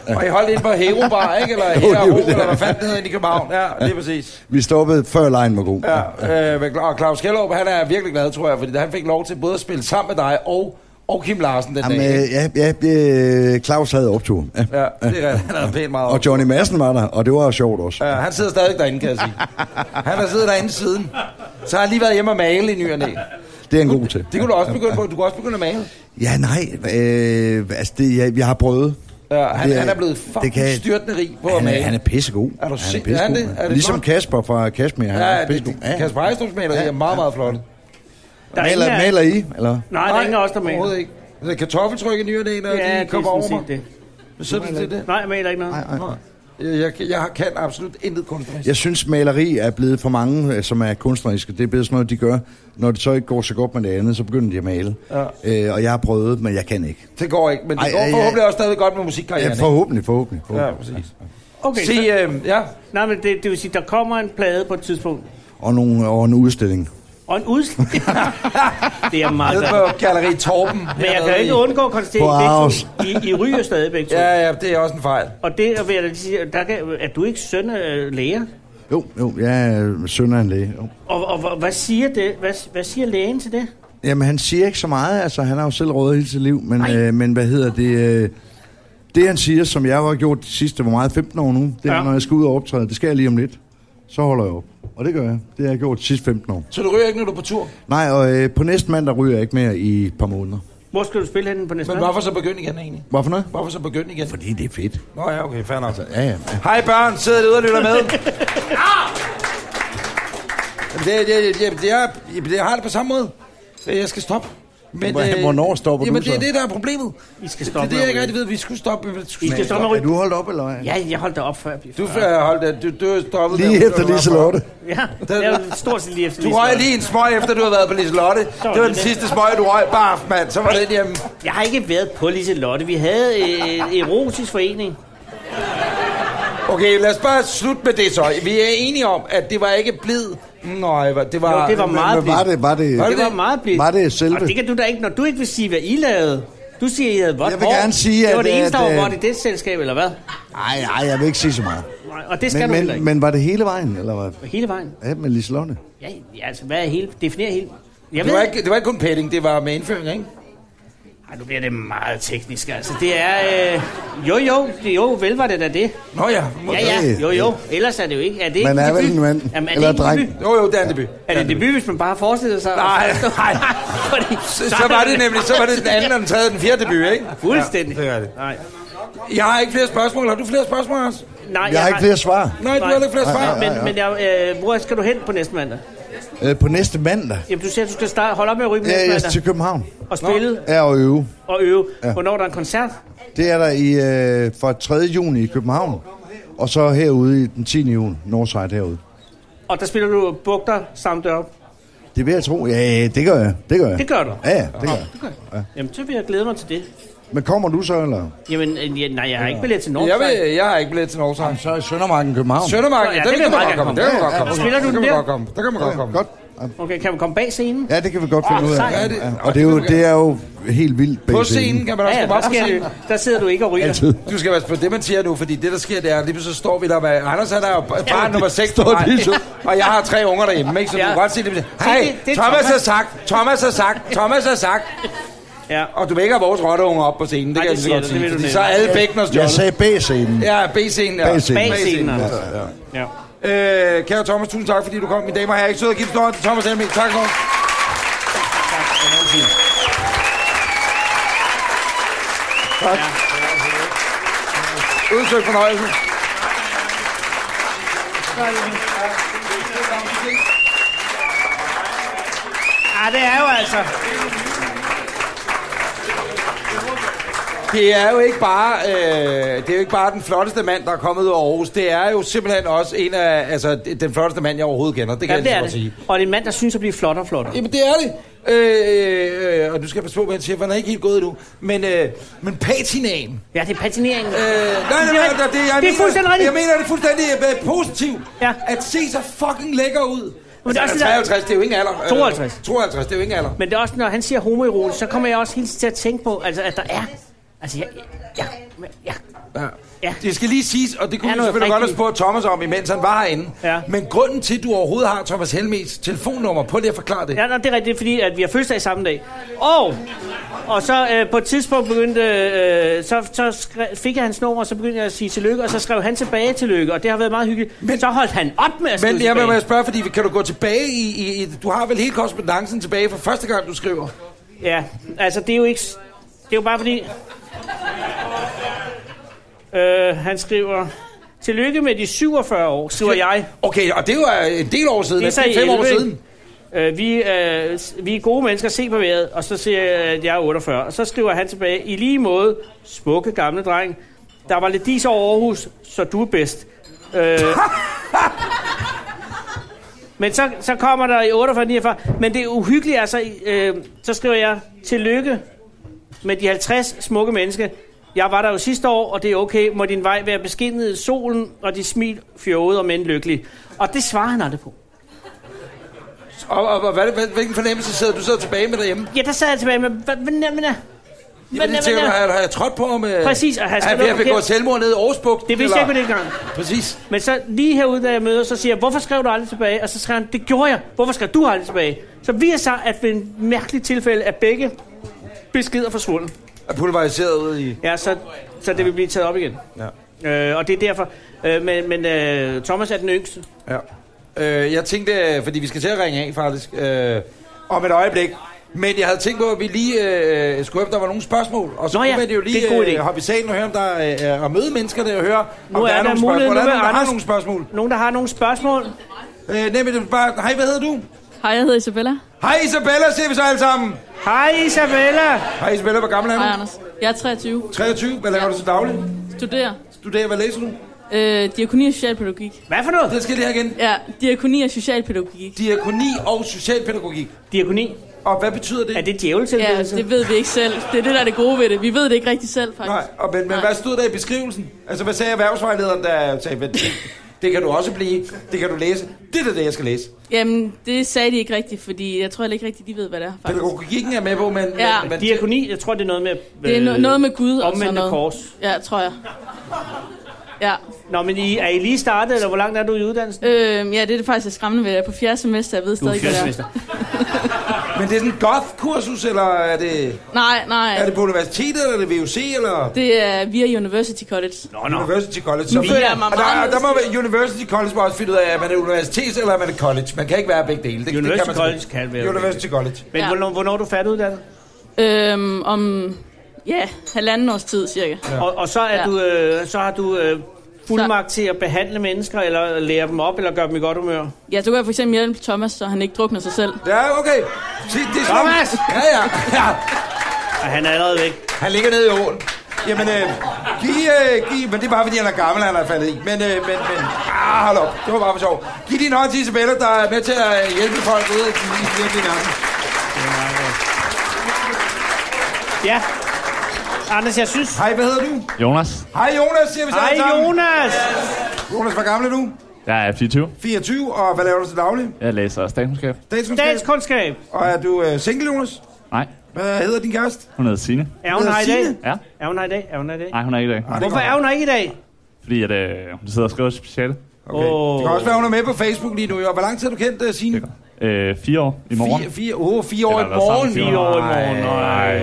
Speaker 3: Og I holdt ind på Hero Bar, ikke? Eller
Speaker 4: det var
Speaker 3: Hero,
Speaker 4: det.
Speaker 3: eller hvad fanden det hedder inde i København. Ja, lige præcis.
Speaker 4: vi stoppede før lejen var god.
Speaker 3: Ja, øh, men Cla- og Claus Kjellup, han er virkelig glad, tror jeg, fordi han fik lov til både at spille sammen med dig og, og Kim Larsen den
Speaker 4: Jamen,
Speaker 3: dag.
Speaker 4: øh,
Speaker 3: ikke?
Speaker 4: ja, ja, øh, Claus havde optur. Ja.
Speaker 3: Ja, det er han er pænt meget
Speaker 4: Og Johnny Madsen var der, og det var sjovt også.
Speaker 3: Ja, han sidder stadig derinde, kan jeg sige. Han har siddet derinde siden. Så har han lige været hjemme og male i ny og næ.
Speaker 4: Det er en god til.
Speaker 3: Det kunne du også begynde på. Du kunne også begynde at male.
Speaker 4: Ja, nej. Øh, altså, det, jeg, jeg har prøvet.
Speaker 3: Ja, han,
Speaker 4: Det er-
Speaker 3: han er blevet
Speaker 4: det
Speaker 3: fucking
Speaker 4: kan-
Speaker 3: kan... styrtende rig på at
Speaker 4: Han er,
Speaker 3: male.
Speaker 4: han er pissegod.
Speaker 3: Er du
Speaker 4: han
Speaker 3: sind- er han det?
Speaker 4: mand.
Speaker 3: Er det
Speaker 4: ligesom
Speaker 3: flot?
Speaker 4: Kasper fra Kashmir. Han
Speaker 3: Ja,
Speaker 4: er
Speaker 3: det,
Speaker 4: pissegod.
Speaker 3: det,
Speaker 4: Ja.
Speaker 3: Kasper Ejstrup's maler ja, er meget, meget flot.
Speaker 2: Der er
Speaker 4: Maler,
Speaker 2: ingen af-
Speaker 4: maler I, eller?
Speaker 2: Nej, der er ingen af os, der
Speaker 3: Overhovedet
Speaker 2: maler.
Speaker 3: ikke. Så er kartoffeltryk i ny og næ, når
Speaker 2: Ja,
Speaker 3: ja, de
Speaker 2: det er
Speaker 3: kommer over
Speaker 2: sådan
Speaker 3: mig.
Speaker 2: set det.
Speaker 3: Hvad siger du til det?
Speaker 2: Nej, jeg maler ikke noget.
Speaker 4: Nej, nej.
Speaker 3: Jeg, jeg, jeg kan absolut intet kunstnerisk.
Speaker 4: Jeg synes, maleri er blevet for mange, øh, som er kunstneriske. Det er blevet sådan noget, de gør. Når det så ikke går så godt med det andet, så begynder de at male.
Speaker 3: Ja.
Speaker 4: Øh, og jeg har prøvet, men jeg kan ikke.
Speaker 3: Det går ikke, men det
Speaker 4: Ej,
Speaker 3: går
Speaker 4: ej, ej.
Speaker 3: forhåbentlig også stadig godt med
Speaker 4: Ja,
Speaker 3: musikkarrieren.
Speaker 4: forhåbentlig, forhåbentlig.
Speaker 3: ikke? Ja,
Speaker 4: forhåbentlig.
Speaker 3: præcis.
Speaker 2: Okay,
Speaker 3: Se,
Speaker 2: så,
Speaker 3: øh, ja,
Speaker 2: nej, men det, det vil sige, der kommer en plade på et tidspunkt.
Speaker 4: Og, nogle, og en udstilling.
Speaker 2: Og en udstilling. det er meget
Speaker 3: nede
Speaker 2: godt.
Speaker 3: på Galeri Torben.
Speaker 2: Men jeg kan
Speaker 3: hernede
Speaker 2: jo ikke
Speaker 3: i-
Speaker 2: undgå at konstatere,
Speaker 4: På Aarhus.
Speaker 2: at begge to- I, I ryger stadig begge to.
Speaker 3: Ja, ja, det er også en fejl.
Speaker 2: Og det vil jeg da lige sige, der kan, er du ikke søn af øh, læger?
Speaker 4: Jo, jo, jeg er søn af en læge. Jo.
Speaker 2: Og, og, og hvad, siger det? Hvad, hvad siger lægen til det?
Speaker 4: Jamen, han siger ikke så meget. Altså, han har jo selv rådet hele sit liv. Men, øh, men hvad hedder det... Øh, det, han siger, som jeg jo har gjort de sidste, hvor meget, 15 år nu, det er,
Speaker 2: Ja.
Speaker 4: ja. når jeg skal ud og optræde, det skal jeg lige om lidt. Så holder jeg op. Og det gør jeg. Det har jeg gjort de sidste 15 år.
Speaker 3: Så du ryger ikke, når du er på tur?
Speaker 4: Nej, og øh, på næste mandag ryger jeg ikke mere i et par måneder.
Speaker 2: Hvor skal du spille henne på næste
Speaker 3: Men
Speaker 2: mandag?
Speaker 3: hvorfor så begynde igen egentlig?
Speaker 4: Hvorfor noget?
Speaker 3: Hvorfor så begynde igen? Fordi...
Speaker 4: det er fedt.
Speaker 3: Nå ja, okay, fair nok.
Speaker 4: Ja, ja. ja.
Speaker 3: Hej børn, sidder derude og lytter med. Ah! Jamen, det, det, det, det, er, jamen, det, jeg har det på samme måde. Øh, Jeg skal stoppe. Men,
Speaker 4: Hvor-
Speaker 3: øh,
Speaker 4: hvornår stopper du
Speaker 3: jamen, det er
Speaker 4: så?
Speaker 3: det, der er problemet.
Speaker 2: I skal
Speaker 3: Det er
Speaker 2: stoppe
Speaker 3: det, jeg ikke
Speaker 2: med at
Speaker 3: rigtig ved. Vi skulle stoppe. Vi skulle
Speaker 2: ryge. I skal stoppe med
Speaker 4: Er
Speaker 2: at ryge.
Speaker 4: du holdt op, eller hvad?
Speaker 2: Ja, jeg holdt da op, før jeg blev
Speaker 3: Du, øh, hold da, du, du stoppede
Speaker 4: Lige
Speaker 3: der,
Speaker 4: efter
Speaker 3: du var
Speaker 4: lige så
Speaker 3: på.
Speaker 4: lorte.
Speaker 2: Ja, jeg er stort set lige efter
Speaker 3: Du røg lige en smøg, efter du havde været på Liselotte. Det var den sidste smøg, du røg. Barf, mand. Så var det hjemme.
Speaker 2: Jeg har ikke været på Lise Lotte. Vi havde øh, en erotisk forening.
Speaker 3: Okay, lad os bare slutte med det så. Vi er enige om, at det var ikke blid. Nej, det var... Det var,
Speaker 2: Jo, det var meget
Speaker 4: Men var det, var det...
Speaker 3: Var
Speaker 2: Det var meget blidt.
Speaker 4: Var det selve?
Speaker 2: Og det kan du da ikke, når du ikke vil sige, hvad I lavede. Du siger, I havde vådt
Speaker 4: Jeg vil
Speaker 2: hår.
Speaker 4: gerne sige,
Speaker 2: Det var
Speaker 4: at-
Speaker 2: det eneste,
Speaker 4: at,
Speaker 2: der var
Speaker 4: øh,
Speaker 2: vådt i det selskab, eller hvad?
Speaker 4: Nej, nej, jeg vil ikke sige så meget.
Speaker 2: Nej, og det skal
Speaker 4: Men,
Speaker 2: du heller
Speaker 4: men,
Speaker 2: ikke.
Speaker 4: men var det hele vejen, eller hvad?
Speaker 2: Hele vejen.
Speaker 4: Ja, med Liselotte.
Speaker 2: Ja, ja, altså, hvad er hele? Definér hele. Jeg
Speaker 3: Det
Speaker 2: ved
Speaker 3: var,
Speaker 2: ikke.
Speaker 3: ikke, det var ikke kun petting, det var med indføring, ikke?
Speaker 2: Ej, nu bliver det meget teknisk, altså. Det er... Øh, jo, jo, det- jo, vel var det da det.
Speaker 3: Nå ja.
Speaker 2: Ja, ja,
Speaker 4: Okay.
Speaker 2: jo, jo. Ellers er det jo ikke. Er det ikke
Speaker 4: Man er vel
Speaker 2: debut?
Speaker 4: en mand,
Speaker 2: Jamen, er
Speaker 4: eller
Speaker 2: det ikke
Speaker 4: dreng.
Speaker 2: debut?
Speaker 3: Jo, jo, det er en debut.
Speaker 2: Er det debut, hvis man bare forestiller sig?
Speaker 3: Nej, nej.
Speaker 2: Fordi,
Speaker 3: Så, så var det nemlig, så var det den anden, og den tredje, og den fjerde debut, ikke?
Speaker 2: Fuldstændig.
Speaker 3: Ja, det er det.
Speaker 2: Nej,
Speaker 3: Jeg har ikke flere spørgsmål. Har du flere spørgsmål, Anders?
Speaker 2: nej
Speaker 4: Jeg har ikke flere svar.
Speaker 3: Nej, du har ikke flere svar.
Speaker 2: Men, men jeg, øh, hvor skal du hen på næste mandag?
Speaker 4: Øh, på næste mandag.
Speaker 2: Jamen, du siger, at du skal starte, holde op med at ryge på
Speaker 4: Ja,
Speaker 2: næste
Speaker 4: jeg skal
Speaker 2: mandag.
Speaker 4: til København.
Speaker 2: Og spille
Speaker 4: Er at øve.
Speaker 2: og øve.
Speaker 4: Ja.
Speaker 2: Hvornår er der er en koncert?
Speaker 4: Det er der i, øh, fra 3. juni i København. Og så herude i den 10. juni, Northside herude.
Speaker 2: Og der spiller du bugter samt op.
Speaker 4: Det vil jeg tro. Ja, Ja, det gør jeg. Det gør jeg.
Speaker 2: Det gør du?
Speaker 4: Ja, ja, det gør jeg.
Speaker 2: Jamen, så vil jeg glæde mig til det.
Speaker 4: Men kommer du så, eller?
Speaker 2: Jamen, øh, ja, nej, jeg har ikke billet til
Speaker 3: Jeg,
Speaker 2: Nordsjælland.
Speaker 3: vil, jeg har ikke billet til Norge.
Speaker 4: Så er Søndermarken København.
Speaker 3: Søndermarken,
Speaker 2: Ja,
Speaker 3: ja, den
Speaker 2: det
Speaker 3: kan
Speaker 2: vil
Speaker 3: man
Speaker 2: jeg
Speaker 3: godt komme.
Speaker 2: meget
Speaker 3: Den kan
Speaker 4: gerne
Speaker 3: man godt
Speaker 4: komme.
Speaker 3: komme.
Speaker 2: Spiller du
Speaker 3: den?
Speaker 2: den
Speaker 3: kan man
Speaker 2: der?
Speaker 3: godt komme. Den kan man godt komme.
Speaker 4: Godt.
Speaker 2: Okay, kan man komme bag scenen?
Speaker 4: Ja, det kan vi godt finde
Speaker 2: Åh,
Speaker 4: ud af.
Speaker 2: sejt.
Speaker 4: Ja, Og det er, jo, det er jo helt vildt.
Speaker 3: På
Speaker 4: bag
Speaker 3: scenen kan man også
Speaker 2: Ja, ja,
Speaker 3: komme
Speaker 2: der,
Speaker 3: op på
Speaker 2: sker,
Speaker 3: scenen.
Speaker 2: der sidder du ikke og ryger.
Speaker 4: Altid.
Speaker 3: Du skal passe på det, man siger nu, fordi det, der sker, det er, at lige pludselig så står vi der med... Anders er der jo bare nummer 6 på mig,
Speaker 4: lige så.
Speaker 3: og jeg har tre unger derhjemme, ikke? Så du
Speaker 2: Ja.
Speaker 3: kan godt se det.
Speaker 2: Se,
Speaker 3: Hej,
Speaker 2: det- det er
Speaker 3: Thomas har
Speaker 2: Thomas.
Speaker 3: sagt, Thomas har sagt, Thomas har sagt.
Speaker 2: Ja.
Speaker 3: Og du vækker vores rotteunger op på scenen, det
Speaker 2: Nej,
Speaker 3: kan jeg
Speaker 2: det
Speaker 3: lige så godt
Speaker 2: siger du, det
Speaker 3: sige.
Speaker 2: ved du
Speaker 3: Fordi
Speaker 2: nemlig.
Speaker 3: så er alle bækken og
Speaker 4: Jeg
Speaker 3: stjålet.
Speaker 4: sagde bag scenen.
Speaker 3: Ja, B-scenen, ja.
Speaker 4: Bag scenen.
Speaker 2: Bag scenen,
Speaker 3: ja.
Speaker 2: altså. Ja.
Speaker 3: Øh, kære Thomas, tusind tak, fordi du kom. Mine damer og herrer, ikke sød og give det til Thomas Helmig. Tak for Tak. Udsøgt fornøjelse.
Speaker 2: Ah, det er jo altså...
Speaker 3: det er jo ikke bare øh, det er jo ikke bare den flotteste mand der er kommet ud af Aarhus. Det er jo simpelthen også en af altså den flotteste mand jeg overhovedet kender. Det kan
Speaker 2: Ja,
Speaker 3: jeg
Speaker 2: det
Speaker 3: lige så
Speaker 2: er
Speaker 3: godt sige.
Speaker 2: det. Og det er en mand, der synes at blive flot og flot.
Speaker 3: Jamen, det er det. Øh, øh, og nu skal jeg passe på, hvad han siger, for han er ikke helt gået endnu. Men, øh, men patinaen.
Speaker 2: Ja, det er patineringen.
Speaker 3: Øh, nej, nej,
Speaker 2: Det
Speaker 3: nej,
Speaker 2: er-
Speaker 3: nej, det, jeg
Speaker 2: det er
Speaker 3: mener,
Speaker 2: fuldstændig rigtigt.
Speaker 3: Jeg mener, det er fuldstændig øh, positivt.
Speaker 2: Ja.
Speaker 3: At se så fucking lækker ud. Men
Speaker 2: det er også det der-
Speaker 3: 53, det er jo ingen alder. Øh,
Speaker 2: 52.
Speaker 3: 52, det er jo ingen alder.
Speaker 2: Men det er også, når han siger homoerotisk, så kommer jeg også helt til at tænke på, altså, at der er... Altså, jeg... jeg, jeg, jeg
Speaker 3: Ja.
Speaker 2: Ja.
Speaker 3: Det skal lige siges, og det kunne
Speaker 2: Er
Speaker 3: vi
Speaker 2: noget
Speaker 3: selvfølgelig godt have
Speaker 2: rigtig-
Speaker 3: spurgt Thomas om, imens han var herinde.
Speaker 2: Ja.
Speaker 3: Men grunden til, at du overhovedet har Thomas Helmes telefonnummer, prøv lige at forklare det.
Speaker 2: ja, nej, det er rigtigt, fordi at vi har fødselsdag samme dag. Og, og så øh, på et tidspunkt begyndte... Øh, så så skre, fik jeg hans nummer, og så begyndte jeg at sige tillykke, og så skrev han tilbage tillykke, og det har været meget hyggeligt. Men, så holdt han op med at skrive
Speaker 3: Men jeg vil
Speaker 2: tilbage.
Speaker 3: bare spørge, fordi kan du gå tilbage i, i, i... Du har vel hele korrespondancen tilbage fra første gang, du skriver?
Speaker 2: Ja, altså det er jo ikke... s- Det er jo bare fordi... Øh, han skriver... Tillykke med de 47 år, skriver jeg.
Speaker 3: Okay, og det var en del år siden.
Speaker 2: Det er så i
Speaker 3: fem år
Speaker 2: 11, ikke?
Speaker 3: siden.
Speaker 2: Øh, vi, øh, s- vi er gode mennesker, se på vejret. Og så siger jeg, at jeg er 48. Og så skriver han tilbage, i lige måde, smukke gamle dreng. Der var lidt dis over Aarhus, så du er bedst. Øh, men så, så kommer der i 48, 49. Men det uhyggelige er så, øh, så skriver jeg, tillykke med de 50 smukke mennesker. Jeg var der jo sidste år, og det er okay. Må din vej være beskinnet i solen, og de smil fjollet og mænd lykkelige. Og det svarer han aldrig på.
Speaker 3: Og, og, og hvad, hvad, hvilken fornemmelse sidder du så tilbage med derhjemme?
Speaker 2: Ja, der sad jeg tilbage med, hvad hvad nemmen er? Hvad
Speaker 3: Jamen, det tænker,
Speaker 2: nemmen
Speaker 3: du,
Speaker 2: er?
Speaker 3: har, har jeg trådt på med...
Speaker 2: Præcis, og har jeg
Speaker 3: er jeg ved
Speaker 2: skrevet
Speaker 3: at begå
Speaker 2: forkert?
Speaker 3: selvmord nede i Aarhusbugt?
Speaker 2: Det vidste jeg ikke på det gang.
Speaker 3: Præcis.
Speaker 2: Men så lige herude, da jeg møder, så siger jeg, hvorfor skrev du aldrig tilbage? Og så skrev han, det gjorde jeg. Hvorfor skrev du aldrig tilbage? Så viser sig, at ved en mærkelig tilfælde er begge beskeder forsvundet.
Speaker 3: Er pulveriseret ud i...
Speaker 2: Ja, så, så det vil blive taget op igen.
Speaker 3: Ja.
Speaker 2: Øh, og det er derfor. Øh, men men øh, Thomas er den yngste.
Speaker 3: Ja. Øh, jeg tænkte, øh, fordi vi skal til at ringe af faktisk, øh, om et øjeblik. Men jeg havde tænkt på, at vi lige øh, skulle høre, om der var nogle spørgsmål. Og så
Speaker 2: Nå
Speaker 3: Nå,
Speaker 2: ja,
Speaker 3: ja, kunne vi jo
Speaker 2: det er en god
Speaker 3: lige
Speaker 2: idé.
Speaker 3: øh, hoppe i salen og høre, om der er, er og møde mennesker der og høre,
Speaker 2: Nu
Speaker 3: om
Speaker 2: er
Speaker 3: der er,
Speaker 2: der
Speaker 3: nogle
Speaker 2: mulighed,
Speaker 3: spørgsmål.
Speaker 2: nu
Speaker 3: Der er
Speaker 2: vil
Speaker 3: nogen, der har
Speaker 2: Anders-
Speaker 3: nogle spørgsmål.
Speaker 2: Nogen, der har nogle spørgsmål?
Speaker 3: Øh, nemlig, det er bare, hej, hvad hedder du?
Speaker 6: Hej, jeg hedder Isabella.
Speaker 3: Hej Isabella, siger vi så alle sammen.
Speaker 2: Hej Isabella!
Speaker 3: Hej Isabella, hvor gammel er
Speaker 6: Hej,
Speaker 3: du?
Speaker 6: Anders. Jeg er 23.
Speaker 3: 23. Hvad laver du til daglig?
Speaker 6: Studerer.
Speaker 3: Studerer, hvad læser du?
Speaker 6: Øh, diakoni og socialpædagogik.
Speaker 2: Hvad for noget?
Speaker 3: Det skal det her igen.
Speaker 6: Ja, diakoni og socialpædagogik.
Speaker 3: Diakoni og socialpædagogik.
Speaker 2: Diakoni.
Speaker 3: Og hvad betyder det? altså.
Speaker 2: Er det djæveltil?
Speaker 6: Ja, det ved vi ikke selv. Det er det, der er det gode ved det. Vi ved det ikke rigtig selv, faktisk.
Speaker 3: Nej, og men, men
Speaker 6: Nej.
Speaker 3: hvad stod der i beskrivelsen? Altså, hvad sagde erhvervsvejlederen, der sagde, "Men det, det kan du også blive, det kan du læse, det er da det, jeg skal læse.
Speaker 6: Jamen, det sagde de ikke rigtigt, fordi jeg tror heller ikke rigtigt, de ved, hvad det er, faktisk.
Speaker 3: Pædagogikken er med på, men...
Speaker 6: Ja.
Speaker 3: men, men
Speaker 2: Diakoni, jeg tror, det er noget med... øh,
Speaker 6: Det er no- noget med Gud og sådan
Speaker 2: omvendte
Speaker 6: noget.
Speaker 2: kors.
Speaker 6: Ja, tror jeg. Ja.
Speaker 2: Nå, men I, er I lige startet, eller hvor langt er du i uddannelsen?
Speaker 6: Øh, ja, det er det faktisk er skræmmende ved, at jeg er på fjerde semester, jeg ved stadig ikke, hvad det er.
Speaker 3: men det er sådan en goth-kursus, eller er det,
Speaker 6: Nej,
Speaker 3: er det
Speaker 6: nej.
Speaker 3: på universitetet, eller er det VUC, eller...
Speaker 6: Det er via University College.
Speaker 2: Nå, nå.
Speaker 3: University College. Så
Speaker 6: Vi er meget
Speaker 3: og der, der må
Speaker 6: anderledes.
Speaker 3: være University College må også finde ud af, er man et universitet eller er man et college. Man kan ikke være begge dele. Det, det
Speaker 2: University
Speaker 3: kan man
Speaker 2: College
Speaker 3: sgu-
Speaker 2: kan være begge
Speaker 3: University College.
Speaker 2: Men
Speaker 6: Ja.
Speaker 2: hvornår, hvornår er du færdiguddannet?
Speaker 6: Øhm, om, ja, halvanden års tid, cirka.
Speaker 2: Ja. Og, og så, er ja.
Speaker 6: Ja.
Speaker 2: du, øh, så har du øh, fuldmagt til at behandle mennesker, eller lære dem op, eller gøre dem i godt humør.
Speaker 6: Ja, så kunne jeg for eksempel hjælpe Thomas, så han ikke drukner sig selv.
Speaker 3: Ja, okay. Se, det er sådan-
Speaker 2: Thomas!
Speaker 3: Ja, ja, ja.
Speaker 2: Og han er allerede væk.
Speaker 3: Han ligger nede i åen. Jamen, øh, giv, øh, giv, men det er bare, fordi han er gammel, han er faldet i. Men, øh, men, men, ah, hold op. Det var bare for sjov. Giv din hånd til Isabella, der er med til at øh, hjælpe folk ud i den virkelige verden.
Speaker 2: Ja. Anders, jeg synes...
Speaker 3: Hej, hvad hedder du?
Speaker 7: Jonas,
Speaker 3: Hej, Jonas, siger vi så alle
Speaker 2: Hej
Speaker 3: sammen.
Speaker 2: Jonas!
Speaker 3: Jonas, hvor gammel er du?
Speaker 7: jeg er 24.
Speaker 3: 24, og hvad laver du til daglig?
Speaker 7: Jeg læser statskundskab.
Speaker 3: Statskundskab.
Speaker 2: Statskundskab.
Speaker 3: Og er du øh, single, Jonas?
Speaker 7: Nej,
Speaker 3: Hvad hedder din kæreste? Ah,
Speaker 7: hun hedder Signe.
Speaker 2: Er hun
Speaker 3: Hvad
Speaker 2: her i
Speaker 3: hedder
Speaker 2: dag?
Speaker 7: Ja,
Speaker 2: Er hun her i dag? Er hun her i dag?
Speaker 7: nej, hun er ikke i dag.
Speaker 3: Ah, det
Speaker 2: Hvorfor
Speaker 3: går.
Speaker 2: er hun her ikke i dag?
Speaker 7: Fordi at, øh, hun sidder og skriver speciale.
Speaker 3: Okay.
Speaker 2: Åh.
Speaker 3: Det kan også være, hun er med på Facebook lige nu. jo. Og hvor lang tid har du kendt uh, Signe?
Speaker 7: Øh, fire år i morgen.
Speaker 3: Fire, fire, oh, fire år i
Speaker 7: Eller hvad, sammen
Speaker 3: morgen.
Speaker 7: fire
Speaker 2: I år i morgen. Nej.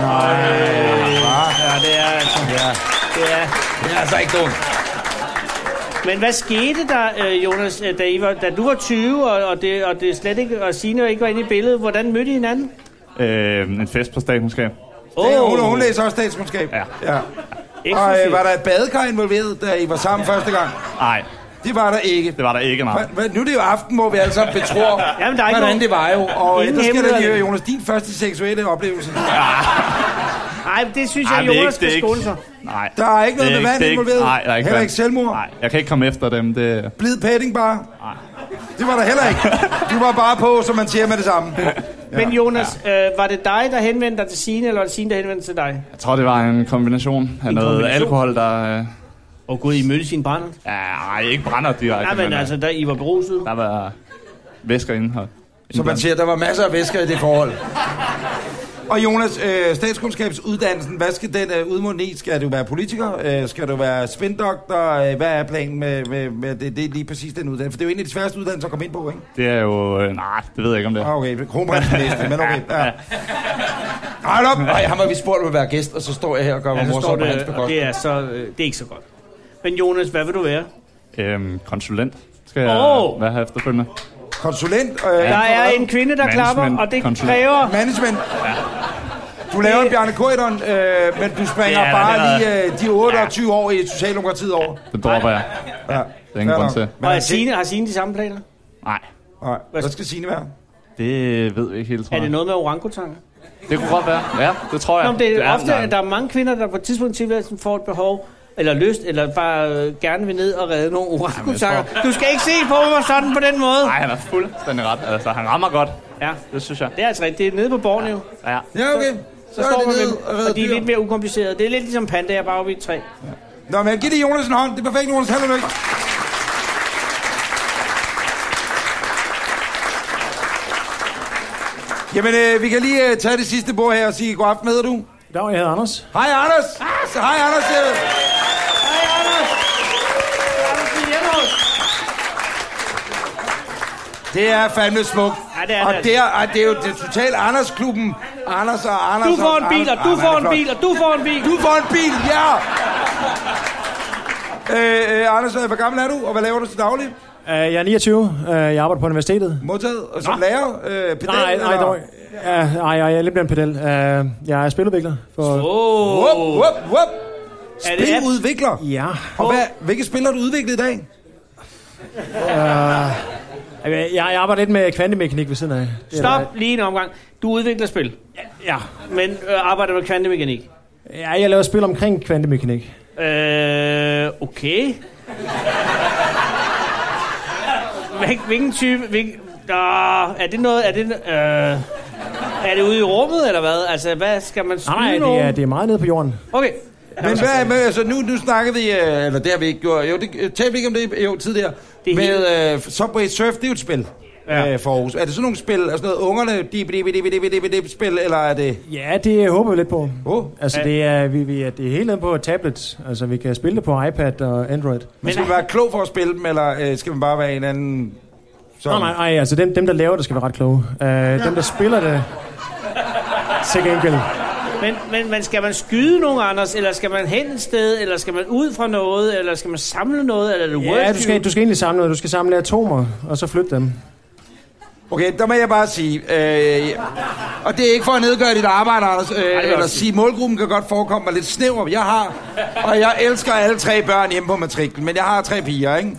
Speaker 2: Nej. Ja, det er altså...
Speaker 3: Ja,
Speaker 2: Det er.
Speaker 3: det er altså ikke dumt.
Speaker 2: Men hvad skete der, øh, Jonas, øh, da, I var, da du var 20, og, og, det, og det slet ikke, og Signe ikke var inde i billedet? Hvordan mødte I hinanden?
Speaker 7: Øh, en fest på statskundskab.
Speaker 3: Det, hun, hun læser også statskundskab.
Speaker 7: Ja.
Speaker 3: ja. Og øh, var der et badekar involveret, da I var sammen ja. første gang?
Speaker 7: Nej,
Speaker 3: Det var der ikke.
Speaker 7: det var der ikke, nej.
Speaker 3: Men- Men nu er det jo aften, hvor vi alle sammen betror,
Speaker 2: Jamen, der er ikke
Speaker 3: hvordan
Speaker 2: nogen-
Speaker 3: det var jo. Og øh,
Speaker 2: Ingen
Speaker 3: der skal der lige
Speaker 2: hemmeligheder.
Speaker 3: høre, Jonas, din første seksuelle oplevelse.
Speaker 2: Nej, det synes jeg,
Speaker 7: Ej,
Speaker 2: Ej,
Speaker 7: det er ikke-
Speaker 2: Jonas skal
Speaker 7: det er ikke-
Speaker 2: skåne sig.
Speaker 7: Nej.
Speaker 3: Der er ikke noget
Speaker 7: Det er
Speaker 3: med vand
Speaker 7: det er
Speaker 3: involveret.
Speaker 7: Nej, der er ikke
Speaker 3: Heller
Speaker 7: vand.
Speaker 3: ikke selvmord.
Speaker 7: Nej, jeg kan ikke komme efter dem. Det,
Speaker 3: Blid padding bare. Det var der heller ikke. Du var bare på, som man siger med det samme.
Speaker 2: Men Jonas, ja. øh, var det dig, der henvendte dig til Signe, eller var det Signe, der henvendte sig til dig?
Speaker 7: jeg tror, det var en kombination af
Speaker 2: En
Speaker 7: noget
Speaker 2: kombination?
Speaker 7: alkohol, der... Øh,
Speaker 2: Åh oh, gud, I mødte sin brænder.
Speaker 7: ja, nej, ikke brænder direkte.
Speaker 2: Nej, men
Speaker 7: øh,
Speaker 2: altså, der, I var beruset.
Speaker 7: Der var væsker indenhold.
Speaker 3: Som man siger, der var masser af væsker i det forhold. Og Jonas, øh, statskundskabsuddannelsen, hvad skal den øh, udmunde i? Skal du være politiker? Øh, skal du være spindoktor? Øh, hvad er planen med, med, med det, det er lige præcis den uddannelse? For det er jo en af de sværeste uddannelser at komme ind på, ikke?
Speaker 7: Det er jo... Øh, nej, det ved jeg ikke, om det er.
Speaker 3: Ah, okay, kronprins næste, men okay. Ja. Hold op! Ej, ham har vi spurgt om at være gæst, og så står jeg her og gør mig
Speaker 2: Ja, Altså, så står
Speaker 3: morsom på hans
Speaker 2: det, og
Speaker 3: bekost.
Speaker 2: det er, så, øh, det er ikke så godt. Men Jonas, hvad vil du være?
Speaker 7: Øhm, konsulent skal jeg
Speaker 2: Åh!
Speaker 7: oh. være her efterfølgende.
Speaker 3: Konsulent, øh,
Speaker 2: Der er en kvinde, der
Speaker 7: Management
Speaker 2: klapper, og det
Speaker 7: control.
Speaker 2: kræver...
Speaker 3: management. Du laver en Bjarne Køderen, øh, men du springer
Speaker 7: Ja,
Speaker 3: bare
Speaker 7: det er-
Speaker 3: lige øh, de 28 år i Socialdemokratiet over.
Speaker 7: Det dropper jeg.
Speaker 3: Ja,
Speaker 7: Der er ingen grund til.
Speaker 2: Og er Signe, har Signe de samme planer?
Speaker 7: Nej,
Speaker 3: Nej, hvad skal Signe være?
Speaker 7: det ved vi ikke helt, tror
Speaker 2: Er det
Speaker 7: jeg.
Speaker 2: noget med orangutanger?
Speaker 7: Det kunne godt være. Ja, det tror jeg.
Speaker 2: Nå, men det er ofte,
Speaker 7: nej.
Speaker 2: at der er mange kvinder, der på et tidspunkt i tilværelsen får et behov, eller lyst, eller bare øh, gerne vil ned og redde nogle orangutanger.
Speaker 7: Jamen, jeg
Speaker 2: Du skal ikke se på mig sådan på den måde.
Speaker 7: Nej, han er fuldstændig ret. Altså, han rammer godt.
Speaker 2: Ja,
Speaker 7: Det synes jeg.
Speaker 2: det er altså rigtigt. Det er nede på Borneo. Ja.
Speaker 7: Ja.
Speaker 3: Ja, okay. Så,
Speaker 2: Så står man med dem,
Speaker 3: redder
Speaker 2: og de er
Speaker 3: dyr.
Speaker 2: lidt mere ukomplicerede. Det er lidt ligesom pandaer bare oppe i et træ.
Speaker 3: Nå, men giv det Jonas en hånd. Det er perfekt, Jonas. Held og lykke. Jamen, øh, vi kan lige øh, tage det sidste bord her og sige god aften, hvad hedder du?
Speaker 8: Dag, jeg hedder Anders.
Speaker 3: Hej, Anders. Så, hej, Anders. øh. Hej, Anders. Det er fandme smukt.
Speaker 2: Ja, det er det
Speaker 3: og
Speaker 2: altså.
Speaker 3: det er, ej, det er jo det totale Anders-klubben. Anders og Anders
Speaker 2: Du får
Speaker 3: og
Speaker 2: en bil, og
Speaker 3: Anders.
Speaker 2: du
Speaker 3: Ah,
Speaker 2: får
Speaker 3: hvor er
Speaker 2: en
Speaker 3: det flot.
Speaker 2: bil, og du får en bil.
Speaker 3: Du får en bil, ja! Øh, øh, Anders, øh, hvor gammel er du, og hvad laver du til daglig?
Speaker 8: Uh, jeg er 29. Uh, jeg arbejder på universitetet.
Speaker 3: Modtaget og som lærer? Øh, pedal,
Speaker 8: Nej, nej, dog. Ja, nej, jeg er lidt mere en pedel. Uh, jeg er spiludvikler. For,
Speaker 2: Åh,
Speaker 3: Whoop, whoop, whoop.
Speaker 2: er det apps?
Speaker 3: Spiludvikler.
Speaker 8: ja.
Speaker 3: Og hvad, hvilke spil har du udviklet i dag?
Speaker 8: Jeg, jeg arbejder lidt med kvantemekanik ved siden af. Det er
Speaker 2: Stop lige en omgang. Du udvikler spil,
Speaker 8: der- Ja.
Speaker 2: men øh, arbejder med kvantemekanik.
Speaker 8: ja, jeg laver spil omkring kvantemekanik.
Speaker 2: Øh, okay. Hvil- Hvilken type... Hvilken, øh, er det noget... Er det, øh, er det ude i rummet, eller hvad? Altså, hvad skal man skyde
Speaker 8: Nej, nej, det er,
Speaker 2: nogen?
Speaker 8: det er meget nede på jorden.
Speaker 2: Okay.
Speaker 3: Men hvad med, altså nu, nu snakkede vi, øh, eller det har vi ikke gjort, jo, det, øh, talte vi ikke om det jo tidligere,
Speaker 2: Det
Speaker 3: det
Speaker 2: er
Speaker 3: med øh, Subway Surf, det er jo et spil
Speaker 2: Ja.
Speaker 3: ja. øh, for Aarhus. Er det sådan nogle spil, altså noget ungerne, dip, dip, dip, dip, dip, dip, spil, eller er det,
Speaker 8: Ja, det håber vi lidt på.
Speaker 3: Åh.
Speaker 8: Altså, det er, vi, vi er, det er helt nede på tablets. Altså, vi kan spille det på iPad og Android.
Speaker 3: man skal man være klog for at spille dem, eller øh, skal man bare være en anden,
Speaker 8: Nej,
Speaker 3: som,
Speaker 8: nej, nej, altså dem, dem, der laver det, skal være ret kloge. Uh, dem, der spiller det, til gengæld.
Speaker 2: Men, men, men skal man skyde nogen, Anders? Eller skal man hen et sted? Eller skal man ud fra noget? Eller skal man samle noget? Eller er det
Speaker 8: Ja, du skal,
Speaker 2: worldview?
Speaker 8: du skal egentlig samle noget. Du skal samle atomer, og så flytte dem.
Speaker 3: Okay, der må jeg bare sige, øh, og det er ikke for at nedgøre dit arbejde, Anders, øh,
Speaker 2: jeg
Speaker 3: eller
Speaker 2: også
Speaker 3: sige, målgruppen kan godt forekomme mig lidt snæver. Jeg har, og jeg elsker alle tre børn hjemme på matriklen, men jeg har tre piger, ikke?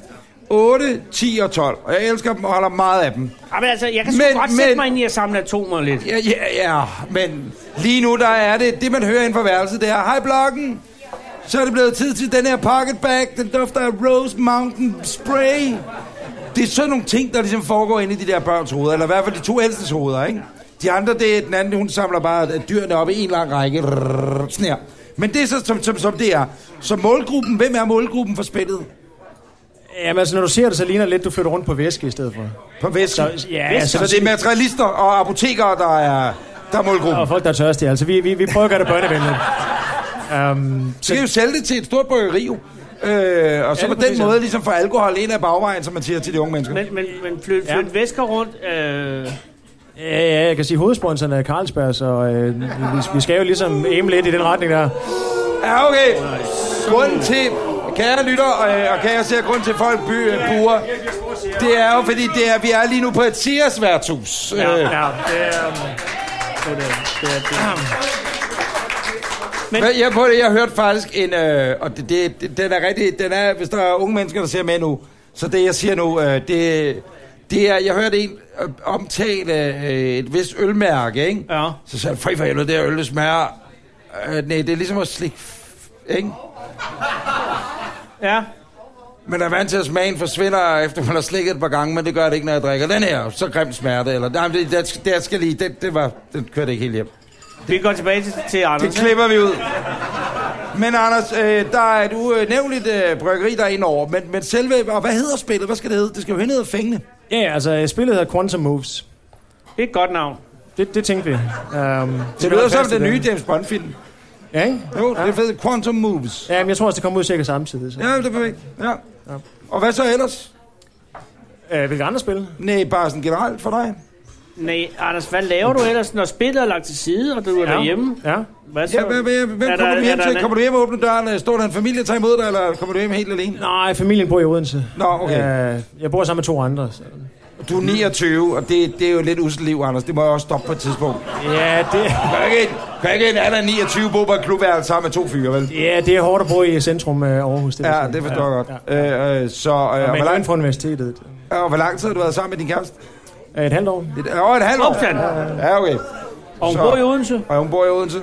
Speaker 3: 8, 10 og 12, og jeg elsker dem og holder meget af dem.
Speaker 2: Ja, men altså, jeg kan sgu
Speaker 3: Men-
Speaker 2: godt sætte
Speaker 3: men-
Speaker 2: mig ind i at samle atomer lidt.
Speaker 3: Ja, ja, ja, men lige nu, der er det, det man hører inden for værelset, det er, hej blokken, så er det blevet tid til den her pocket bag, den dufter af Rose Mountain Spray. Det er sådan nogle ting, der ligesom foregår inde i de der børns hoveder, eller i hvert fald de to ældstes hoveder, ikke? De andre, det er den anden, hun samler bare dyrene op i en lang række. Rrrr, Sådan her. Men det er så, som, som, som det er. Så målgruppen, hvem er målgruppen for spillet?
Speaker 8: Jamen altså, når du ser det, så ligner det lidt, du flytter rundt på væske i stedet for.
Speaker 3: På Vesten? Så,
Speaker 8: ja,
Speaker 3: så,
Speaker 8: så-
Speaker 3: det er materialister og apotekere, der er, der er målgruppen.
Speaker 8: Og folk, der er tørstige. Altså, vi, vi, vi prøver at gøre det børnevenligt. Um,
Speaker 3: Så kan I jo sælge det til et stort bryggeri, jo. Øh, og så
Speaker 8: Ja,
Speaker 3: på den
Speaker 8: det præcis, ja.
Speaker 3: måde ligesom få alkohol ind af bagvejen, som man siger til de unge mennesker.
Speaker 2: Men, men, men flyt, flyt
Speaker 8: Ja.
Speaker 2: væsker rundt. Øh,
Speaker 8: ja, ja, jeg kan sige, hovedsponsoren er Carlsberg, og øh, vi, vi skal jo ligesom aim lidt i den retning der.
Speaker 3: Ja, okay. Grunden til, kære lytter øh, og kære ser grund til at folk by, øh, buer, det er jo fordi, det er, vi er lige nu på et Sears værtshus. Øh,
Speaker 8: Ja, det er...
Speaker 3: Men jeg, på det, jeg hørte faktisk en, øh, og det, det, det, den er rigtig, den er, hvis der er unge mennesker, der ser med nu, så det jeg siger nu, øh, det, det er, jeg hørte en øh, omtale øh, et vist ølmærke, ikke?
Speaker 2: Ja.
Speaker 3: Så sagde han, fri for helvede, det her øl, det smager Øh, nej, det er ligesom at slikke... f- Ikke?
Speaker 2: Ja.
Speaker 3: Men er vant til, at smagen forsvinder, efter man har slikket et par gange, men det gør det ikke, når jeg drikker den her. Så grim smerte, eller... Nej, men det, det, det skal lige... Det, det var... Den kørte ikke helt hjem.
Speaker 2: Vi går tilbage til, til
Speaker 3: Det
Speaker 2: Anders. ikke?
Speaker 3: klipper vi ud. Men Anders, øh, der er et unævnligt øh, bryggeri, der er inde over. Men, men selve... Og hvad hedder spillet? Hvad skal det hedde? Det skal jo hen hedde Fængende.
Speaker 8: Ja, yeah, altså øh, spillet hedder Quantum Moves.
Speaker 2: Det er et godt navn.
Speaker 8: Det, det tænkte vi. Um,
Speaker 3: Det lyder som den nye James Bond-film.
Speaker 8: Ja, ikke?
Speaker 3: Jo, det er fedt. Quantum Moves.
Speaker 8: Ja, men jeg tror også, det kommer ud cirka samtidig. Så.
Speaker 3: Ja, det er perfekt. Ja. Og hvad så ellers?
Speaker 8: Ja. Øh, hvilke andre spil?
Speaker 3: Nej, bare sådan generelt for dig.
Speaker 2: Nej, Anders, hvad laver du ellers, når spillet er lagt til side, og du er ja. derhjemme?
Speaker 8: Ja.
Speaker 2: Hvad så?
Speaker 3: Ja, hvem, hvem, hvem
Speaker 2: Er der-
Speaker 3: kommer du
Speaker 2: er
Speaker 3: hjem
Speaker 2: der
Speaker 3: til?
Speaker 2: en-
Speaker 3: Kommer du hjem og åbner døren? øh, Står der en familie, der tager imod dig, eller kommer du hjem helt alene?
Speaker 8: Nej, familien bor i Odense.
Speaker 3: Nå, okay.
Speaker 8: Øh, jeg bor sammen med to andre. Så.
Speaker 3: Du er 29, og det, det er jo lidt uselt liv, Anders. Det må jeg også stoppe på et tidspunkt.
Speaker 8: Ja,
Speaker 3: Kan
Speaker 8: det,
Speaker 3: jeg ikke, kan jeg ikke en alder 29 bo på et klubværelse sammen med to fyre, vel?
Speaker 8: ja, det er hårdt at bo i centrum af Aarhus. Det vil
Speaker 3: Ja,
Speaker 8: sige.
Speaker 3: det forstår jeg godt.
Speaker 8: Ja.
Speaker 3: Øh, øh, så, øh, og,
Speaker 8: Men
Speaker 3: hvor
Speaker 8: langt
Speaker 3: lang,
Speaker 8: fra universitetet.
Speaker 3: og hvor lang tid har du været sammen med din kæreste?
Speaker 8: Øh, Et halvt år.
Speaker 3: Et, over et halvt år?
Speaker 2: Opstand.
Speaker 3: Ja, okay.
Speaker 2: Og hun
Speaker 3: Så-
Speaker 2: bor i Odense.
Speaker 3: Og hun bor i Odense?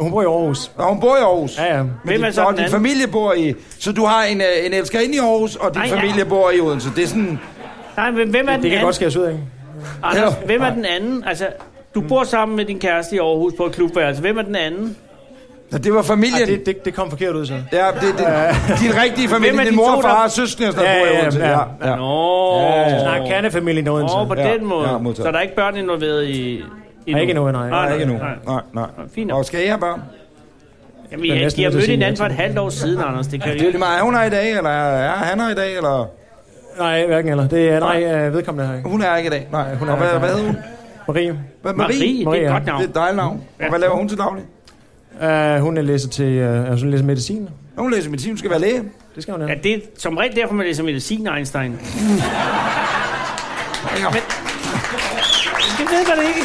Speaker 8: Hun bor i Aarhus.
Speaker 3: Og hun bor i Aarhus?
Speaker 8: Ja, ja.
Speaker 2: Hvem er
Speaker 3: Men
Speaker 2: så
Speaker 3: din, og
Speaker 2: den
Speaker 3: din
Speaker 2: anden?
Speaker 3: familie bor i... Så du har en, øh, en elskerinde i Aarhus, og din
Speaker 2: Nej, ja.
Speaker 3: familie bor i Odense. Det er sådan...
Speaker 2: Nej, men hvem er den
Speaker 8: Det kan
Speaker 2: anden?
Speaker 8: godt skæres ud, ikke?
Speaker 2: Anders,
Speaker 3: Ja.
Speaker 2: hvem er den anden? Altså, du bor sammen med din kæreste i Aarhus på et klubværelse. Hvem er den anden?
Speaker 3: Nå, det var familien.
Speaker 8: Ej, det, det, det kom forkert ud, så.
Speaker 3: Ja, det, det, din
Speaker 2: Hvem
Speaker 3: rigtige familie,
Speaker 2: er
Speaker 3: din
Speaker 2: de
Speaker 3: mor,
Speaker 2: to, der-
Speaker 3: far og søskende, der
Speaker 8: Ja,
Speaker 3: bor i
Speaker 8: ja,
Speaker 3: Odense.
Speaker 8: ja.
Speaker 3: Ja, ja.
Speaker 2: Nå.
Speaker 8: Nej, kernefamilien i Odense.
Speaker 2: Åh, på
Speaker 3: Ja,
Speaker 2: den måde.
Speaker 3: ja, modtaget.
Speaker 2: så der er ikke børn involveret i... Ah,
Speaker 8: Nej, ikke endnu, nej.
Speaker 2: nej,
Speaker 3: Nej, ikke nu.
Speaker 2: nej.
Speaker 3: Nej, nej.
Speaker 2: Fint nok.
Speaker 3: Og skal I have børn?
Speaker 2: Jamen,
Speaker 8: er
Speaker 2: vi,
Speaker 8: næsten
Speaker 2: de har
Speaker 8: nødt til at
Speaker 2: mødt
Speaker 8: sige
Speaker 2: hinanden for
Speaker 8: ja
Speaker 2: et
Speaker 8: til
Speaker 2: halvt år siden, Anders. Det kan
Speaker 3: Det er jo lige
Speaker 2: ikke...
Speaker 3: meget, er hun er i dag, eller er han er i dag, eller...
Speaker 8: Nej, hverken eller. Det er, nej, øh, vedkommende her ikke.
Speaker 3: Hun er ikke i dag. Nej, hun er og hvad,
Speaker 8: ikke i dag.
Speaker 3: hvad hedder hun?
Speaker 8: Marie,
Speaker 3: Hvad,
Speaker 2: Marie, det er
Speaker 8: Marie,
Speaker 2: et
Speaker 8: ja.
Speaker 2: godt navn.
Speaker 3: Det er et dejligt navn. Og hvad laver hun til daglig?
Speaker 8: øh, hun er læser til, øh, altså, hun læser medicin.
Speaker 3: Hun læser medicin, hun skal være læge.
Speaker 8: Det skal hun
Speaker 2: Ja,
Speaker 8: have.
Speaker 2: det er som regel derfor, man læser medicin, Einstein. Men
Speaker 3: Ja.
Speaker 2: det ved man ikke.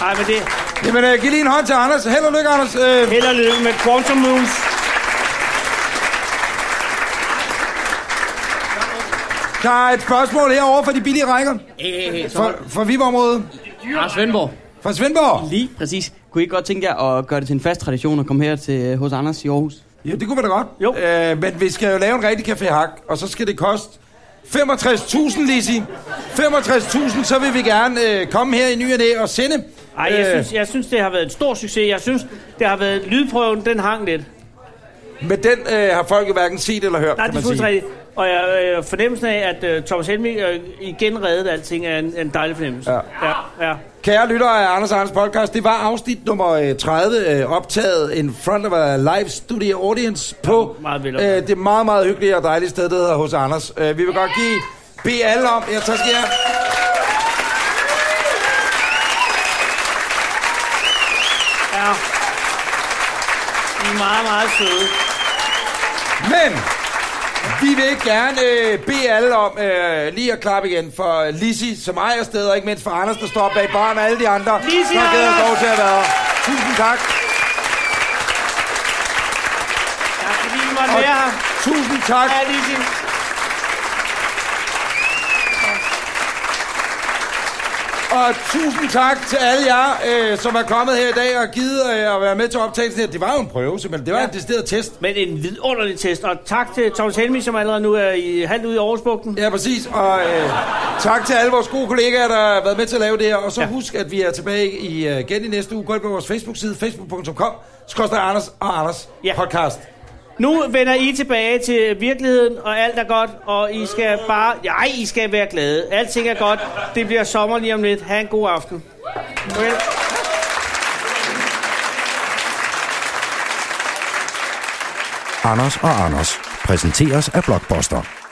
Speaker 2: Nej, men det...
Speaker 3: Jamen, øh, giv lige en hånd til Anders. Held og lykke, Anders. Øh,
Speaker 2: Held og lykke med Quantum Moves.
Speaker 3: der er et spørgsmål herovre fra de billige rækker. Fra, fra Viborg-området.
Speaker 9: Lars Svendborg.
Speaker 3: Fra Svendborg.
Speaker 9: Lige præcis. Kunne I ikke godt tænke jer at gøre det til en fast tradition at komme her til øh, hos Anders i Aarhus?
Speaker 3: Jo, det kunne være da godt.
Speaker 2: Jo.
Speaker 3: Øh, men vi skal jo lave en rigtig Café Hak, og så skal det koste 65.000, Lisi. 65.000, så vil vi gerne øh, komme her i ny og Næ og sende.
Speaker 2: Ej,
Speaker 3: Øh.
Speaker 2: jeg synes, jeg synes, det har været en stor succes. Jeg synes, det har været... Lydprøven, den hang lidt.
Speaker 3: Men den øh, har folk jo hverken set eller hørt,
Speaker 2: Nej,
Speaker 3: kan
Speaker 2: det er
Speaker 3: man
Speaker 2: fuldt
Speaker 3: sige.
Speaker 2: rigtigt. Og jeg, øh, fornemmelsen af, at øh, Thomas Helmig øh, igen reddede alting, er en, en dejlig fornemmelse.
Speaker 3: Ja.
Speaker 2: Ja, ja.
Speaker 3: Kære lyttere af Anders og Anders podcast, det var afsnit nummer øh, 30, øh, optaget in front of a live studio audience på
Speaker 2: Meget veloptaget.
Speaker 3: øh, det meget, meget hyggelige og dejlige sted, der hedder hos Anders. Øh, vi vil godt give, bede alle om, ja, tak skal jeg.
Speaker 2: ja. De er meget, meget søde.
Speaker 3: Men vi vil gerne øh, bede alle om øh, lige at klappe igen for Lisi, som ejer stedet, og ikke mindst for Anders, der står bag barn og alle de andre,
Speaker 2: Lizzie
Speaker 3: der har givet os
Speaker 2: Anders!
Speaker 3: lov til at være her. Tusind tak.
Speaker 2: Tak fordi I måtte
Speaker 3: Og-
Speaker 2: være her.
Speaker 3: Tusind tak.
Speaker 2: Ja, Lise.
Speaker 3: Og tusind tak til alle jer, øh, som er kommet her i dag og givet øh, at være med til optagelsen her. Det var jo en prøve, simpelthen. Det var ja. en decideret test.
Speaker 2: Men en vidunderlig test. Og tak til Thomas Helmig, som allerede nu er i halvt ude i Aarhusbugten.
Speaker 3: Ja, præcis. Og øh, tak til alle vores gode kollegaer, der har været med til at lave det her. Og så ja. husk, at vi er tilbage i, øh, igen i næste uge. Gå ind på vores Facebook-side, facebook.com, skorstræk Anders og Anders ja.
Speaker 2: Ja.
Speaker 3: podcast.
Speaker 2: Nu vender I tilbage til virkeligheden, og alt er godt, og I skal bare... Nej, I skal være glade. Alting er godt. Det bliver sommer lige om lidt. Ha' en god aften. Farvel.
Speaker 1: Anders og Anders præsenteres af Blockbuster.